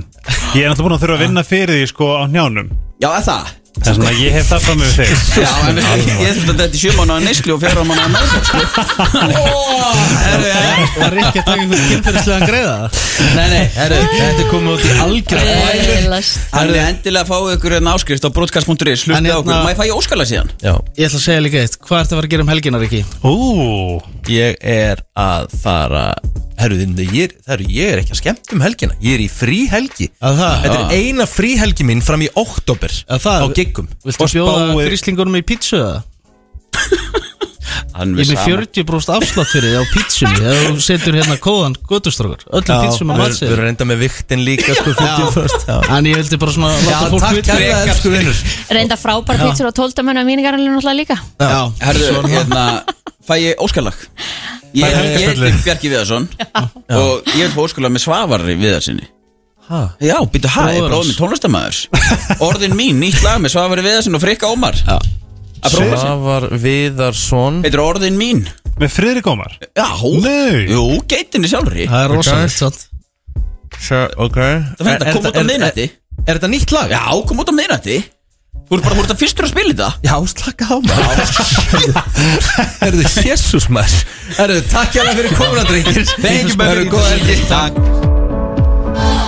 Speaker 5: Ég er náttúrulega búin að þurfa að vinna fyrir því sko á njánum
Speaker 12: Já, er það?
Speaker 5: Það er svona að ég hef það fram með þig
Speaker 12: Já, en ég þurfti að þetta í sjö mánu að neyslu og fjöra mánu að meðfjör
Speaker 11: Var ekki að taka einhvern kynferðislegan greiða?
Speaker 12: eh? Nei, nei, herru, þetta er komið út í algjörð
Speaker 11: Þannig
Speaker 12: Þannig endilega fáið ykkur en áskrift á brotkast.is
Speaker 11: En
Speaker 12: Slutið á
Speaker 11: hérna-
Speaker 12: okkur, maður fæ ég óskala síðan
Speaker 11: Já. Ég ætla að segja líka eitt, hvað ertu að fara að gera um helgina, Riki?
Speaker 13: Ú,
Speaker 2: ég er að fara Herru, ég, er- herru, ég er ekki að skemmt um helgina Ég er í frí helgi Þetta er eina frí helgi mín fram í oktober Á giggum
Speaker 11: Viltu
Speaker 2: Og
Speaker 11: bjóða
Speaker 2: spáir-
Speaker 11: gríslingunum í pítsu eða?
Speaker 12: Hann
Speaker 11: Ég er með 40 brúst afslátt fyrir þig á pítsunni Þegar þú setur hérna kóðan göttustrókar Öllum
Speaker 2: Já,
Speaker 11: pítsum að
Speaker 2: við-
Speaker 11: matseðil.
Speaker 2: Við erum reynda með viktin líka sko,
Speaker 11: Já.
Speaker 2: 51st, já.
Speaker 11: En ég vildi bara svona
Speaker 2: Já,
Speaker 11: láta fólk
Speaker 2: takk
Speaker 11: vita
Speaker 2: kærlega, elsku vinnur
Speaker 3: Reynda frábær
Speaker 12: Já.
Speaker 3: pítsur og tóltamönu að míningarinn náttúrulega líka
Speaker 12: Já, herðu, hérna fæ ég óskalag Ég
Speaker 3: Fæ
Speaker 12: ég
Speaker 3: helgaspjallið.
Speaker 12: heiti Bjarki Viðarsson og ég vil fá óskalag með Svavari Viðarssoni
Speaker 2: Ha?
Speaker 12: Já, býttu hæ,
Speaker 2: Bróðir
Speaker 12: ég bróði
Speaker 2: hans.
Speaker 12: minn tónlistamæður Orðin mín, nýtt lag með Svavari Viðarsson og Frikka Ómar Að prófa sig
Speaker 2: Svavar Viðarsson
Speaker 12: Heitir orðin mín
Speaker 5: Með Friðrik Ómar?
Speaker 12: Já, Nei. jú, geitinni sjálfri
Speaker 2: Það er rosalegt,
Speaker 11: satt
Speaker 2: Sure, ok
Speaker 12: Það fyrir þetta kom út á miðnætti
Speaker 2: Er þetta nýtt lag?
Speaker 12: Já, kom út á miðnætti Þú ert bara múrt að fyrstur að spila þetta
Speaker 2: Já, slaka á maður Herðu, jésús maður Herðu, takk hjá það fyrir komuna, drengir
Speaker 12: Thank you, baby.
Speaker 2: Herðu, góða helgi
Speaker 12: Takk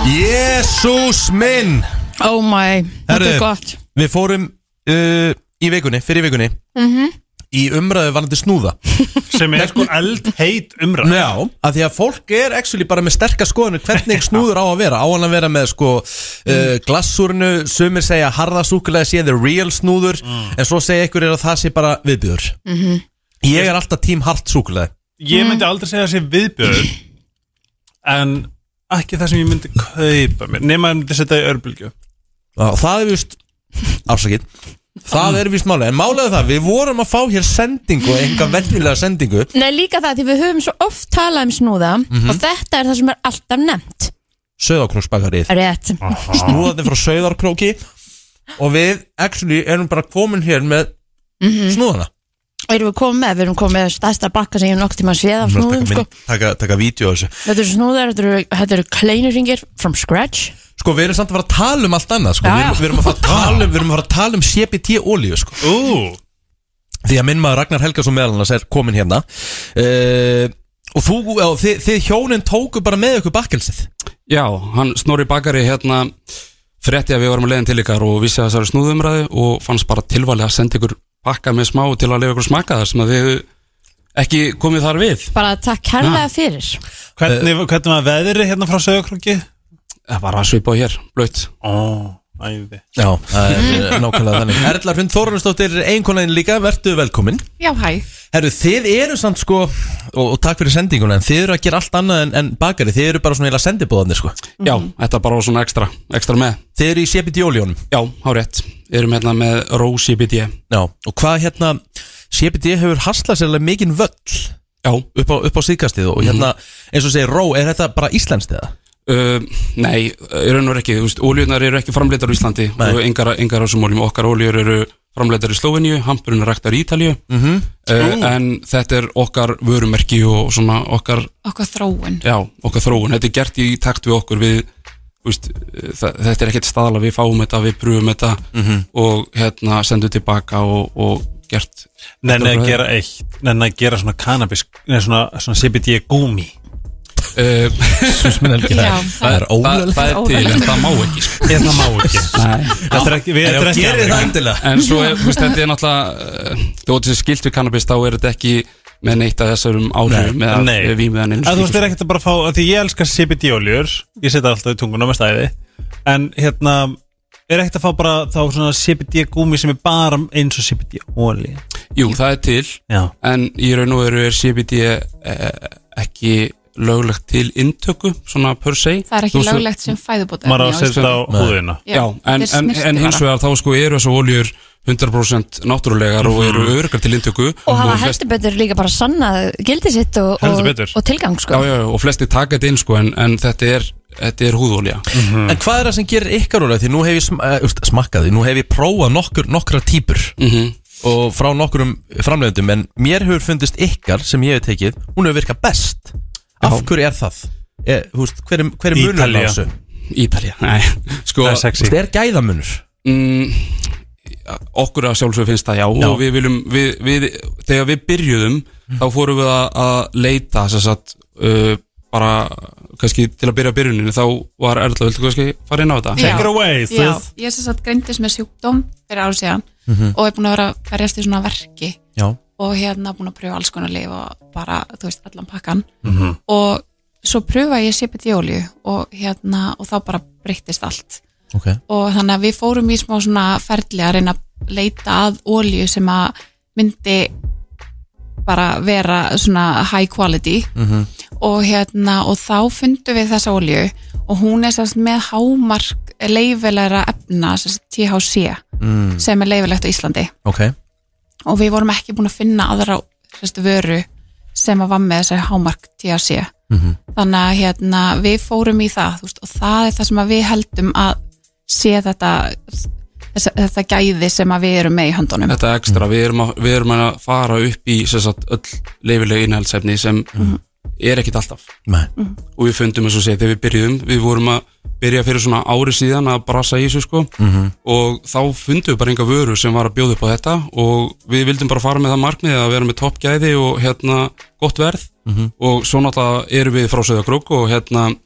Speaker 2: Jésús minn
Speaker 3: Oh my, þetta er
Speaker 2: Herðu,
Speaker 3: gott
Speaker 2: Við fórum uh, í vikunni, fyrir vikunni
Speaker 3: Mhm.
Speaker 2: Í umræðu varandi snúða
Speaker 5: Sem er sko eld heit umræð
Speaker 2: Já, af því að fólk er actually bara með sterka skoðinu Hvernig snúður á að vera Á hann að vera með sko uh,
Speaker 5: Mm.
Speaker 2: glassúrinu Sumir segja harðasúkulega sé the real snúður
Speaker 5: Mm.
Speaker 2: En svo segja ykkur er að það sé bara viðbjör
Speaker 5: Mhm.
Speaker 2: Ég er alltaf tím hart súkulega
Speaker 5: Ég myndi
Speaker 14: Mhm.
Speaker 5: aldrei segja að sé viðbjörn En ekki það sem ég myndi kaupa mér Nefn að ég myndi setja í örbulgju
Speaker 2: Það er vist Afsakið Það er vist málega En málega það, við vorum að fá hér sendingu Enga vennilega sendingu
Speaker 3: Nei, líka það, því við höfum svo oft talað um snúða
Speaker 2: Mhm.
Speaker 3: og þetta er það sem er alltaf nefnt
Speaker 2: Söðakróksbakarið
Speaker 3: Rétt
Speaker 2: Snúðarnir frá Söðarkróki Og við actually erum bara komin hér með
Speaker 3: Mhm.
Speaker 2: snúðana
Speaker 3: Erum við komið með, við erum komið með stærsta bakka sem ég hef nokkuð tíma að séð af snúðum sko.
Speaker 2: Taka, taka vídeo á þessu
Speaker 3: Þetta eru snúðar, þetta eru- þetta eru kleinuringir from scratch
Speaker 2: Sko við erum samt að fara að tala um allt annað sko.
Speaker 3: Já,
Speaker 2: við,
Speaker 3: já.
Speaker 2: við erum að fara að tala um, við erum að fara að tala um CBT olíu sko. Því að minn maður Ragnar Helgason meðal annars er komin hérna uh, Og þú, uh, þið, þið hjónin tóku bara með ykkur bakkelsið
Speaker 14: Já, hann Snorri Bakari hérna frétti að við varum að leiðin til ykkar og vissi að þessari snúðumræði og fannst bara tilvalið að senda ykkur pakka með smá til að leiða ykkur smaka þar sem að þið ekki komið þar við
Speaker 3: Bara takk herlega fyrir
Speaker 5: Hvernig, hvernig var veðrið hérna frá sögurkróki?
Speaker 14: Það var að svipa á hér, blöyt
Speaker 5: Ó, æði
Speaker 2: Já, það er eh, nákvæmlega þannig Erla Hrund Þórunastóttir, einkonaðin líka, verðu velkomin
Speaker 15: Já, hæ
Speaker 2: Herru, þið eru samt sko og, og takk fyrir sendinguna, en þið eru að gera allt annað en, en bakari, þið eru bara svona eila sendibóðanir sko
Speaker 14: Já, þetta bara var svona ekstra, ekstra með
Speaker 2: Þið eru í
Speaker 5: E
Speaker 2: CBD óljónum
Speaker 14: Já, há rétt, erum hérna með Ró CBD
Speaker 2: Já, og hvað hérna CBD hefur haslað sérlega mikinn völl
Speaker 14: Já
Speaker 2: Upp á, upp á síðkastið og hérna,
Speaker 14: Mhm.
Speaker 2: eins og segir Ró, er þetta bara íslenskt eða?
Speaker 14: Uh, nei, í raun og veru ekki Þú veist, Óljurnar eru ekki framleitar á Íslandi
Speaker 2: Nei.
Speaker 14: og engar, engar ásum óljum Okkar óljur eru framleitar í Slóveníu Hampurinn er ræktar í Ítalíu
Speaker 2: Mhm.
Speaker 14: uh,
Speaker 15: Ú.
Speaker 14: En þetta er okkar vörumerki og svona okkar,
Speaker 15: Okkar þróun
Speaker 14: já, okkar þróun Þetta er gert í takt við okkur við, þú veist, uh, þa- Þetta er ekkert staðala Við fáum þetta, við pröfum þetta
Speaker 5: Mhm.
Speaker 14: og hérna sendum tilbaka og, og gert
Speaker 5: Nenni
Speaker 14: Þetta
Speaker 5: að
Speaker 14: er-
Speaker 5: gera eitt Nenni að gera svona cannabis Nei, svona, svona CBD gúmi
Speaker 14: Eh,
Speaker 2: Súsminn
Speaker 14: Já, það er ólöglegt. það er til, en það má ekki, sko.
Speaker 5: En það má ekki
Speaker 14: Nei.
Speaker 5: Þetta er ekki Við þetta er ekki
Speaker 14: En svo, er, þú veist, þetta er náttúrulega eh, Þótt sem skilt við kannabis, þá er þetta ekki með neitt að þessarum áhrifum eða
Speaker 5: Nei.
Speaker 14: eh, vímuefnum
Speaker 5: En þú
Speaker 14: slíku,
Speaker 5: veist, er ekkert að bara fá að Því ég elska CBD oljur Ég setja alltaf í tunguna með stæði En hérna Er ekkert að fá bara þá svona CBD gúmi sem er bara eins og CBD olí
Speaker 14: Jú, það er til
Speaker 5: Já.
Speaker 14: En í raun og veru er CBD eh, ekki löglegt til inntöku svona per se
Speaker 15: Það er ekki
Speaker 14: Þú veist,
Speaker 15: löglegt sem fæðubóta
Speaker 14: Já, en, en, en hins vegar þá sko eru þessu oljur 100% náttúrulegar og eru örgar til inntöku
Speaker 3: Og hafa heldur betur líka bara sanna gildi sitt og, og,
Speaker 14: Heldur betur.
Speaker 3: og tilgang sko
Speaker 14: Já, já, já, og flesti taka þetta inn sko en, en þetta er, þetta er húðolja
Speaker 2: En hvað er það sem gerir ykkar úr Því nú hef ég sm uh, úst, smakkaði, nú hef ég prófað nokkur, nokkra típur
Speaker 14: -hmm.
Speaker 2: Og frá nokkurum framleiðendum En mér hefur fundist ykkar sem ég hef tekið Hún hefur virkað best Af hverju er það? Eh, húst, hver er, hver er munur á
Speaker 14: Ítalía.
Speaker 2: þessu?
Speaker 14: Ítalía, nei Sko,
Speaker 2: Það er sexy. Þú veist, er gæðamunur?
Speaker 14: mm, okkur að sjálfsög finnst það já,
Speaker 16: Já.
Speaker 14: og við viljum við, við, þegar við byrjuðum þá fórum við að, að leita sem sagt, uh, bara kannski til að byrja byrjuninu þá var Erla, viltu kannski fara inn á þetta?
Speaker 15: Já. Já, ég sem sagt greindist með sjúkdóm fyrir ár síðan
Speaker 14: Mhm.
Speaker 15: og er búin að vera að verjast í svona verki
Speaker 14: Já.
Speaker 15: og hérna búin að pröfa alls konar lif og bara, þú veist, allan pakkan
Speaker 14: Mhm.
Speaker 15: og svo pröfa ég CBD olju og hérna, og þá bara breyttist allt
Speaker 16: Ok.
Speaker 15: og þannig að við fórum í smá svona ferli að reyna að leita að olju sem að myndi bara vera svona high quality
Speaker 8: Mhm.
Speaker 15: og hérna og þá fundum við þessa olju og hún er sérst með hámark leifilegra efna, sérst THC
Speaker 16: Mm.
Speaker 15: sem er leifilegt á Íslandi
Speaker 16: Ok
Speaker 15: og við vorum ekki búin að finna aðra sérst vöru sem að var með þessari hámark THC
Speaker 16: Mhm.
Speaker 15: þannig að hérna við fórum í það þú veist, og það er það sem að við heldum að sé þetta þessa, þetta gæði sem að við erum með í höndunum
Speaker 14: Þetta er
Speaker 16: Mm.
Speaker 14: ekstra, við erum, að, við erum að fara upp í sem sagt, öll leifilega innhaldsefni sem er ekkit alltaf
Speaker 16: Mm.
Speaker 14: Mm.
Speaker 16: Nei.
Speaker 15: Mhm.
Speaker 14: og við fundum eins og segja þegar við byrjuðum við vorum að byrja fyrir svona ári síðan að brasa í þessu sko
Speaker 16: Mhm.
Speaker 14: og þá fundum við bara enga vöru sem var að bjóða upp á þetta og við vildum bara fara með það markmið að vera með toppgæði og hérna gott verð
Speaker 16: Mhm.
Speaker 14: og svo náttúrulega erum við frá Söðagrók og hérna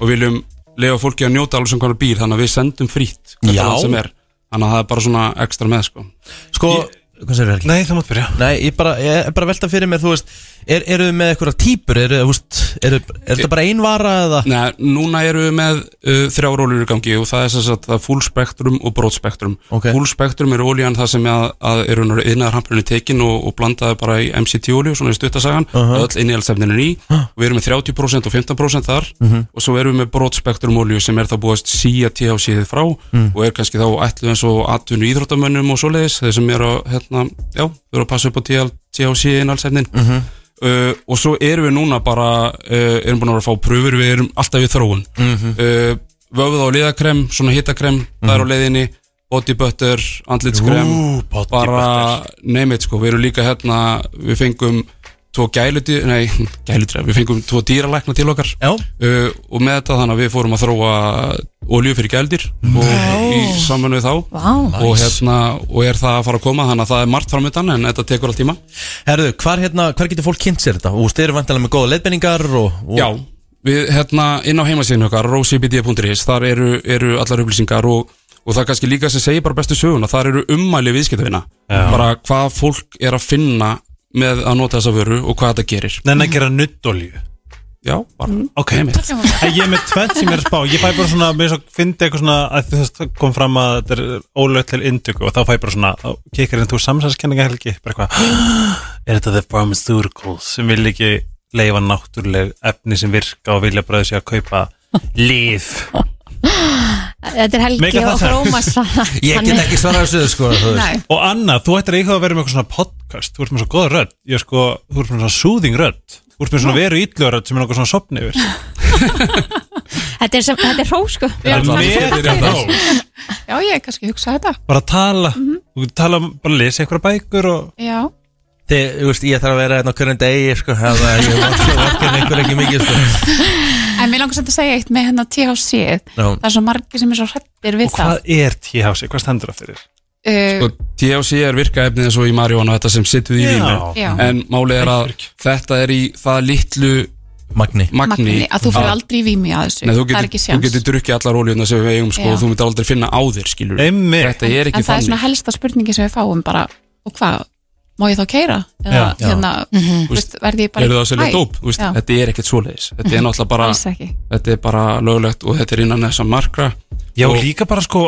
Speaker 14: og viljum lega fólki að njóta alveg sem hvað býr þannig að við sendum frýtt
Speaker 16: Já.
Speaker 14: sem er þannig að það er bara svona ekstra með sko
Speaker 16: Sko, hvað sér Helgi? Nei, það mátt byrja Nei, ég bara, ég er bara að velta fyrir mér, þú veist er, Eru þið með eitthvað típur, eru, þú veist eru, Er þetta bara ein vara eða?
Speaker 14: Nei, núna eru við með uh, þrjá rólur í gangi og það er þess að það er full spektrum og broad spektrum
Speaker 16: Ok.
Speaker 14: Full spektrum er ólíjan það sem að, að er innar hampurinn tekin og, og blandaði bara í MCT ólíu, svona í stuttasagan
Speaker 16: Aha.
Speaker 14: öll innihjálfstefnin er í,
Speaker 16: Huh.
Speaker 14: við erum með 30% og 15% þar
Speaker 16: Mhm.
Speaker 14: og svo erum við með broad spektrum ólíu sem er þá búið að síja THC-ið frá
Speaker 16: Mm.
Speaker 14: og er kannski þá ætlu eins og atvinnu íþróttamönnum og svoleiðis, þeir sem eru að, hérna, já, eru að passa upp á THC innihjálfstefnin
Speaker 16: Mhm.
Speaker 14: uh, og svo erum við núna bara uh, erum búin að vera að fá pröfur, við erum alltaf í þróun
Speaker 16: Mhm.
Speaker 14: uh, vöfuð á liðakrem svona hittakrem, það er á
Speaker 16: Mhm.
Speaker 14: leiðinni body butter, andlitskrem
Speaker 16: Ú, body
Speaker 14: bara neymit sko, við erum líka hérna við fengum tvo gæludýr, nei, gæludýr við fengum tvo dýralækna til okkar uh, og með þetta þannig að við fórum að þróa olju fyrir gæludýr og í saman við þá
Speaker 16: Mm. Vá.
Speaker 14: og
Speaker 16: Nice.
Speaker 14: hérna, og er það að fara að koma þannig að það er margt framöndan en þetta tekur all tíma
Speaker 16: Herðu, hvar, hérna, hvar getur fólk kynnt sér þetta? Þú veist, þeir eru vantilega með góða leiðbenningar og, og
Speaker 14: Já, við hérna inn á heimasíðinu okkar rosebd.is, þar eru, eru allar upplýsingar og, og það er kannski líka sem segir bara bestu söguna, þar eru ummæli viðskiptavina,
Speaker 5: Já.
Speaker 14: bara hvað fólk er að finna með að nota þessa vöru og hvað þetta gerir
Speaker 5: Nenna að gera nuddolju
Speaker 14: Já, bara
Speaker 5: Ok,
Speaker 14: Nei, mitt.
Speaker 5: En ég er með tvennt sem ég er að spá Ég fæ bara svona, mér svo fyndi eitthvað svona að þú veist, kom fram að þetta er ólögt til indöku og þá fæ ég bara svona, kikkarinn þú samsæðskenninga helgi, bara eitthvað "Ah, Er þetta the pharmaceuticals sem vil ekki leifa náttúruleg efni sem virka og vilja bara þessi að kaupa líf
Speaker 3: Þetta er Helgi
Speaker 5: Make
Speaker 3: og
Speaker 5: that
Speaker 3: Fróma
Speaker 5: sense.
Speaker 3: svara
Speaker 5: þessu sko
Speaker 3: þú veist. Nei.
Speaker 5: Og Anna, þú ættir að íhuga að vera með eitthvað svona podcast Þú ert með svo góða rödd Ég er sko, þú ert með svona soothing rödd Þú ert með svona veru ítlu rödd sem er nokkuð svona sopni yfir
Speaker 3: Þetta er, sem- þetta er hró sko
Speaker 5: Þetta er með rós
Speaker 15: Já, ég kannski hugsa þetta
Speaker 5: bara tala þú getur tala, bara lesa einhverja bækur og
Speaker 15: Já,
Speaker 16: Þið, þú veist, ég þarf að vera hérna á hverjum degi, sko Það er vorkin einhver ekki mikið, sko
Speaker 15: en mér langar samt að segja eitt með hérna THC
Speaker 5: Já.
Speaker 15: það er svo margir sem er svo hrettir við
Speaker 5: hvað
Speaker 15: það
Speaker 5: er THC, hvað stendur það fyrir?
Speaker 15: uh,
Speaker 14: og THC er virkaefnið eins og í Marjón og þetta sem sittu í
Speaker 5: Já.
Speaker 14: vínu
Speaker 15: Já.
Speaker 14: en málið er að þetta er í það litlu
Speaker 16: magni,
Speaker 15: Magni, að þú fyrir aldrei í vími að þessu
Speaker 14: Nei, þú
Speaker 15: það
Speaker 14: getur,
Speaker 15: er ekki
Speaker 14: þú
Speaker 15: sjans
Speaker 14: getur drukkið allar óljuna sem við eigum sko,
Speaker 15: Já.
Speaker 14: og þú myndir aldrei finna á þér skilur þetta er ekki
Speaker 15: en það er
Speaker 14: þannig
Speaker 15: svona helsta spurningi sem við fáum bara, og hvað, má ég þá keira? eða
Speaker 14: Já.
Speaker 15: hérna,
Speaker 14: Mhm.
Speaker 15: þú veist, verði ég bara
Speaker 14: eru það að selja
Speaker 15: Æ,
Speaker 14: dóp, þú veist,
Speaker 15: já.
Speaker 14: þetta er ekkert svoleiðis þetta er
Speaker 15: Mhm.
Speaker 14: náttúrulega bara,
Speaker 15: Alls ekki.
Speaker 14: þetta er bara löglegt og þetta er innan þessa markra
Speaker 5: já,
Speaker 14: og,
Speaker 5: líka bara sko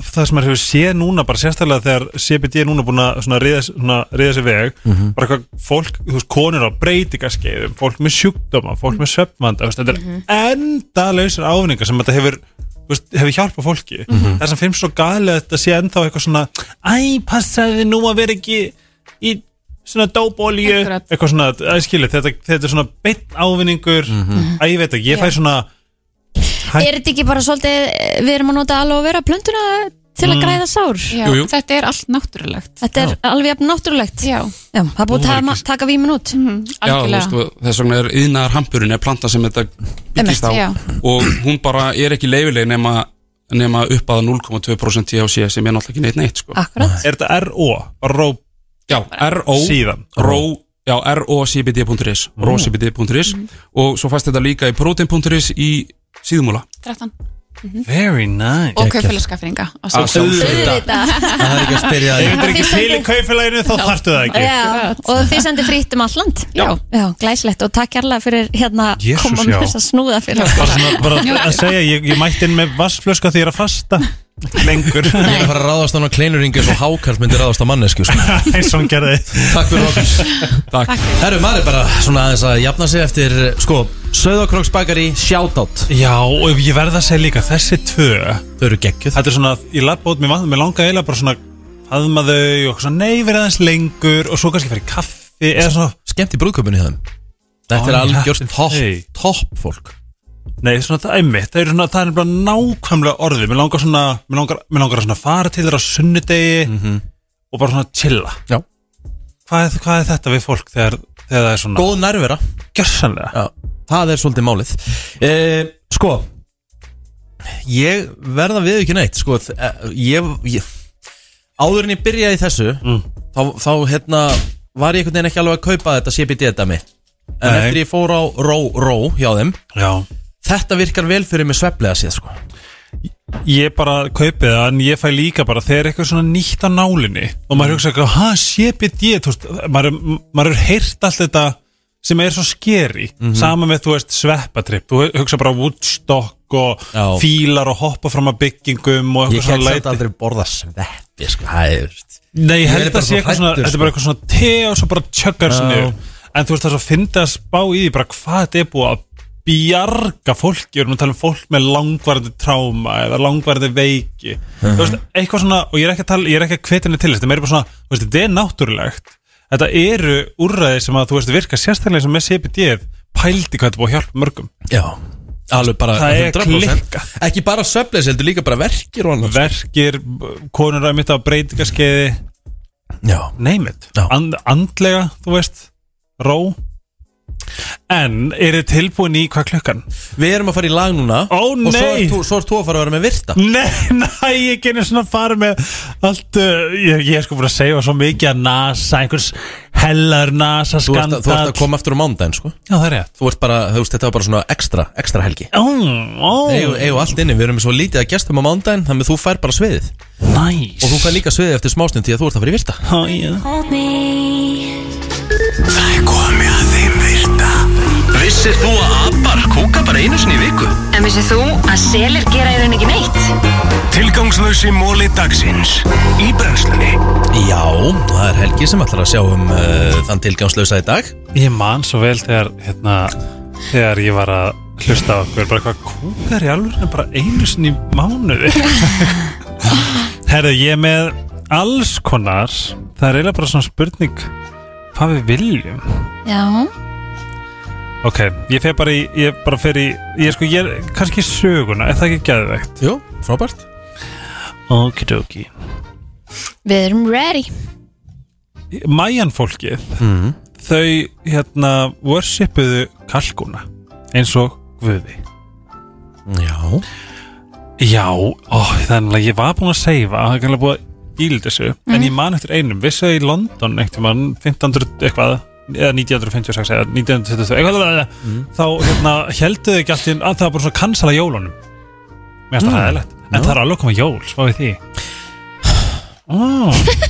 Speaker 5: það sem maður hefur séð núna, bara sérstaklega þegar CBD er núna búin að svona riða, svona riða sér veg,
Speaker 16: Mhm.
Speaker 5: bara hvað fólk þú veist, konur á breytingaskeiðum, fólk með sjúkdóma fólk með svefnvanda, þú veist, þetta er
Speaker 16: Mhm.
Speaker 5: endalausir ávinningar sem þetta hefur þú veist, hefur hjálpað fólki
Speaker 16: Mhm.
Speaker 5: það sem finnst svo galið að þetta sé ennþá eitthvað svona æ, passaði nú að vera ekki í svona dóbolju eitthvað svona, að skilja, þetta, þetta er svona beitt ávinningur, æ, ég veit ekki ég fæ
Speaker 3: Já.
Speaker 5: svona Hæ-
Speaker 3: Er þetta ekki bara svolítið, við erum að nota alveg að vera plöntuna til að
Speaker 5: Mm.
Speaker 3: græða sár
Speaker 15: Já, Jú, jú. þetta er allt náttúrulegt
Speaker 3: Þetta er alveg jafn náttúrulegt Já, það er búið
Speaker 14: Ó,
Speaker 3: að taka, taka vímin út
Speaker 15: Mhm,
Speaker 14: já, þú veist, og þess vegna er yðnaðar hampurinn er planta sem þetta byggist á
Speaker 3: Einmitt, já.
Speaker 14: og hún bara er ekki leifileg nema nema upp að 0,2% THC sem er náttúrulega ekki neitt neitt sko.
Speaker 3: Akkurat.
Speaker 14: Er þetta RO? RO Já, RO
Speaker 5: Síðan. Mm.
Speaker 14: RO Já, rocbd.is rocbd.is og svo fæst þetta líka í protein.is í síðumúla
Speaker 15: 13
Speaker 5: Very nice
Speaker 15: og kaupfélagskaffringa á
Speaker 14: Að
Speaker 15: síðan.
Speaker 14: sjálfsögðu.
Speaker 3: Auðvitað.
Speaker 5: Það er ekki að spyrja
Speaker 3: þig.
Speaker 5: Ef þetta er ekki til í kaupfélaginu þá þarftu það ekki
Speaker 3: Já, og þið sendir frítt um alland Já, já glæslegt og takk kærlega fyrir hérna
Speaker 5: Jesús,
Speaker 3: koma með
Speaker 5: já.
Speaker 3: þess að snúða fyrir
Speaker 5: Bara svona, bara að
Speaker 3: okkur
Speaker 5: segja, ég, ég mætti inn með vassflösku því ég er að fasta Ekki lengur
Speaker 2: Ég er að fara að ráðast á kleinurringi eins og hákarl myndi ráðast á mannesku sko.
Speaker 5: eins og hann gerði
Speaker 2: Takk fyrir okkur Takk Herru, maður er bara svona aðeins að jafna sig eftir sko, Söðakróksbakari, shoutout
Speaker 5: Já, og ég verð að segja líka, þessi tvö Þau eru geggjöð Þetta er svona, ég labba út með vatnum, mér langa eiginlega bara svona Faðma þau og svona, nei, verið aðeins lengur Og svo kannski fyrir kaffi eða svona
Speaker 2: Skemmt í brúðköpunni þann Þetta er algjört topp top fólk
Speaker 5: Nei, svona, það er mitt, það er, svona, það er bara nákvæmlega orðið Mér langar svona, mér langar, mér langar að svona fara til þeirra á sunnudegi Og bara svona chilla
Speaker 2: Mhm. Já
Speaker 5: hvað er, hvað er þetta við fólk þegar, þegar það er svona
Speaker 2: Góð nærvera
Speaker 5: Gjörsanlega
Speaker 2: Já, það er svolítið málið e, Sko Ég verða við ekki neitt Sko, þ- eh, ég, ég Áður en ég byrjaði í þessu
Speaker 5: Mm.
Speaker 2: þá, þá, hérna, var ég einhvern veginn ekki alveg að kaupa þetta CBD-dæmi En
Speaker 5: Nei.
Speaker 2: eftir ég fór á ró, ró hjá þeim
Speaker 5: Já
Speaker 2: Þetta virkar vel fyrir mig sveflega séð, sko
Speaker 5: Ég bara kaupi það en ég fæ líka bara þegar eitthvað svona nýtt á nálinni og maður hugsa eitthvað, hæ, CBD þú veist, maður, maður er heyrt allt þetta sem er svo skeri
Speaker 2: Mhm.
Speaker 5: saman með, þú veist, sveppatripp þú hugsa bara Woodstock og
Speaker 2: Já.
Speaker 5: fílar og hoppa fram að byggingum og
Speaker 2: Ég
Speaker 5: eitthvað
Speaker 2: kemst
Speaker 5: svona
Speaker 2: þetta
Speaker 5: læti
Speaker 2: aldrei borða sveppi, sko Það er,
Speaker 5: Nei, ég
Speaker 2: er
Speaker 5: held
Speaker 2: bara
Speaker 5: að sé
Speaker 2: svo
Speaker 5: eitthvað svona,
Speaker 2: hræddur,
Speaker 5: þetta er
Speaker 2: sko.
Speaker 5: bara eitthvað svona te og svo bara tjöggar
Speaker 2: Já.
Speaker 5: sem niður En þú veist það er svo fyndið að spá í því bara hvað þetta er búið að bjarga fólki Við erum að tala um fólk með langvarandi tráma eða langvarandi veiki Þú
Speaker 2: Mhm.
Speaker 5: veist, eitthvað svona, og ég er ekki að tala, ég er ekki að hvetja henni til þess Þetta er meira bara svona, þú veist, þetta er náttúrulegt Þetta eru úrræði sem að þú veist virka sérstaklega sem með CBD-ið Pældi hvað þetta er búið að hjálpa mörgum
Speaker 2: Já, alveg bara
Speaker 5: Það er
Speaker 2: 100%.
Speaker 5: klikka.
Speaker 2: Ekki bara sveflega, heldur líka bara verkir og sko. annars
Speaker 5: Verkir, konur að mitt á breytingaskeiði
Speaker 2: Já
Speaker 5: Neymit, And, andlega, þú veist Ró En eru þið tilbúin í hvað klukkan?
Speaker 2: Við erum að fara í lag núna
Speaker 5: Ó
Speaker 2: Og svo
Speaker 5: nei
Speaker 2: ert þú- svo ert þú að fara að vera með virta
Speaker 5: Nei, nei, ég genið svona að fara með allt, uh, ég, ég er sko búin að segja svo mikið að NASA, einhvers hellar NASA
Speaker 2: Þú ert,
Speaker 5: skandal
Speaker 2: að, þú ert að koma aftur á mándaginn sko
Speaker 5: Já, það er rétt
Speaker 2: Þú ert bara, þú veist, þetta var bara svona ekstra, ekstra helgi
Speaker 5: Ó, ó
Speaker 2: Eigum eigum allt inni, við erum með svo lítið að gestum á mándaginn Þannig að þú fær bara sviðið
Speaker 5: nice.
Speaker 2: Og þú fær líka sviðið eftir smástund því að þú ert að fara í virta
Speaker 5: Ó, já
Speaker 11: Það er komið að þeim virta Vissir þú að abar kúka bara einu sinni í viku?
Speaker 17: En vissið þú að selir gera í rauninni ekki neitt?
Speaker 11: Tilgangslösi móli dagsins Í brennslunni
Speaker 2: Já, það er Helgi sem ætlar að sjá um uh, þann tilgangslösa í dag
Speaker 5: Ég man svo vel þegar, hérna, þegar ég var að hlusta á okkur, bara hvað kúkar í alveg bara einu sinni í mánuði Herðu, ég er með alls konar, það er eiginlega bara svona spurning hvað við viljum
Speaker 3: Já,
Speaker 5: Ok, ég fer bara í, ég bara fer í, ég sko, ég er kannski í söguna, er það ekki geðveikt?
Speaker 2: Jú, frábært
Speaker 5: Okidoki
Speaker 3: við erum ready
Speaker 5: Mayan fólkið,
Speaker 2: Mhm.
Speaker 5: þau hérna worshipuðu kalkuna eins og guði
Speaker 2: Já
Speaker 5: Já, ó, þannig að ég var búinn að seifa, það er kannski búið að ílda þessu En ég man eftir einum, vissu að í London eitt um 1500 eitthvað eða 1956 eða 1922 eitthvað,
Speaker 2: Mhm.
Speaker 5: þá hérna heldu þau ekki allt í að það var bara svona kansala jólunum Mér finnst það
Speaker 2: Mm.
Speaker 5: hæðilegt En
Speaker 2: Já.
Speaker 5: það er alveg að koma jól, spá við því oh.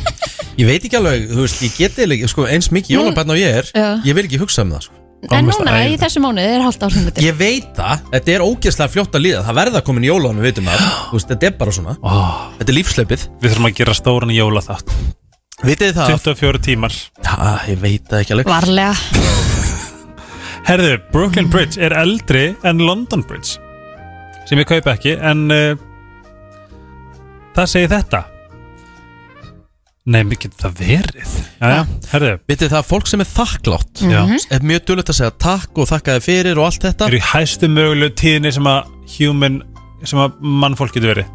Speaker 2: Ég veit ekki alveg, þú veist, ég geti eiginlega ekki, sko, eins mikið
Speaker 3: Nú-
Speaker 2: jólabarn og ég er
Speaker 3: Já.
Speaker 2: Ég vil ekki hugsa um það sko.
Speaker 3: En núna í þessu mánuði er halvt ársmyndir
Speaker 2: Ég veit það, þetta er ógeðslega fljótt að líða Það verða komin í jólunum, við veitum það Þú veist, Þetta er bara svona Þetta er lífsleipið
Speaker 5: Við þurfum að gera stóran jóla þátt
Speaker 2: Vitið þið það?
Speaker 5: 24 tímar
Speaker 2: Já, ég veit það ekki alveg
Speaker 3: Varlega
Speaker 5: Herðu, Brooklyn Bridge er eldri en London Bridge sem ég kaupa ekki en uh, það segir þetta Nei, mér getur það verið Jæja, herðu
Speaker 2: Vitið það, fólk sem er þakklátt
Speaker 5: Ah. Já.
Speaker 2: Er mjög dulegt að segja takk og þakka þið fyrir og allt þetta
Speaker 5: eru í hæstu mögulegu tíðinni sem að human, sem að mannfólk getur verið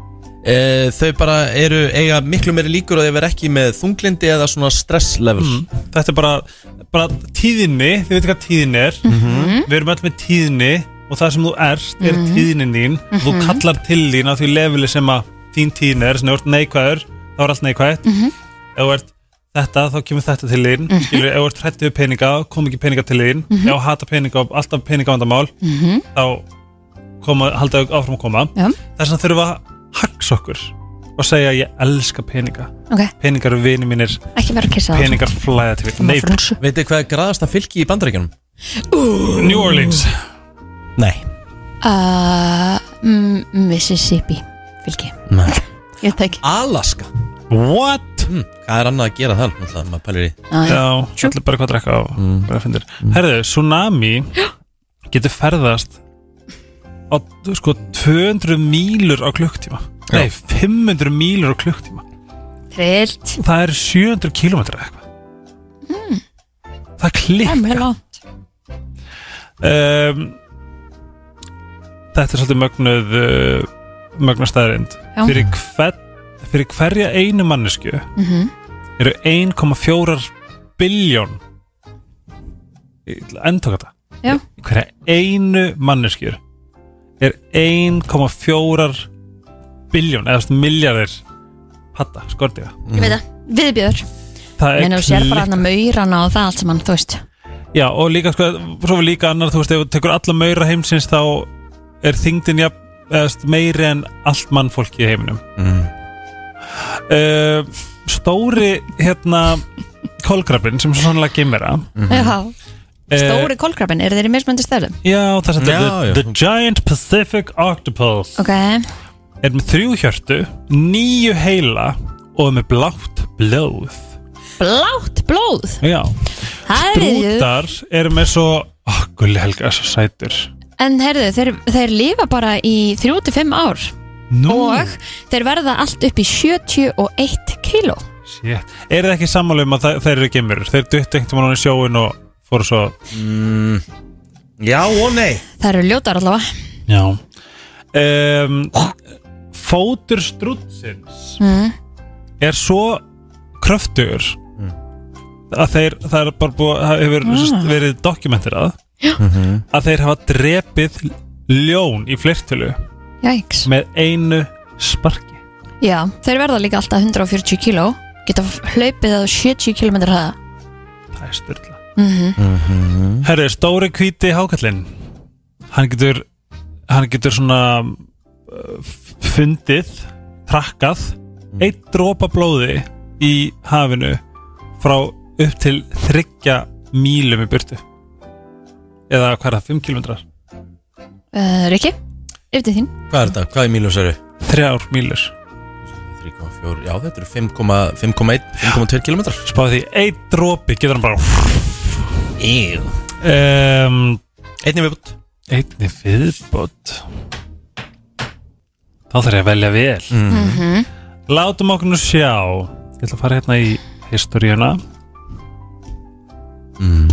Speaker 2: e, Þau bara eru, eiga miklu meiri líkur og þau vera ekki með þunglindi eða svona stress level
Speaker 5: Mm, Þetta er bara, bara tíðinni, þið veitir hvað tíðinni er
Speaker 2: Mhm.
Speaker 5: Við erum öll með tíðinni og það sem þú ert er
Speaker 18: Mhm.
Speaker 5: tíðnin þín og þú
Speaker 18: Mhm.
Speaker 5: kallar til þín að því leveli sem að þín tíðin er, sem þú ert neikvæður þá er allt neikvætt
Speaker 18: Mhm.
Speaker 5: ef þú ert þetta, þá kemur þetta til þín
Speaker 18: Mhm.
Speaker 5: skilur, ef þú ert hrættið við peninga, kom ekki peninga til þín
Speaker 18: Mhm.
Speaker 5: ef þú hata peninga og alltaf peningavandamál
Speaker 18: Mhm.
Speaker 5: þá koma, halda þau áfram að koma
Speaker 3: Já.
Speaker 5: þess að þurfa að hagsa okkur og segja ég elska peninga
Speaker 3: Ok.
Speaker 5: peningar eru vini mínir
Speaker 3: Ekki vera að kyssa þá.
Speaker 5: peningar flæða til
Speaker 3: Þú má frunsu.
Speaker 5: veit
Speaker 16: þið hvað er graðasta fylki í bandaríkjunum?
Speaker 5: New Orleans
Speaker 16: Nei
Speaker 3: Uh, mm, Mississippi fylgi
Speaker 16: Nei.
Speaker 3: Ég veit það ekki
Speaker 16: Alaska What?
Speaker 2: Hmm,
Speaker 16: Mm, hvað er annað að gera þann? Það maður pælir í
Speaker 3: Já,
Speaker 5: Já, allir bara hvað að drekka á mm. Herðu, tsunami getur ferðast á sko 200 mílur á klukktíma
Speaker 18: Já.
Speaker 5: Nei, 500 mílur á klukktíma
Speaker 3: Trillt
Speaker 5: Það er 700 kilometrar eða eitthvað Það er klikkar
Speaker 3: Hmm. Það er langt
Speaker 5: um, Þetta er svolítið mögnuð uh, mögnuð staðarind
Speaker 18: Já.
Speaker 5: fyrir, hver, fyrir hverja einu mannesku
Speaker 18: Mhm.
Speaker 5: eru 1,4 biljón endtók þetta
Speaker 3: Já.
Speaker 5: hverja einu mannesku er 1,4 biljón eða miljardir patta, skortiða
Speaker 3: Ég veit það, viðbjör
Speaker 5: Það er
Speaker 3: Menn þú sér bara
Speaker 5: klikkað.
Speaker 3: hann að maurana og það allt saman, þú veist
Speaker 5: Já, og líka, sko, svo er líka annar, þú veist, ef þú tekur alla meira heimsins þá er þyngdin jafn, eðast, meiri en allt mannfólki í heiminum.
Speaker 18: Mm.
Speaker 5: Uh, stóri, hérna, kolkrabin sem er svona gemera.
Speaker 3: Já,
Speaker 5: Eh,
Speaker 3: Uh, stóri kolkrabin, eru þeir í mismöndi stöðum?
Speaker 5: Já, það sem
Speaker 18: Já,
Speaker 5: þetta,
Speaker 18: já.
Speaker 5: the, the Giant Pacific Octopus
Speaker 3: Ok,
Speaker 5: er með þrjú hjörtu, nýju heila og er með blátt blóð.
Speaker 3: blátt blóð
Speaker 5: Já,
Speaker 3: Það er viðbjör
Speaker 5: strútar eru með svo, oh, gulli helga, svo sætur.
Speaker 3: En heyrðu, þeir, þeir lifa bara í 35 ár
Speaker 5: Nú.
Speaker 3: Og þeir verða allt upp í 71 kíló
Speaker 5: Shit. Er það ekki sammála um að það, þeir eru gemurur? Þeir duttu einhvern veginn í sjóin og fóru svo mm. Já og nei
Speaker 3: Það eru ljótar allavega
Speaker 5: Já um, Fótur strútsins
Speaker 3: mm.
Speaker 5: er svo kröftugur að þeir, það er bara búið það hefur
Speaker 18: Ah.
Speaker 5: ah. verið dokumenterað að þeir hafa drepið ljón í flertölu
Speaker 3: Jæks
Speaker 5: með einu sparki
Speaker 3: Já, þeir verða líka alltaf 140 kíló Geta hlaupið á 70 km hraða
Speaker 5: Það er styrla
Speaker 3: mm
Speaker 5: Herri, stóri hvíti hákallinn Hann getur Hann getur svona uh, f- Fundið Trakkað Eitt dropa blóði í hafinu Frá upp til Þryggja mílum í burtu Eða hvað er það, 5 kilometrar
Speaker 3: uh, Rikki, yfir til þín
Speaker 16: Hvað er þetta? Hvað er mílus eru?
Speaker 5: Þrjár mílus
Speaker 16: 3,4, já þetta eru 5,1 5,2 kilometrar
Speaker 5: Spáði því, eitt dropi getur hann bara Ew um,
Speaker 16: Einni viðbót
Speaker 5: Einni viðbót Þá þarf ég að velja vel
Speaker 18: Mhm.
Speaker 5: Látum okkur nú sjá Ég ætla að fara hérna í historiuna hmm,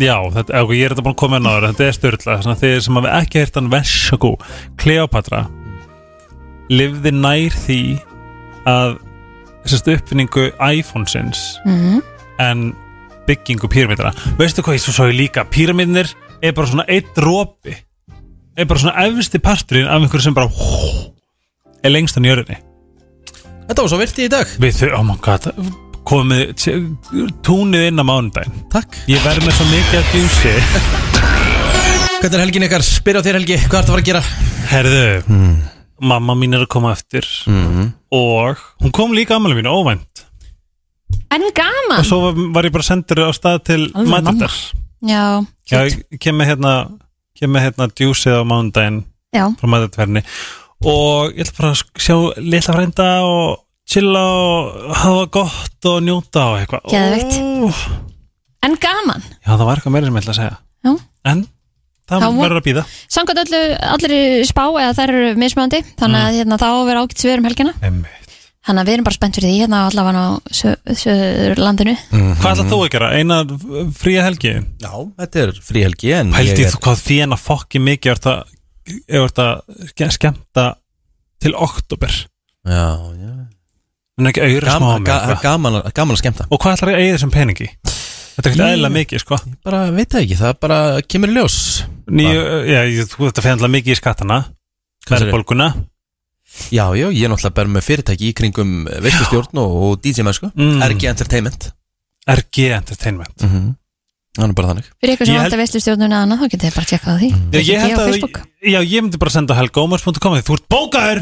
Speaker 5: Já, þetta, ok, ég er þetta búin að koma inn á það Þetta er styrla Þannig að þið sem hafi ekki heyrt hann Vesjagú Kleopatra Lifði nær því að Þessast uppfinningu iPhone-sins
Speaker 18: Mhm.
Speaker 5: En byggingu píramidana Veistu hvað ég svo svo ég líka Píramidnir er bara svona eitt dropi Er bara svona efsti parturinn Af einhverju sem bara Er lengst á njörðinni
Speaker 16: Þetta var svo virti í dag
Speaker 5: Við þau, oh my god komið t- túnið inn á mánudaginn
Speaker 16: Takk
Speaker 5: Ég verð með svo mikið að djúsi
Speaker 16: Hvernig er helgin ykkar? Spyr á þér helgi, hvað ertu að fara að gera?
Speaker 5: Herðu, mamma mín er að koma eftir Og hún kom líka ammæli mínu, óvænt
Speaker 3: En gaman
Speaker 5: Og svo var, var ég bara sendur á stað til
Speaker 3: Alveg mamma.
Speaker 5: Madridar
Speaker 3: Já,
Speaker 5: Já, ég kem með hérna kem með hérna djúsið á mánudaginn
Speaker 3: Já.
Speaker 5: frá maðurverðinni og ég ætla bara að sk- sjá litla frænda og chilla og hafa það gott og njóta og eitthvað
Speaker 3: geðveikt En gaman
Speaker 5: Já, það var eitthvað meira sem ég ætla að segja
Speaker 3: Já.
Speaker 5: En
Speaker 3: Þá
Speaker 5: það
Speaker 3: vor-
Speaker 5: verður að býða
Speaker 3: Samkvæmt öllu, allir spá eða þær eru mismöndi Þannig
Speaker 5: Mm.
Speaker 3: að hérna, þá á að vera ágætt svör um helgina Þannig að við erum bara spennt fyrir því hérna allavega á Söðurlandinu
Speaker 5: Hvað ætla þú að gera? Eina f- fría helgi?
Speaker 16: Mhm. Já, þetta er frí helgi en
Speaker 5: Pældi
Speaker 16: ég er-
Speaker 5: þú hvað þína fokki mikið er það er það skemmta til oktober
Speaker 16: Já, já
Speaker 5: En ekki auðra smá
Speaker 16: Gaman, ga, gaman, gaman að skemmta
Speaker 5: Og hvað ætlar ég að eigið þessum peningi? Þetta er ekkert eðla mikið sko
Speaker 2: Bara veit það ekki, það bara kemur í ljós
Speaker 5: Nýju, já, ég- þú þetta fyrir alltaf mikið í skattana Verðbólguna
Speaker 2: Já, já, ég er náttúrulega bara með fyrirtæki í kringum veistustjórn og, og DJ mennsku
Speaker 5: Mm.
Speaker 2: RG Entertainment
Speaker 5: RG Entertainment
Speaker 2: mm -hmm. Þannig bara þannig
Speaker 3: Fyrir ykkur sem
Speaker 5: Ég held-
Speaker 3: vantar veistlustjórnun eða annað, þá getið þið bara tjekkað á því
Speaker 5: Já, ég
Speaker 3: Ekki
Speaker 5: held
Speaker 3: á
Speaker 5: að
Speaker 3: Facebook.
Speaker 5: Já, ég myndi bara senda helgaómars.com Þú ert bókaður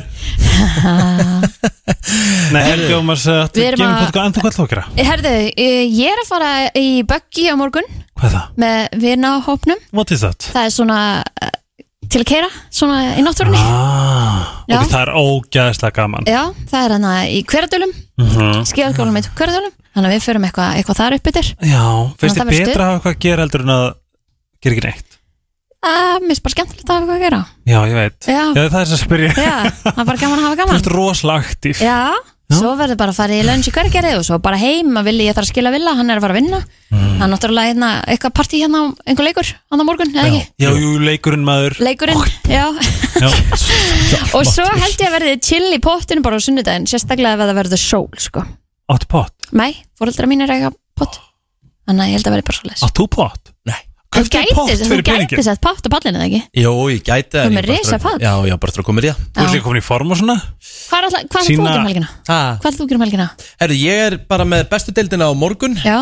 Speaker 5: Nei, helgaómars uh,
Speaker 3: Við erum að-
Speaker 5: gmail.com, En þú hvað ætlaðu að gera?
Speaker 3: Herðu, eh, ég er að fara í buggy á morgun
Speaker 5: Hvað það?
Speaker 3: með vinahópnum
Speaker 5: What is that?
Speaker 3: Það er svona eh, til að keira, svona í náttúrunni
Speaker 5: Ah,
Speaker 3: Já. Eh,
Speaker 5: ok, það er ógæðslega gaman
Speaker 3: Já, það er hana í hveradölum
Speaker 5: Mhm.
Speaker 3: Skíðarskólum í hveradölum Þannig að við förum eitthvað eitthva þar upp yfir
Speaker 5: Já, finnst
Speaker 3: það
Speaker 5: þið
Speaker 3: verður stuð.
Speaker 5: betra að hafa eitthvað að gera heldur en að gera ekki neitt
Speaker 3: Að Ah, Mér finnst bara skemmtilegt að hafa eitthvað að gera
Speaker 5: Já, ég veit
Speaker 3: Já.
Speaker 5: það er sem spyrja
Speaker 3: Já, það er bara gaman að hafa
Speaker 5: Þú
Speaker 3: gaman
Speaker 5: ert rosalega aktíf
Speaker 3: Já, svo verður bara að fara í lunch í hvergerið og svo bara heim að vilja ég þarf að skila vilja, hann er að fara að vinna
Speaker 5: Mm.
Speaker 3: Það er náttúrulega hérna, eitthvað partí hérna á einhver leikur, hann á morgun, eða ekki
Speaker 5: Já, jú, leikurinn maður
Speaker 3: Leikurinn, já Og svo held ég að verði chill í pottinu bara á sunnudaginn, sérstaklega ef það verður sól, sko
Speaker 5: Áttu pott
Speaker 3: Nei, fóreldra mín er eiga pott Þannig að ég held að verði bara svo leys
Speaker 5: Áttu pott?
Speaker 3: Þú
Speaker 5: Kauptu pott
Speaker 3: gæti, þú
Speaker 5: fyrir peningin.
Speaker 3: gæti sett pott á pallinu, eða ekki
Speaker 2: Jó, ég gæti það
Speaker 3: Þú
Speaker 2: en
Speaker 3: með
Speaker 2: ég bara
Speaker 3: risa
Speaker 2: þarf-
Speaker 3: fall.
Speaker 2: Já, já, bara þurfa að koma í það
Speaker 5: Þú ert líka komin í form og svona
Speaker 3: Hvað er alltaf- hvað er þú
Speaker 2: Sýna-
Speaker 3: að gera um helgina?
Speaker 2: Ha.
Speaker 3: Hvað er þú að gera um helgina?
Speaker 2: Herru, ég er bara með bestu deildina á morgun eh,
Speaker 3: Já.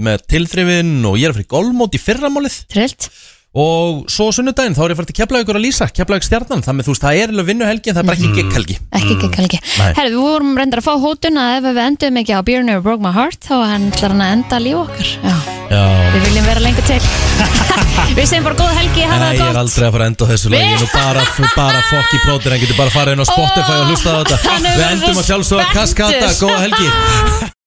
Speaker 2: Með tilþrifin og ég er að fara í golfmót í fyrramálið
Speaker 3: Trillt
Speaker 2: Og svo á sunnudaginn, þá er ég farið til Keflavíkur að lýsa Keflavík stjarnan, þannig þú veist, það er alveg vinnuhelgi En það er bara ekki gekk helgi
Speaker 3: Mm.
Speaker 2: Mm.
Speaker 3: Ekki gekk helgi
Speaker 2: Nei.
Speaker 3: Herðu, við vorum reyndar að fá hótun að ef við endum ekki á Beer Never Broke My Heart þá ætlar hann að enda líf okkar Já,
Speaker 2: Já,
Speaker 3: við viljum vera lengur til Við segjum bara góð helgi, hafa
Speaker 2: Nei,
Speaker 3: það
Speaker 2: ég er
Speaker 3: gott
Speaker 2: aldrei að fara að enda á þessu
Speaker 3: Við-
Speaker 2: lagi Ég er nú bara, bara fokk í plótir En getur bara að fara inn á Spotify og hlusta á þetta
Speaker 3: hann er
Speaker 2: Við endum
Speaker 3: svo
Speaker 2: að sjálfsögða
Speaker 3: spenntur.
Speaker 2: kaskata, góða helgi